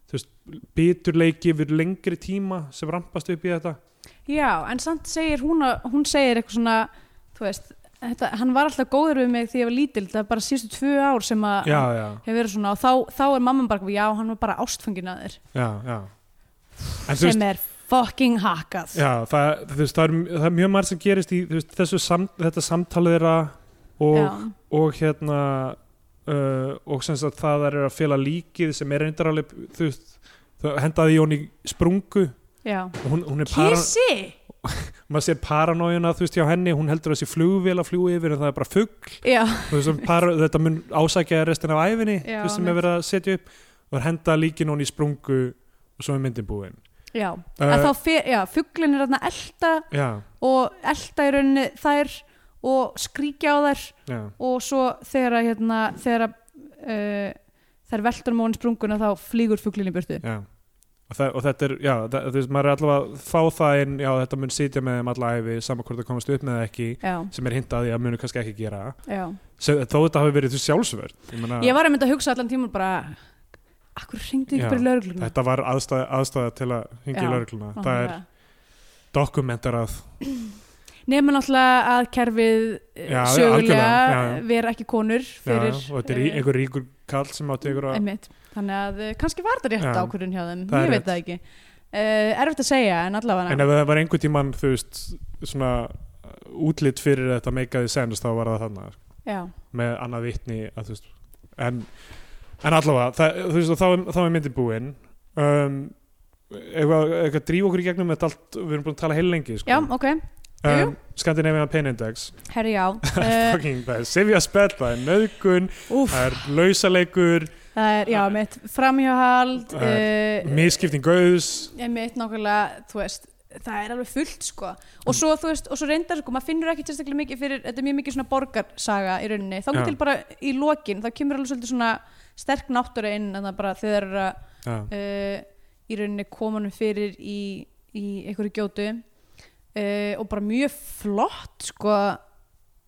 B: þú veist, biturleiki yfir lengri tíma sem rampast upp í þetta
C: já, en samt segir hún að, hún segir eitthvað svona þú veist, þetta, hann var alltaf góður við mig því ég var lítil, það er bara síðustu tvö ár sem að
B: já,
C: hann
B: já
C: hefur verið svona og þá, þá er mamman bara, já, hann var bara ástfangin að þér
B: já, já. En, þú
C: sem
B: veist,
C: er fucking hakað
B: já, það, þú veist, það, er, það er mjög margt sem gerist í þú veist, þessu sam, þetta samtalið þeirra og,
C: Já.
B: og hérna uh, og sem sagt það er að fela líkið sem er reyndaralið þú veist, það hendaði í hún í sprungu
C: Já.
B: og hún, hún er para,
C: Kissi?
B: maður sér paranójuna þú veist hjá henni, hún heldur að þessi flugvél að fljúi yfir en það er bara fugg
C: já,
B: para, þetta mun ásækja restina af æfinni
C: Já,
B: þú veist sem
C: mitt.
B: er verið að setja upp og er henda líkin hún í sprungu og svo er myndin búin
C: já,
B: Eh.
C: að þá fer, já, fugglin er þarna elta
B: já,
C: og elta í rauninni þær og skríkja á þær
B: já,
C: og svo þegar að hérna, þegar að uh, þær veltar móin sprunguna þá flýgur fugglin í burtu
B: já og, það, og þetta er, já, það, þú veist, maður er allavega að fá það inn, já, þetta mun sitja með þeim alla æfi saman hvort það komast upp með það ekki
C: já,
B: sem er hintað í að munu kannski ekki gera
C: já
B: sem, þó þetta hafi verið þú sjálfsvörð ég meina,
C: Ég var að mynda að hugsa allan tíman bara Akkur ringdi
B: Já,
C: ekki bara í lögregluna
B: þetta var aðstæða, aðstæða til að hingja í
C: Já,
B: laurugluna það er dokumentarað
C: Nefnum náttúrulega að kerfið eh,
B: Já, algjörlega,
C: sögulega
B: já, já.
C: vera ekki konur
B: já,
C: fyrir
B: og þetta er í,
C: eh,
B: einhver ríkur kall sem átti ykkur að
C: einmitt. Þannig að eh, kannski var þetta rétt
B: Já,
C: ákvörðun hjá þeim
B: það er
C: Ég
B: rétt.
C: veit það ekki uh, Erfitt að segja en allavega
B: en ef það var einhver tíman þú veist svona útlit fyrir þetta meikaði sens þá var það þannig
C: Já,
B: með annað vitni að, þú veist, en, en allavega það, þú veist, og þá, er- þá er myndin búin um, eitthvað, eitthvað dríf okkur í gegnum þetta allt við erum búin að tala heil lengi sko.
C: já ok, jú,
B: um, Scandinavian Pain Index
C: herri já uh,
B: fucking, það er sifjaspell, það er nöðgun
C: Úf,
B: það er lausaleikur
C: það er, já, mitt framhjáhald
B: Það
C: uh,
B: miskipting gauðs
C: einmitt nákvæmlega, þú veist það er alveg fullt sko og svo, þú veist, og svo reyndar sko, maður finnur ekki sérstaklega mikið fyrir, þetta er mjög mikið svona borgarsaga í rauninni, þá
B: Já.
C: getur bara í lokin þá kemur alveg svolítið svona sterk náttúra inn en það bara þegar þeir eru að,
B: já,
C: uh, í rauninni komanum fyrir í, í einhverju gjótu uh, og bara mjög flott sko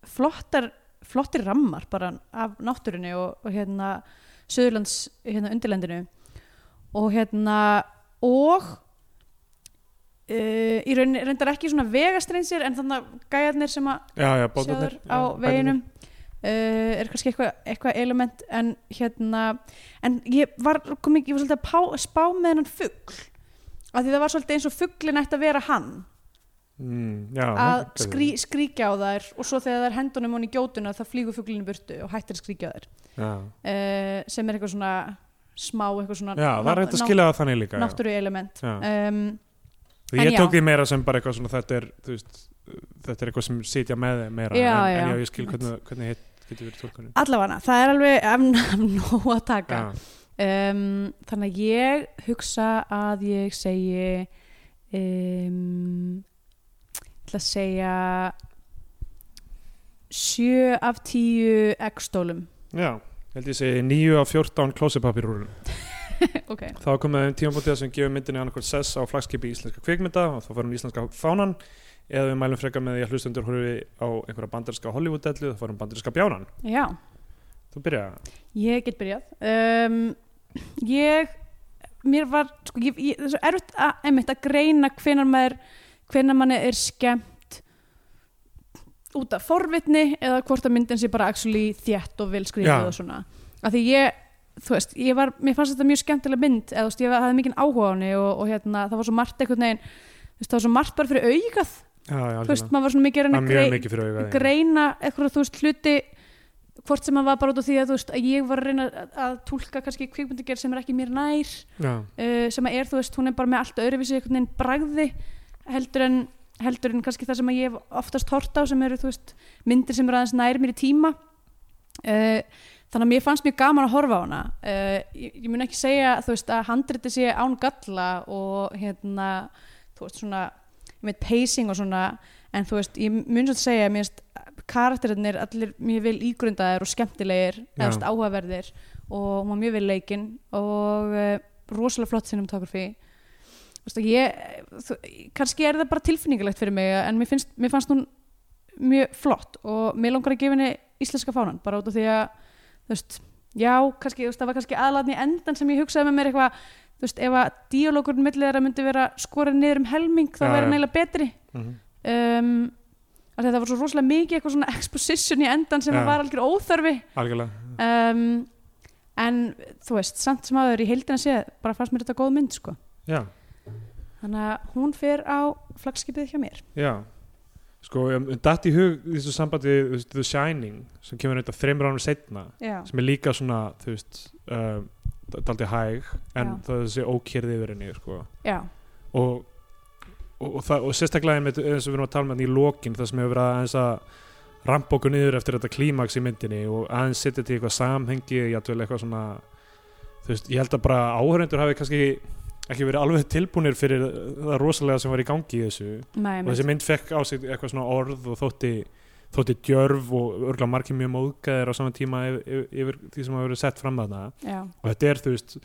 C: flottar, flottir rammar bara af náttúrunni og, og hérna Söðurlands hérna, undirlendinu og hérna og uh, í rauninni reyndar ekki svona vegastreinsir en þannig að gæjarnir sem að
B: já, já,
C: sjáður
B: bótarnir
C: á veginum uh, er kannski eitthvað eitthva element en hérna en ég var, kom ekki, ég var svolítið að pá, spá með hennan fugl af því það var svolítið eins og fuglin ætti að vera hann
B: mm, já,
C: að
B: ok.
C: skrí, skríkja á þær og svo þegar þær hendunum hún í gjótuna þá flýgur fuglin í burtu og hættir að skríkja á þær
B: já,
C: uh, sem er eitthvað svona smá eitthvað svona
B: já það er hægt að skilja það þannig líka já.
C: náttúru element
B: Já.
C: um,
B: Því ég
C: En já.
B: tók því meira sem bara eitthvað svona þetta er, þú veist, þetta er eitthvað sem sitja með þeim meira
C: Já,
B: en, en
C: já.
B: já, ég skil hvernig, hvernig hitt getur verið tólkunni
C: allavega, það er alveg af af nóg að taka
B: já,
C: um, þannig að ég hugsa að ég segi um, ætla að segja sjö af tíu eggstólum
B: já, held ég segi 9 af 14 klósipapirúrun
C: ok,
B: þá komum við um tímabótið sem gefur myndinni annarkvæmt sess á flagskipi íslenska kvikmynda og þá farum íslenska fánan eða við mælum frekar með því að hlustendur horfi á einhverja bandarska Hollywood-dellu þá farum bandarska bjánan
C: já,
B: þú byrja að
C: ég get byrjað um, ég mér var, sko, ég, ég, það er svo erfitt að, einmitt, að greina hvenar maður hvenar manni er skemmt út af forvitni eða hvort að myndin sé bara actually þétt og vel
B: Já.
C: skrifið og svona af því ég, þú veist, ég var mér fannst þetta mjög skemmtilega mynd eða þú veist, ég hafði mikinn áhuga á henni og, og hérna, það var svo margt einhvern veginn, þú veist, það var svo margt bara fyrir augað,
B: Já, já,
C: þú veist,
B: algjörlega.
C: maður var svona mikið að
B: Það
C: reyna
B: er
C: að
B: mjög
C: grei-
B: mikið fyrir auðvitað
C: greina eitthvað þú veist hluti hvort sem að var bara út af því að þú veist að ég var að reyna að, að tólka kannski kvikmyndagerð sem er ekki mér nær
B: Já,
C: uh, sem að er þú veist hún er bara með allt öðruvísi einhvern veginn bragði heldur en, heldur en kannski það sem að ég hef oftast hort á sem eru þú veist myndir sem eru aðeins nær mér í tíma uh, þannig að mér fannst mjög gaman að horfa á hana uh, ég, ég mun ekki segja þú veist að handriti sé án galla og hérna þú veist svona ég veit pacing og svona en þú veist ég mun svo að segja mér veist karakterinir allir mjög vel ígrundaðir og skemmtilegir
B: Já.
C: eða þú veist, áhugaverðir og hún var mjög vel leikinn og uh, rosalega flott cinematografi Þú veist, ég, þú, kannski er það bara tilfinningalegt fyrir mig en mér, finnst, mér fannst hún mjög flott og mér langar að gefa henni íslenska fánan bara út af því að þú veist, já, kannski, þú veist, það var kannski aðlaðn í endan sem ég hugsaði með mér eitthvað þú veist, ef að díalókurinn millið þeirra myndi vera skorið niður um helming þá
B: Já,
C: væri
B: já.
C: hann eiginlega betri
B: mhm.
C: um, af því að það var svo rosalega mikið eitthvað svona exposition í endan sem
B: Já.
C: var algjör óþörfi
B: algjörlega
C: um, en þú veist, samt sem aður í heildina séð bara fannst mér þetta góð mynd sko
B: Já,
C: þannig að hún fer á flagskipið hjá mér
B: já Sko, um, um, datt í hug í þessu sambandi þú veist, The Shining sem kemur þetta þreymur ánum setna
C: já,
B: sem er líka svona, þú veist um, daldi hæg en
C: Já.
B: það er þessi ókjörði yfir henni, sko
C: já,
B: og og, og, það, og sérstaklega einmitt eins og við erum að tala með í lokin það sem hefur verið aðeins að rampa okkur niður eftir þetta klímaks í myndinni og aðeins setja til eitthvað samhengi játvel eitthvað svona þú veist, ég held að bara áhörendur hafi kannski ekki verið alveg tilbúnir fyrir það rosalega sem var í gangi í þessu
C: Nei,
B: og þessi mynd fekk á sig eitthvað svona orð og þótti, þótti djörf og örgla margir mjög móðgæðir á saman tíma yfir, yfir, yfir því sem hafa verið sett fram þarna
C: já,
B: og þetta er þú veist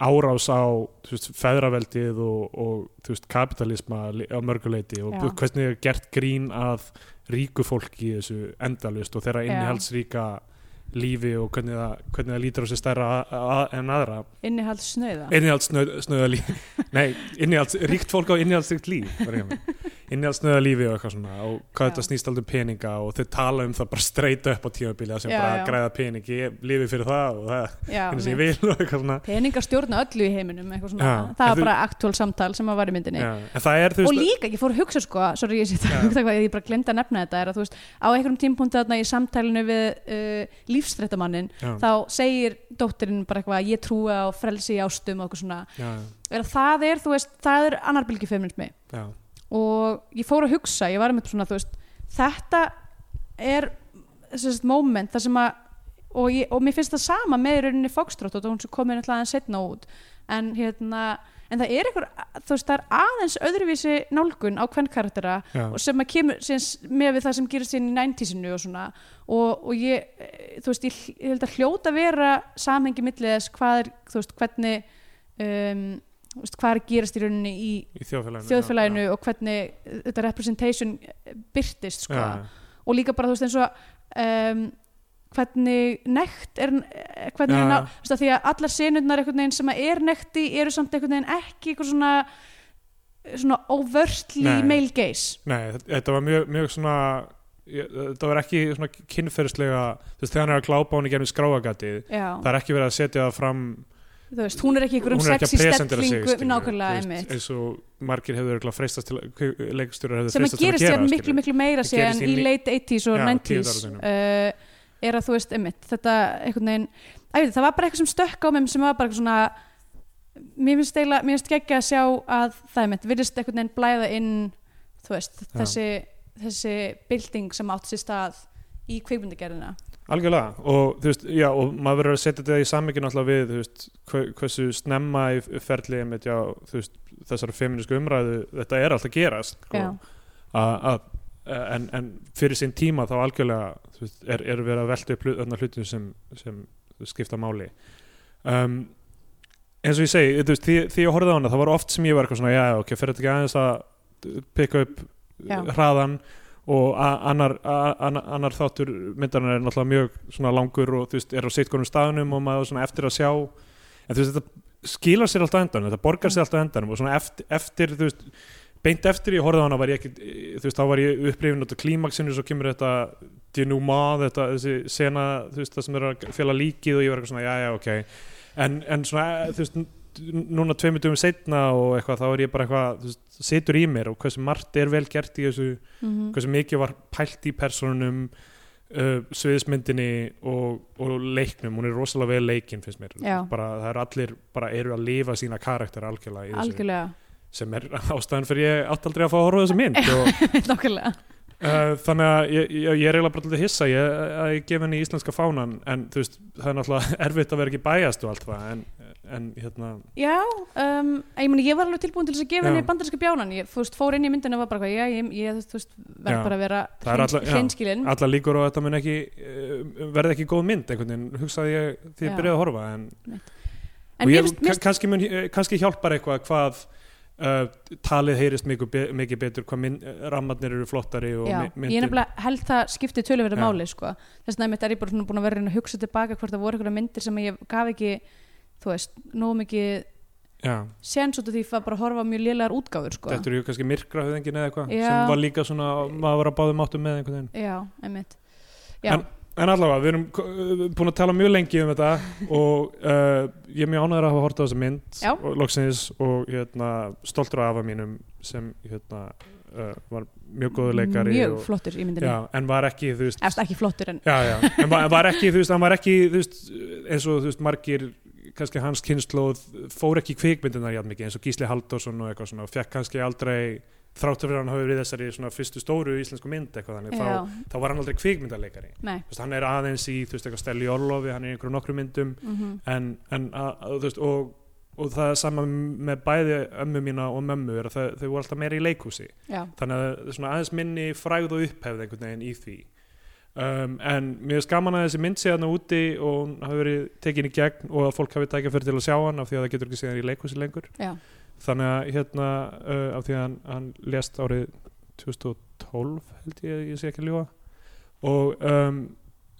B: árás á þú veist, feðraveldið og, og þú veist, kapitalisma li- á mörguleiti og
C: Já.
B: Já. hvernig er gert grín að ríku fólki í þessu endalust og þeirra
C: Já.
B: innihaldsríka lífi og hvernig það, hvernig það lítur á sér stærra a- a- en aðra
C: innihald
B: Eh,
C: snöða
B: innihaldsnöða lífi nei, innihalds, ríkt fólk á innihaldsríkt líf innihaldsnöða lífi og eitthvað svona og hvað
C: Já.
B: þetta snýst aldrei um peninga og þeir tala um það bara streyta upp á tímabili sem
C: Já,
B: bara
C: já.
B: græða peningi, ég lifi fyrir það og það,
C: Já,
B: henni sem ég
C: einmitt.
B: vil og eitthvað svona
C: peningar stjórna öllu í heiminum eitthvað svona,
B: Já,
C: það
B: en
C: var
B: þú-
C: bara aktúal samtal sem að var í myndinni
B: Já, en það er þú
C: og
B: veist
C: líka, ég fór að hugsa sko sorry, ég,
B: Já.
C: yeah. hvað, ég bara glemdi að nefna þetta er að þú veist, á einhverjum tímpúnti þarna í samtælinu við uh, lífstrættamannin
B: Já.
C: þá segir dóttirinn bara eitthvað ég trúi á frelsi í ástum og eitthvað svona
B: já,
C: er að það er, þú veist, það er annar bylgjufeminismi
B: já,
C: og ég fór að hugsa, ég var einmitt svona þú veist, þetta er þessi moment þar sem að og, ég, og mér finnst það sama með í rauninni Foxtrot og hún sem komið náttúrulega aðeins setna út en hérna, en það er einhver þú veist, það er aðeins öðruvísi nálgun á hvern karaktera
B: já,
C: og sem að kemur sinns, með við það sem gerist síðan í 90-sinu og svona og, og ég, eh, þú veist, ég, hl- ég held að hljóta vera samhengi millið þess hvað er, þú veist, hvernig um, þú veist, hvað er að gerast í rauninni í
B: í þjóðfélaginu
C: þjóðfélaginu og hvernig þetta representation
B: já,
C: byrtist sko. og líka bara þú veist eins og um, hvernig nekt er eh, hvernig
B: Já,
C: er ná,
B: já.
C: þú veist að því að allar senurnar einhvern veginn sem að er nekti eru samt einhvern veginn ekki einhver svona svona overtly
B: Nei.
C: male gaze
B: Nei, þetta- þetta var mjög, mjög svona ég- þetta var ekki svona kynferðslega þú veist, þegar hann er að glápa á hann í gennum skráagatið
C: Já,
B: það er ekki verið að setja það fram
C: þú veist, hún er ekki einhverjum
B: hún er ekki
C: sexy
B: að presentera sig
C: stellingu
B: skilurðu,
C: nákvæmlega
B: þú veist,
C: einmitt
B: eins og margir hefur örugglega freistast til að- leikstjórar hefur
C: sem að
B: freistast til að
C: gerist
B: gera
C: sér miklu miklu meira
B: Það
C: sér
B: gerist
C: en
B: í
C: í
B: ni-
C: late 80s og
B: Já,
C: 90s
B: tíundaráratugnum.
C: uh, er að þú veist, einmitt, þetta einhvern veginn, að, það var bara eitthvað sem stökk á mér sem var bara eitthvað svona mér finnst eiginlega, mér finnst geggja að sjá að það einmitt, virðist einhvern veginn blæða inn þú veist, þessi þessi bylting sem átt sér stað í kvikmyndagerðina
B: Algjörlega og þú veist, já, og maður verður að setja þetta í sammyggjum alltaf við, þú veist, hve- hversu snemma í ferli einmitt, já, þú veist, þessar feminísku umræðu, þetta er alltaf að gerast sko,
C: Já.
B: að, að en, en fyrir sinn tíma þá algjörlega þú veist, er, er verið að velta upp hlut, þarna hlutum sem, sem skipta máli um, eins og ég segi þú veist, því, því ég horfði á hana, það var oft sem ég var eitthvað svona, já, já, ok, fyrir þetta ekki aðeins að pikka upp
C: Já.
B: hraðan og a- annar, a- annar, annar þáttur myndarinn er náttúrulega mjög svona langur og þú veist, er á sitkonum staðnum og maður svona eftir að sjá en þú veist, þetta skilar sér alltaf á endanum, þetta borgar sér alltaf á endanum og svona eftir, eftir þú veist beint eftir ég horfði á hana var ég ekki þú veist, þá var ég upplifin út af klímaksinu svo kemur þetta denouement þetta, þessi sena, þú veist, það sem er að fela líkið og ég var eitthvað svona, já, já, ok en, en svona, þú veist, n- núna tveimur dögum setna og eitthvað, þá er ég bara eitthvað, þú veist, situr í mér og hversu margt er vel gert í þessu,
C: Mhm.
B: hversu mikið var pælt í personunum uh, sviðismyndinni og, og leiknum, hún er rosalega vel leikin finnst mér,
C: Já.
B: bara það er allir bara eru að lifa sína karakter algjörlega í þessu
C: algjörlega,
B: sem er ástæðan fyrir ég átt aldrei að fá að horfa á þessa mynd og,
C: nákvæmlega
B: uh, þannig að ég, ég, ég er eiginlega bara alltaf hissa ég, að ég gef henni íslenska fánan en þú veist, það er náttúrulega erfitt að vera ekki bæjast og allt það en, en hérna,
C: Já, um, ég, meni, ég var alveg tilbúin til þess að gefa
B: Já.
C: henni bandarinska bjánan ég þú veist, fór inn í myndinu og var bara hvað, já, ég, ég þú veist, verð
B: Já.
C: bara að vera
B: Það er alla- já.
C: hreinskilin
B: alla líkur og þetta mun ekki uh, verði ekki góð mynd einhvern veginn hugsaði ég því
C: Já.
B: ég byrjaði að horfa en,
C: en
B: og
C: mér
B: ég,
C: finnst- mér
B: kann- kannski, mun, eh, kannski hjálpar eitthvað hvað Uh, talið heyrist mikið, be mikið betur hvað mynd, eh, rammarnir eru flottari og
C: Já,
B: my-
C: ég er nefnilega held það skipti töluverða
B: Já.
C: máli sko. þess vegna einmitt er ég bara svona búin að vera að reyna að hugsa tilbaka hvort það voru einhverja myndir sem ég gaf ekki þú veist, nógu mikið
B: já,
C: sens út af því að bara horfa á mjög lélegar útgáfur sko.
B: þetta eru kannski myrkra höfðingin eða eitthvað
C: Já.
B: sem var líka svona, maður var að báðum áttum með einhvern veginn
C: Já, einmitt Já,
B: En allavega, við erum uh, búin að tala mjög lengi um þetta og uh, ég er mjög ánægður að hafa horta á þessa mynd
C: Já.
B: og loksins og hérna, stoltur af afa mínum sem hérna, uh, var mjög góður leikari
C: mjög
B: og,
C: flottur í myndinu
B: já, en var ekki, þú veist
C: eftir ekki flottur en
B: já, já, en var, en var ekki, þú veist, hann var ekki þú veist, eins og þú veist, margir kannski hans kynnslóð fór ekki í kvikmyndirnar jafn mikið eins og Gísli Halldórsson og eitthvað svona og fekk kannski aldrei þráttu fyrir að hann hafi verið í þessari svona fyrstu stóru íslensku mynd eitthvað þannig
C: Já.
B: þá, þá var hann aldrei kvikmyndaleikari
C: Nei.
B: Þú veist, hann er aðeins í, þú veist, eitthvað Stelli Orlofi hann er í einhverjum nokkrum myndum
C: mhm,
B: en, en að, að, þú veist, og, og það er sama með bæði ömmu mína og mömmu er að þau, þau voru alltaf meira í leikhúsi
C: Já.
B: þannig að það er svona aðeins minni frægð og upphefð einhvern veginn í því um, en mér er skaman að þessi mynd sé hann úti og hún hafi verið tekin í gegn og að fólk hafi tækja fyrir til að sjá hann af því að það getur ekki séð hann í leikhúsi lengur
C: Já.
B: þannig að hérna uh, af því að hann, hann lést árið 2012 held ég, ég sé ekki að ljúa og um,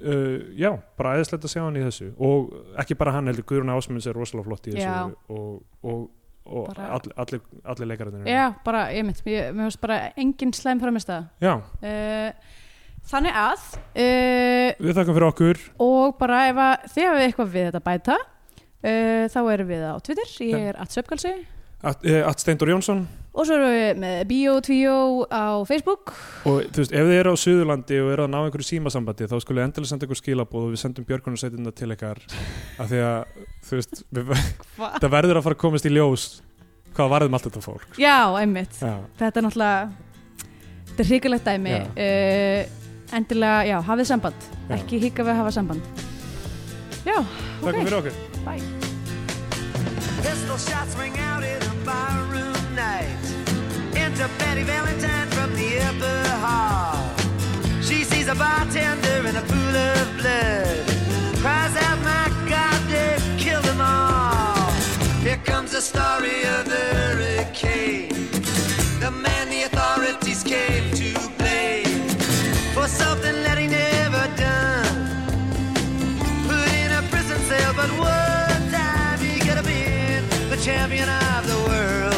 B: uh, já, bara aðeinslegt að sjá hann í þessu og ekki bara hann heldur, Guðrún Ásmunds er rosalega flott í þessu
C: Já.
B: og, og, og
C: Bara-
B: all, allir, allir leikararnir eru-
C: Já, bara, ég mynd, mér mér finnst bara engin slæm framist það.
B: já,
C: Uh, þannig að, uh,
B: við þakkum fyrir okkur
C: og bara ef að þið hafið eitthvað við þetta að bæta, uh, þá erum við á Twitter, ég er atsöpkalsi.
B: At, eh, at Steindur Jónsson
C: Og svo erum við með Bíó 2 á Facebook.
B: og þú veist, ef þið eru á Suðurlandi og eru að ná einhverju símasambandi þá skulle endilega senda ykkur skilabóð og við sendum björgunarsveitina til ykkar af því að, þú veist, við,
C: Hva?
B: það verður að fara að komast í ljós hvað varðum allt þetta fólk
C: Já, einmitt.
B: já,
C: Þetta er náttúrulega, þetta er hrikalegt dæmi.
B: Já.
C: Uh, endilega, já, hafið samband.
B: Já.
C: Ekki hika við að hafa samband. Já, ok.
B: þakkum fyrir okkur
C: Bye.
D: Pistol shots ring out in a barroom night. Enter Betty Valentine from the upper hall. She sees a bartender in a pool of blood. Cries out, my God, they killed them all. Here comes the story of the hurricane. The man the authorities came to blame for something that he never done put in a prison cell, but one time you could have been the champion of the world.